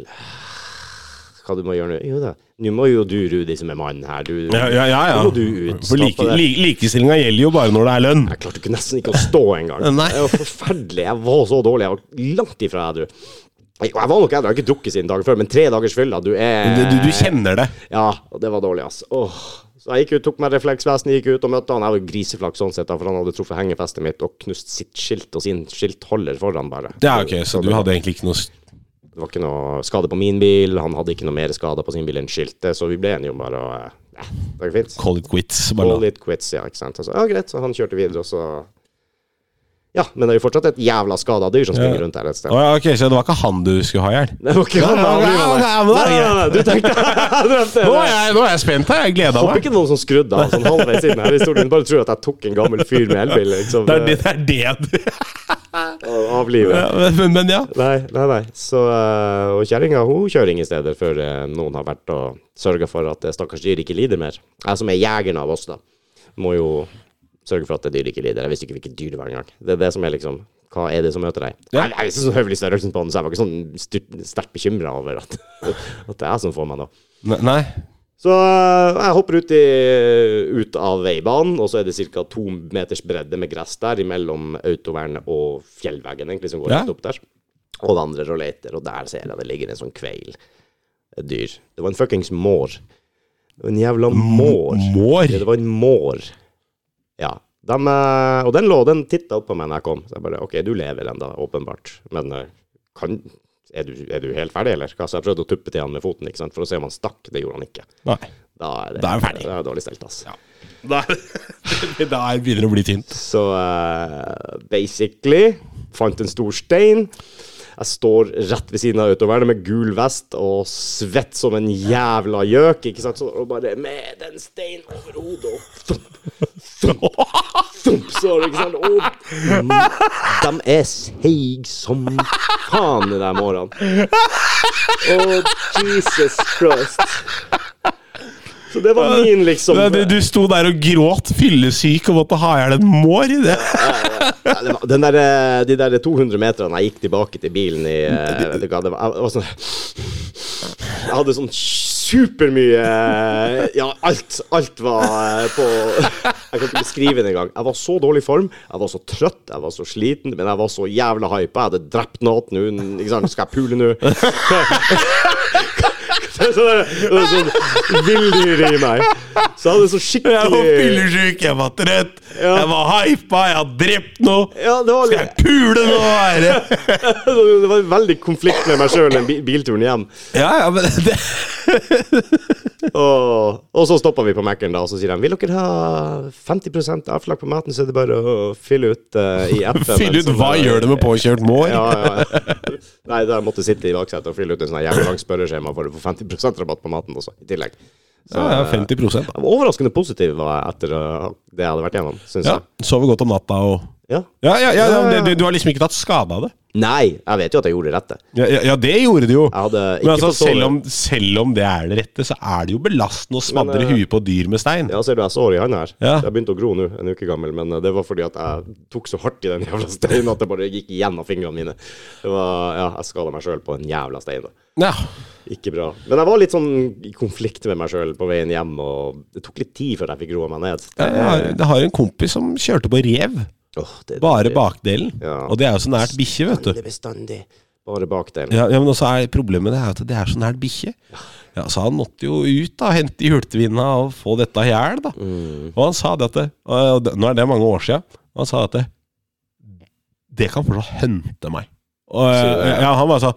S1: Hva du må gjøre nå? Jo da, nå må jo du, Rudi, som er mannen her, du
S2: Ja, ja, ja.
S1: Nå må du
S2: ja.
S1: ut.
S2: For like,
S1: stoppe det.
S2: li, likestillinga gjelder jo bare når det er lønn.
S1: Jeg klarte ikke, nesten ikke å stå engang.
S2: Nei.
S1: Det var forferdelig. Jeg var så dårlig. Jeg var langt ifra edru. Jeg jeg var nok edru, jeg har ikke drukket siden dagen før, men tre dagers fylla, du er
S2: Du, du, du kjenner det.
S1: Ja, og det var dårlig, ass. Åh. Så jeg gikk ut, tok meg refleksvesten, gikk ut og møtte han. Jeg var jo griseflaks sånn sett, da, for han hadde truffet hengefestet mitt og knust sitt skilt og sin skiltholder foran, bare.
S2: Ja, ok, Så du hadde egentlig ikke noe s-
S1: Det var ikke noe skade på min bil, han hadde ikke noe mer skade på sin bil enn skiltet, så vi ble enige om bare å eh, Det går fint.
S2: call it quits? Bare
S1: Call
S2: la-
S1: it quits, ja. ikke sant? Altså, ja, greit, så han kjørte videre, og så Ja, men det er jo fortsatt et jævla skada dyr som springer rundt der et sted.
S2: Å, ja, ok, Så det var ikke han du skulle ha i hjel?
S1: Det var ikke han, han
S2: Ja,
S1: driver med
S2: ja, men
S1: det. Nei,
S2: da er det
S1: nei, nei, du tenkte Jeg drømte
S2: Nå, er
S1: det.
S2: jeg- nå er jeg spent her. Jeg gleder
S1: Håper
S2: meg.
S1: ikke noen som skrudde av sånn halvveis inn her i historien. Bare tror at jeg tok en gammel fyr med elbil liksom,
S2: Det er det, det, er det. du-
S1: eh, av livet.
S2: Ja, men- men, men ja.
S1: Nei, nei, nei. Så, eh, og kjerringa hun kjører ingen steder før eh, noen har vært og sørga for at det stakkars dyr ikke lider mer. Jeg som er jegeren av oss, da, må jo sørge for at det dyret ikke lider. Jeg visste ikke hvilket dyr det var engang. Det er det som er liksom Hva er det som møter deg?
S2: Ja.
S1: Jeg, jeg visste sånn høvelig størrelsen på den, så jeg var ikke sånn styrt- sterkt bekymra over at, at det er jeg som får meg nå.
S2: Ne- Nei.
S1: Så eh, jeg hopper ut, i, ut av veibanen, og så er det ca. to meters bredde med gress der mellom autovernet og fjellveggen, egentlig, som går
S2: Ja.
S1: rett opp der. Og vandrer og leter, og der ser jeg det ligger en sånn kveil. Et dyr. Det var en fuckings mår. Det var En jævla mår. Ja,
S2: Mår?
S1: det var en mår. Ja. Dem, eh, og den lå, den titta opp på meg når jeg kom. Så jeg bare OK, du lever ennå, åpenbart. Men eh, kan er du, er du helt ferdig, eller? Hva? Så jeg prøvde å tuppe til han med foten ikke sant? for å se om han stakk. Det gjorde han ikke.
S2: Nei.
S1: Da er det,
S2: Da er vi ferdig.
S1: Da er det dårlig stelt, altså.
S2: Da begynner det å bli tynt.
S1: Så eh, basically fant en stor stein. Jeg står rett ved siden av autovernet med gul vest og svett som en jævla gjøk. ikke sant? Så, og bare med den steinen over hodet og thump, thump, thump, så, ikke sant? Og de er seige som faen, de der årene. Og Jesus Christ. Så det var min, liksom.
S2: Du, du sto der og gråt fyllesyk og måtte ha i hjel en mår. Det.
S1: Ja, det var- Den der, eh, de der 200 meterne jeg gikk tilbake til bilen i eh, vet du hva, det var, jeg, var sånn, jeg hadde sånn supermye eh, Ja, alt, alt var eh, på Jeg kan ikke beskrive det engang. Jeg var så dårlig i form, jeg var så trøtt, jeg var så sliten, men jeg var så jævla hypa. Jeg hadde drept noen, hun- ikke sant, skal jeg pule nå? Det er sånn, det er sånn villdyr i meg. Så jeg hadde så
S2: Jeg var
S1: skikkelig
S2: fyllesyk, jeg var trøtt,
S1: Ja.
S2: jeg var hypa, jeg har drept noe.
S1: ja, det var
S2: Skal jeg pule nå, ære?
S1: Det var veldig konflikt med meg sjøl den bi- bilturen hjem.
S2: Ja, ja, men det,
S1: Og, og så stoppa vi på Mækkern, da, og så sier de vil dere ha 50 avslag på maten, så er det bare å fylle ut eh, i appen.
S2: Fyll ut hva gjør det med påkjørt mår?
S1: Ja, ja, ja. Nei, da måtte jeg sitte i baksetet og fylle ut en sånn jævlig lang spørreskjema for å få 50 rabatt på maten også, i tillegg. Så,
S2: Ja, ja, 50
S1: jeg var Overraskende positiv var jeg etter eh, det jeg hadde vært gjennom, syns
S2: Ja, Sover godt om natta og
S1: jeg. Ja.
S2: Ja, ja, ja, ja det, det, du har liksom ikke tatt skade av det?
S1: Nei, jeg vet jo at jeg gjorde det rette.
S2: Ja, ja, ja, det gjorde det jo.
S1: Jeg hadde
S2: Men
S1: ikke
S2: altså,
S1: fått sove.
S2: selv om, selv om det er det rette, så er det jo belastende å smadre
S1: Men, eh,
S2: huet på dyr med stein.
S1: Ja, ser du, jeg sår i handa her.
S2: Ja.
S1: Jeg begynte å gro nå, en uke gammel, men eh, det var fordi at jeg tok så hardt i den jævla steinen at det bare gikk gjennom fingrene mine. Det var, ja, jeg skada meg sjøl på en jævla stein. da.
S2: Ja.
S1: Ikke bra. Men jeg var litt sånn i konflikt med meg sjøl på veien hjem, og det tok litt tid før jeg fikk roa meg ned.
S2: Jeg har, jeg har en kompis som kjørte på rev.
S1: Åh, det,
S2: Bare bakdelen.
S1: Ja.
S2: Og det er jo så nært bikkje, vet du.
S1: Bestandig, bestandig. Bare bakdelen.
S2: Ja, ja, men også er Problemet det er jo at det er så nært bikkje. Ja, så han måtte jo ut da, hente i hultvinda og få dette i hjel. da.
S1: Mm,
S2: Og han sa dette, og det- nå er det mange år sia, han sa dette Det kan fortsatt hente meg. Og, eh,
S1: Så-
S2: ja, han bare sa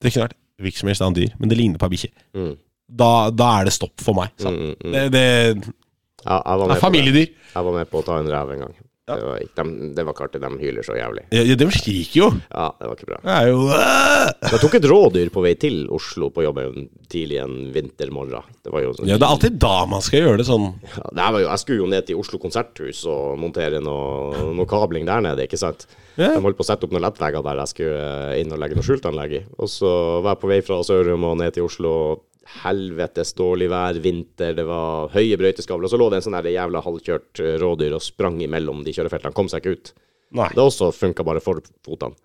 S2: Det kunne vært hvilket som helst annet dyr, men det ligner på ei bikkje.
S1: Mm.
S2: Da, da er det stopp for meg. sa han.
S1: Mm, mm, mm.
S2: Det, det,
S1: Ja, jeg, var
S2: det er
S1: med på det.
S2: familiedyr.
S1: jeg var med på å ta en rev en gang.
S2: Ja.
S1: Det var ikke dem- det var ikke artig. De hyler så jævlig.
S2: Ja, ja, de skriker jo.
S1: Ja, det var ikke bra.
S2: Det er jo
S1: Jeg tok et rådyr på vei til Oslo på jobb en tidlig en vintermorgen. Det var jo sånn
S2: Ja, det er alltid da man skal gjøre det sånn.
S1: Ja, det her var jo, Jeg skulle jo ned til Oslo konserthus og montere noe, noe kabling der nede, ikke sant.
S2: Ja.
S1: De holdt på å sette opp noen lettvegger der jeg skulle eh, inn og legge noe skjultanlegg i. Og så var jeg på vei fra Sørum og ned til Oslo. Helvetes dårlig vær, vinter, det var høye brøyteskavler. Og så lå det en sånn der jævla halvkjørt eh, rådyr og sprang imellom de kjørefeltene. Kom seg ikke ut.
S2: Nei.
S1: Det også funka bare for fotene.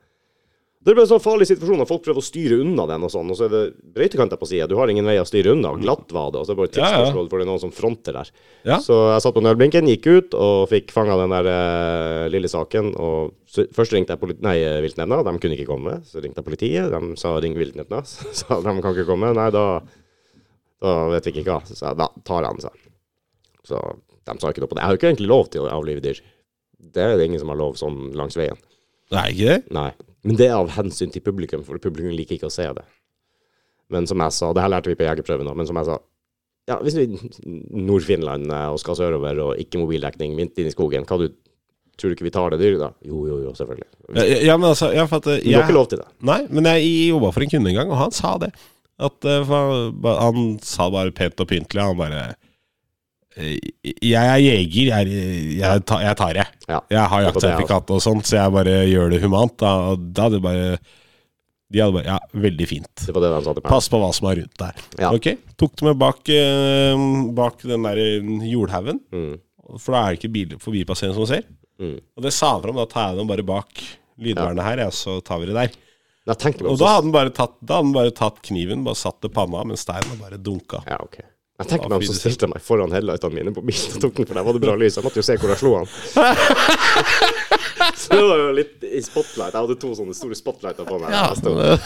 S1: Det ble en sånn farlig situasjon at folk prøver å styre unna den, og sånn, og så er det brøytekanter på sida. Du har ingen vei å styre unna. Glatt var det, og så er det bare et
S2: Ja, ja.
S1: tidsspørsmål for det er noen som fronter der.
S2: Ja.
S1: Så jeg satt på nødblinken, gikk ut og fikk fanga den der eh, lille saken. Og så, først ringte jeg politi nei, eh, viltnemnda, de kunne ikke komme. Så ringte jeg politiet, de sa ring viltnemnda. Så sa de kan ikke komme. Nei, da, da vet vi ikke hva. Så sa jeg da tar jeg den, sa jeg. Så de sa ikke noe på det. Jeg har jo ikke egentlig lov til å avlive dyr. Det er det ingen som har lov sånn langs veien.
S2: Det er ikke det.
S1: Nei. Men det er av hensyn til publikum, for publikum liker ikke å se det. Men som jeg sa, det her lærte vi på jegerprøven òg, men som jeg sa ja, Hvis vi Nord-Finland eh, og skal sørover og ikke mobildekning midt inne i skogen, hva du, tror du ikke vi tar det dyret da? Jo, jo, jo, selvfølgelig. Men
S2: Ja, ja, men altså, ja, for at, eh,
S1: Du har ikke
S2: jeg,
S1: lov til det.
S2: nei, men jeg jobba for en kunde en gang, og han sa det. At, eh, for han, ba- han sa bare pent og pyntelig, han bare eh, Jeg er jeger, jeg, er- jeg, tar, jeg tar det.
S1: Ja.
S2: Jeg har
S1: Det var det,
S2: jaktsertifikat og sånt, så jeg bare gjør det humant. Da, og da hadde det bare De hadde bare Ja, veldig fint.
S1: Det var det de sa til meg.
S2: Pass på hva som er rundt der.
S1: Ja.
S2: Ok, Tok det med bak, eh, bak den der eh, jordhaugen,
S1: Mm,
S2: for da er det ikke bil, forbipasserende som ser.
S1: mm.
S2: Og det sa han fra om, da tar jeg dem bare bak lydvernet her, ja, så tar vi det der.
S1: Jeg tenker meg
S2: Og
S1: om
S2: da
S1: så-
S2: hadde han bare tatt, da hadde han bare tatt kniven, bare satt det i panna med steinen og bare dunka.
S1: Ja, ok. Jeg tenker
S2: Da
S1: meg om
S2: fryser
S1: så
S2: det.
S1: stilte jeg meg foran headlightene mine på bilen og tok den, for der var det bra lys. Jeg måtte jo se hvor jeg slo han. Så det var jo litt i spotlight. Jeg hadde to sånne store spotlighter på meg. Jeg stod-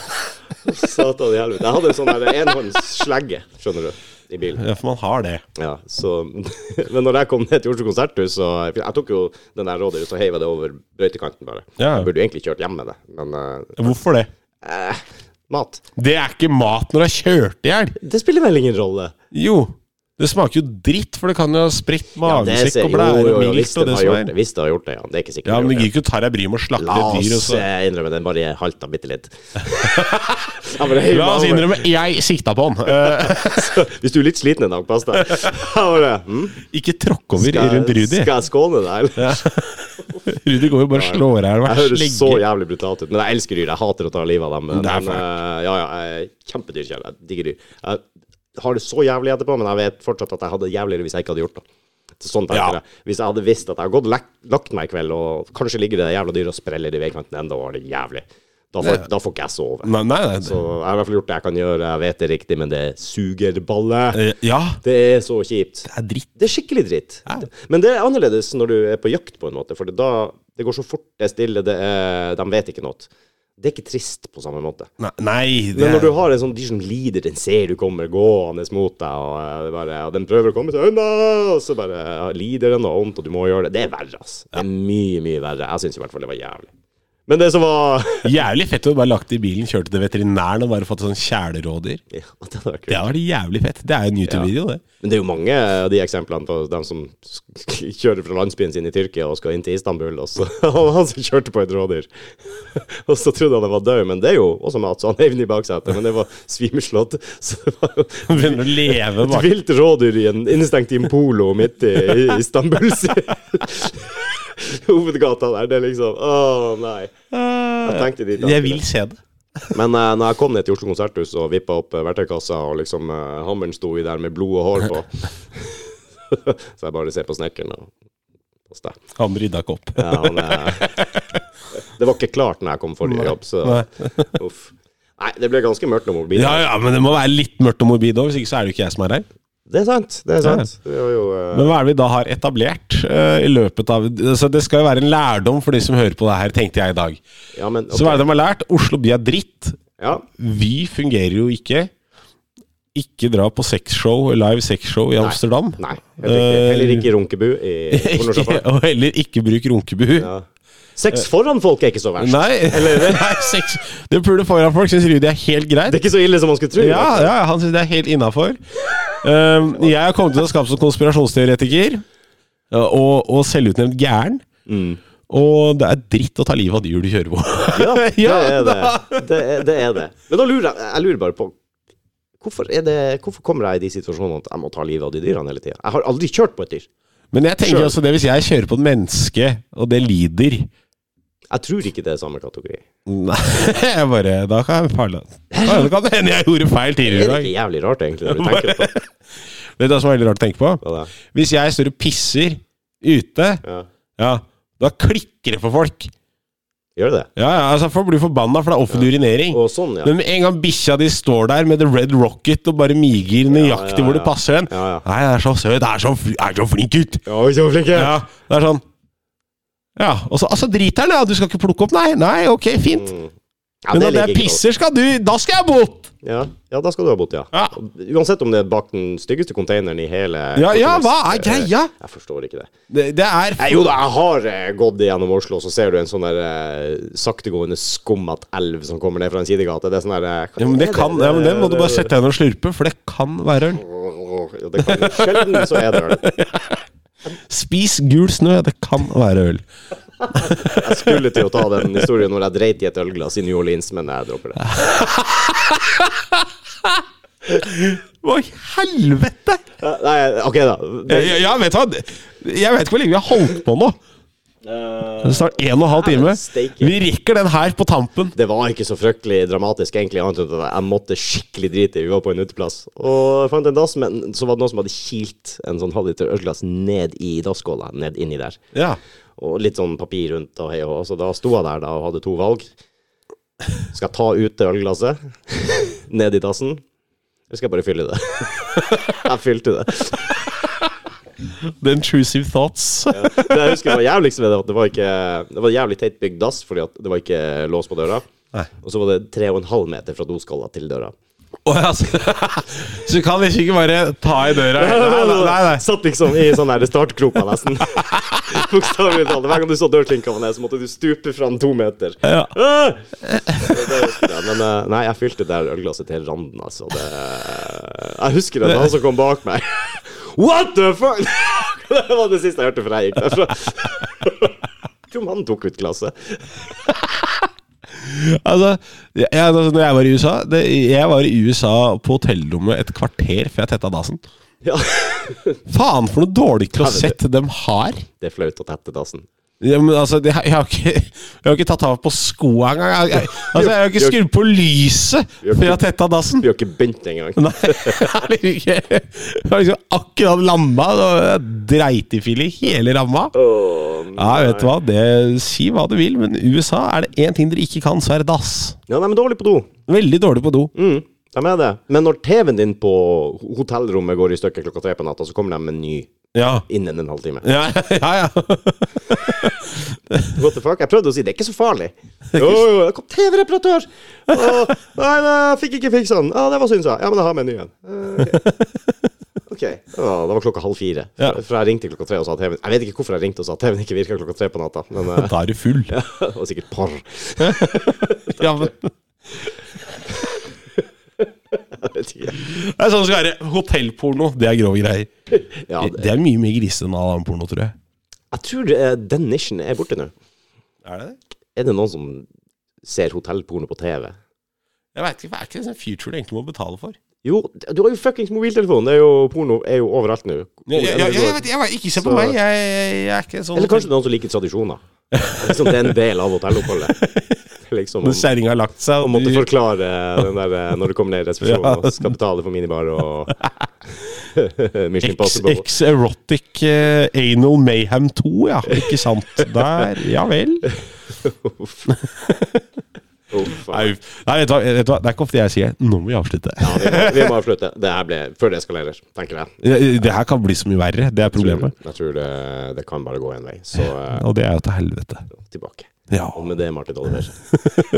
S1: Satan i helvete. Jeg hadde en sånn her enhåndsslegge, skjønner du, i bilen.
S2: Ja, for man har det.
S1: Ja, så, men når jeg kom ned til Oslo konserthus, så for Jeg tok jo den der rådyret og heiv jeg det over brøytekanten, bare.
S2: Ja.
S1: Jeg burde jo egentlig kjørt hjem med det, men eh,
S2: Hvorfor det?
S1: eh, Mat.
S2: Det er ikke mat når det er kjørt i hjel!
S1: Det spiller vel ingen rolle?
S2: Jo. Det smaker jo dritt, for det kan jo ha spredt magesekk
S1: ser-
S2: og
S1: jo,
S2: blære og
S1: jo,
S2: milt
S1: hvis
S2: og
S1: den
S2: det
S1: har
S2: som
S1: gjort
S2: er.
S1: det. Hvis den har gjort det, ja. Det er ikke sikkert.
S2: Ja,
S1: den
S2: men
S1: har
S2: du
S1: gjort
S2: gidder ikke å ta deg bryet med å
S1: det.
S2: slakte
S1: La
S2: et dyr. Og
S1: oss
S2: så.
S1: eh, innrømme den bare halta bitte litt. Ja, men det er jo
S2: La oss
S1: bare-
S2: innrømme, jeg sikta på han! Eh,
S1: Hvis du er litt sliten en dag, pass deg. Ja, bare, hm?
S2: ikke tråkk over
S1: Skal jeg-
S2: rundt Rudi.
S1: Skal jeg skåne deg, eller?
S2: Rudi går jo bare og slår i hjel
S1: Jeg
S2: hver
S1: høres så
S2: slegge.
S1: jævlig brutalt ut, men jeg elsker dyr. Jeg hater å ta livet av dem. Men,
S2: Det er
S1: men, eh, ja, ja, jeg er kjempedyrkjære. Jeg digger dyr. Jeg har det så jævlig etterpå, men jeg vet fortsatt at jeg hadde det jævligere hvis jeg ikke hadde gjort det. Så Sånn tenker
S2: Ja.
S1: jeg. Hvis jeg hadde visst at jeg hadde gått og lagt, lagt meg i kveld, og kanskje ligger det jævla dyret og spreller i veikanten enda, og har det jævlig, da får, da får ikke jeg sove.
S2: Nei, nei,
S1: Så
S2: nei.
S1: jeg har i hvert fall gjort det jeg kan gjøre. Jeg vet det er riktig, men det suger balle.
S2: Eh, Ja,
S1: Det er så kjipt.
S2: det er dritt.
S1: Det er skikkelig dritt. Men det er annerledes når du er på jakt, på en måte. For det, da, det går så fort, det er stille, det er, de vet ikke noe. Det er ikke trist på samme måte.
S2: Nei, nei det
S1: Men når
S2: er,
S1: du har en sånn dyr som lider, den ser du kommer gående mot deg, og, eh, det bare, og den prøver å komme seg unna, og så bare ja, lider den og har vondt, og du må gjøre det. Det er verre, ass. Det er mye, mye verre. Jeg syns i hvert fall det var jævlig. Men det som var
S2: jævlig fett å bare lagt det i bilen, kjørte til veterinæren og bare fått sånn kjælerådyr.
S1: ja, det hadde vært kult.
S2: Det hadde vært jævlig fett. Det er jo en YouTube-video, det.
S1: Men det er jo mange av de eksemplene på dem som kjører fra landsbyen sin i Tyrkia og skal inn til Istanbul, og så og han som kjørte på et rådyr. Og så trodde han det var død, men det er jo også mat, så han heiv den i baksetet. Men det var svimeslått. Så det var jo
S2: Begynner å leve
S1: et
S2: bak
S1: vilt rådyr i en innestengt i en polo midt i i Istanbul sin hovedgata der. Det er liksom Å, nei. Jeg tenkte de
S2: Jeg vil se det.
S1: men uh, når jeg kom ned til Oslo konserthus og vippa opp eh, verktøykassa, og liksom eh, hammeren sto i der med blod og hår på Så jeg bare ser på snekkeren og hos deg.
S2: Han rydda ikke opp.
S1: Ja, han, eh, det var ikke klart når jeg kom forrige jobb, så uff. Nei, det ble ganske mørkt når mobilen
S2: Ja, ja, men det må være litt mørkt og morbid òg, hvis ikke så er det jo ikke jeg som er her.
S1: Det er sant, det er sant. Det var jo eh,
S2: Men hva er det vi da har etablert eh, i løpet av altså, Det skal jo være en lærdom for de som hører på det her, tenkte jeg i dag.
S1: Ja, men ok.
S2: Så hva er det de har lært? Oslo by er dritt.
S1: Ja,
S2: Vy fungerer jo ikke. Ikke dra på sexshow, live sexshow i Amsterdam.
S1: nei. Heller ikke, heller ikke runkebu i
S2: Ikke,
S1: pornosjappa.
S2: og heller ikke bruk runkebu.
S1: Ja. Sex foran folk er ikke så verst.
S2: Nei, nei sex, det puler foran folk, syns Rudi er helt greit.
S1: Det er ikke så ille som man skulle tro.
S2: Ja, ja han syns det er helt innafor. Um, jeg har kommet til å skape som konspirasjonsteoretiker uh, og, og selvutnevnt gæren.
S1: Mm.
S2: Og det er dritt å ta livet av dyr du kjører på.
S1: Ja, det
S2: Ja,
S1: er det.
S2: da.
S1: Det er, det er det. Men da lurer jeg, jeg lurer bare på hvorfor, er det, hvorfor kommer jeg i de situasjonene at jeg må ta livet av de dyrene hele tida? Jeg har aldri kjørt på et dyr.
S2: Men jeg tenker
S1: Sure.
S2: også det hvis jeg kjører på et menneske, og det lider
S1: Jeg tror ikke det er samme kategori.
S2: Nei, jeg bare Da kan jeg farlig Da kan det hende jeg gjorde feil
S1: Det
S2: tidligere i
S1: er
S2: dag.
S1: ikke jævlig rart, egentlig, når du tenker på det.
S2: Vet du hva som er veldig rart å tenke på?
S1: da?
S2: Hvis jeg står og pisser ute,
S1: Ja.
S2: ja, da klikker det for folk.
S1: Gjør det det?
S2: Ja, ja, altså Folk blir forbanna, for det er offentlig urinering.
S1: Og sånn, ja.
S2: Men med en gang bikkja di står der med The Red Rocket og bare miger nøyaktig
S1: Ja, ja,
S2: hvor det
S1: ja.
S2: passer den
S1: Ja, ja.
S2: Nei, det er så søt, det er så, fl- det er så flink gutt!
S1: Ja, så flinke!
S2: Ja, det er sånn Ja, og så altså, driter han, ja. Du skal ikke plukke opp, nei? Nei, ok, fint.
S1: Mm. Ja,
S2: Men
S1: det
S2: når
S1: liker
S2: jeg
S1: jeg ikke godt.
S2: pisser, skal du Da skal jeg bort!
S1: Ja. ja, da skal du ha bot, ja.
S2: Ja.
S1: Uansett om det er bak den styggeste containeren i hele
S2: Ja, ja, hva er greia?
S1: Jeg forstår ikke det.
S2: Det, det er
S1: Nei, jo da, jeg har eh, gått gjennom Oslo, og så ser du en sånn der eh, saktegående skummet elv som kommer ned fra en sidegate. Det er sånn der eh, hva
S2: ja, men det
S1: er
S2: kan, ja, men det må du bare sette deg ned og slurpe, for det kan være øl.
S1: Ja, det kan Sjelden så er det øl.
S2: Spis gul snø, det kan være øl.
S1: Jeg skulle til å ta den historien når jeg dreit i et ølglass i New Orleans, men jeg dropper det.
S2: Hva i helvete?
S1: Eh, Nei, OK, da. Det,
S2: Ja, ja, vet du hva? Jeg vet ikke hvor lenge vi har holdt på nå.
S1: eh,
S2: Det er snart en og en halv time.
S1: Nei, men steike.
S2: Vi rekker den her på tampen.
S1: det var ikke så fryktelig dramatisk, egentlig, annet enn at jeg måtte skikkelig drite i. Vi var på en uteplass, og jeg fant en dass, men så var det noen som hadde kilt en sånn halvliter ølglass ned i dasskåla, ned inni der.
S2: Ja.
S1: og litt sånn papir rundt og hei og hå. Så da sto jeg der da og hadde to valg. Skal jeg ta ut det ølglasset ned i tassen, eller skal jeg bare fylle det? Jeg fylte det.
S2: The intrusive thoughts.
S1: Det jeg husker var jævligst med det, at det var ikke Det var en jævlig teit bygd dass, fordi at det var ikke lås på døra.
S2: Nei.
S1: Og så var det tre og en halv meter fra doskåla til døra.
S2: Å ja, så, så du kan liksom ikke bare ta i døra? Nei, nei, nei, nei.
S1: Satt liksom i sånn der startkroka nesten. Bokstavelig talt. Hver gang du så dørklinka ned, så måtte du stupe fram to meter.
S2: Ja.
S1: Ah! Så det husker jeg. Men eh, nei, jeg fylte det her ølglasset til randen, altså. Det, eh, jeg husker det, det var han som kom bak meg. What the fuck?! det var det siste jeg hørte før jeg gikk derfra. Jeg tror han tok ut glasset.
S2: Altså, jeg, jeg- altså, når jeg var i USA det, Jeg var i USA på hotellrommet et kvarter før jeg tetta dasen.
S1: Ja.
S2: Faen for noe dårlig klosett de har!
S1: Det er flaut å tette dassen.
S2: Ja, men altså, det- jeg, har ikke, jeg har ikke tatt av på skoa engang. Jeg, jeg, altså, jeg har ikke skrudd på lyset før jeg har tetta dassen!
S1: Vi har ikke begynt engang.
S2: Nei, jeg har ikke Jeg har liksom akkurat landa. og Jeg dreit i fille i hele ramma.
S1: Åh, nei.
S2: Ja, vet du hva, det, Si hva du vil, men USA er det én ting dere ikke kan, så er det dass.
S1: Ja, nei, men dårlig på do.
S2: Veldig dårlig på do.
S1: Mm, de er det. Men når TV-en din på hotellrommet går i stykker klokka tre på natta, så kommer de med en ny
S2: Ja.
S1: innen en halvtime.
S2: Ja, ja, ja.
S1: What the fuck? Jeg prøvde å si det er ikke så farlig. Jo, jo, det kom TV-reparatør! Å, Nei, nei, jeg fikk ikke fiksa den. Ja, det var synd, sa jeg. Ja, men jeg har med en ny en. Eh, Ok. Ok. Å, det var klokka halv fire.
S2: Ja.
S1: For jeg ringte klokka tre og sa at TV-en Jeg vet ikke hvorfor jeg ringte og sa at TV-en ikke virka klokka tre på natta, men eh,
S2: Da er du full.
S1: det var sikkert par.
S2: Ja, men, det
S1: Jeg vet ikke.
S2: er sånn det skal være. Hotellporno, det er grove greier.
S1: Ja, det,
S2: Det er mye mer grisete enn all annen porno, tror jeg.
S1: jeg tror eh, den nisjen er borte nå.
S2: Er det det?
S1: Er det noen som ser hotellporno på TV?
S2: Jeg veit ikke, hva er ikke det future du egentlig må betale for?
S1: Jo, du har jo fuckings mobiltelefon. Det er jo, porno er jo overalt nå.
S2: Jeg, jeg, jeg, vet- jeg, vet- ikke se på
S1: Så-
S2: meg, jeg, jeg, jeg er ikke sånn
S1: Eller kanskje det er noen som liker tradisjoner. Liksom, det er en del av hotelloppholdet. Liksom,
S2: Når kjerringa har lagt seg,
S1: å
S2: og
S1: måtte
S2: du,
S1: forklare den der eh, når du kommer ned i
S2: Ja.
S1: resepsjonen og skal betale for minibar og Mission
S2: Ex,
S1: Impossible.
S2: ex erotic eh, anal mayhem 2, ja. Ikke sant? Der, ja vel.
S1: Uff. Uff,
S2: Nei,
S1: faen.
S2: nei vet, du, hva- vet du hva, det er ikke ofte jeg sier 'nå må vi avslutte'.
S1: Ja, vi må, vi må avslutte. Det her ble før det eskalerer, tenker jeg.
S2: Det det her kan bli så mye verre, det er problemet.
S1: Jeg tror det, det kan bare gå én vei. Så eh,
S2: Og det er jo til helvete.
S1: tilbake.
S2: Ja.
S1: Og med det, Martin Oliver.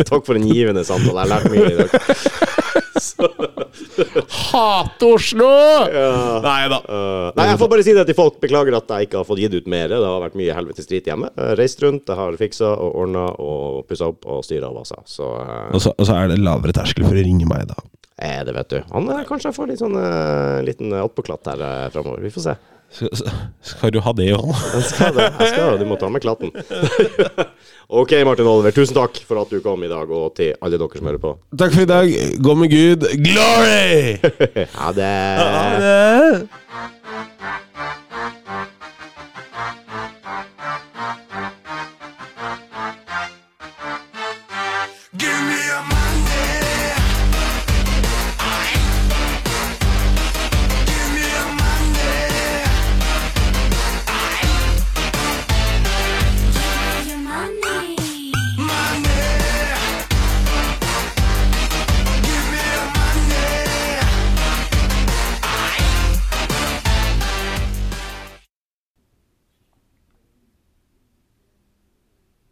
S1: Takk for en givende samtale. Jeg lærte mye i dag.
S2: Hate Oslo! Nei da.
S1: Eh, nei, jeg får bare si det til folk. Beklager at jeg ikke har fått gitt ut mer. Det har vært mye helvetes drit hjemme. Eh, reist rundt, jeg har fiksa og ordna og pussa opp og styra og vasa. Så eh,
S2: Og så, og så er det lavere terskel for å ringe meg, da.
S1: er det, vet du. Han eh, kanskje jeg får litt sånn eh, liten eh, attpåklatt her uh, framover. Vi får se.
S2: Så, så, skal du ha det òg?
S1: Jeg skal det. Jeg skal, det. du må ta med klatten. OK, Martin Oliver. Tusen takk for at du kom i dag, og til alle dere som hører på.
S2: Takk for i dag. Gå med Gud. Glory!
S1: Ha det.
S2: det.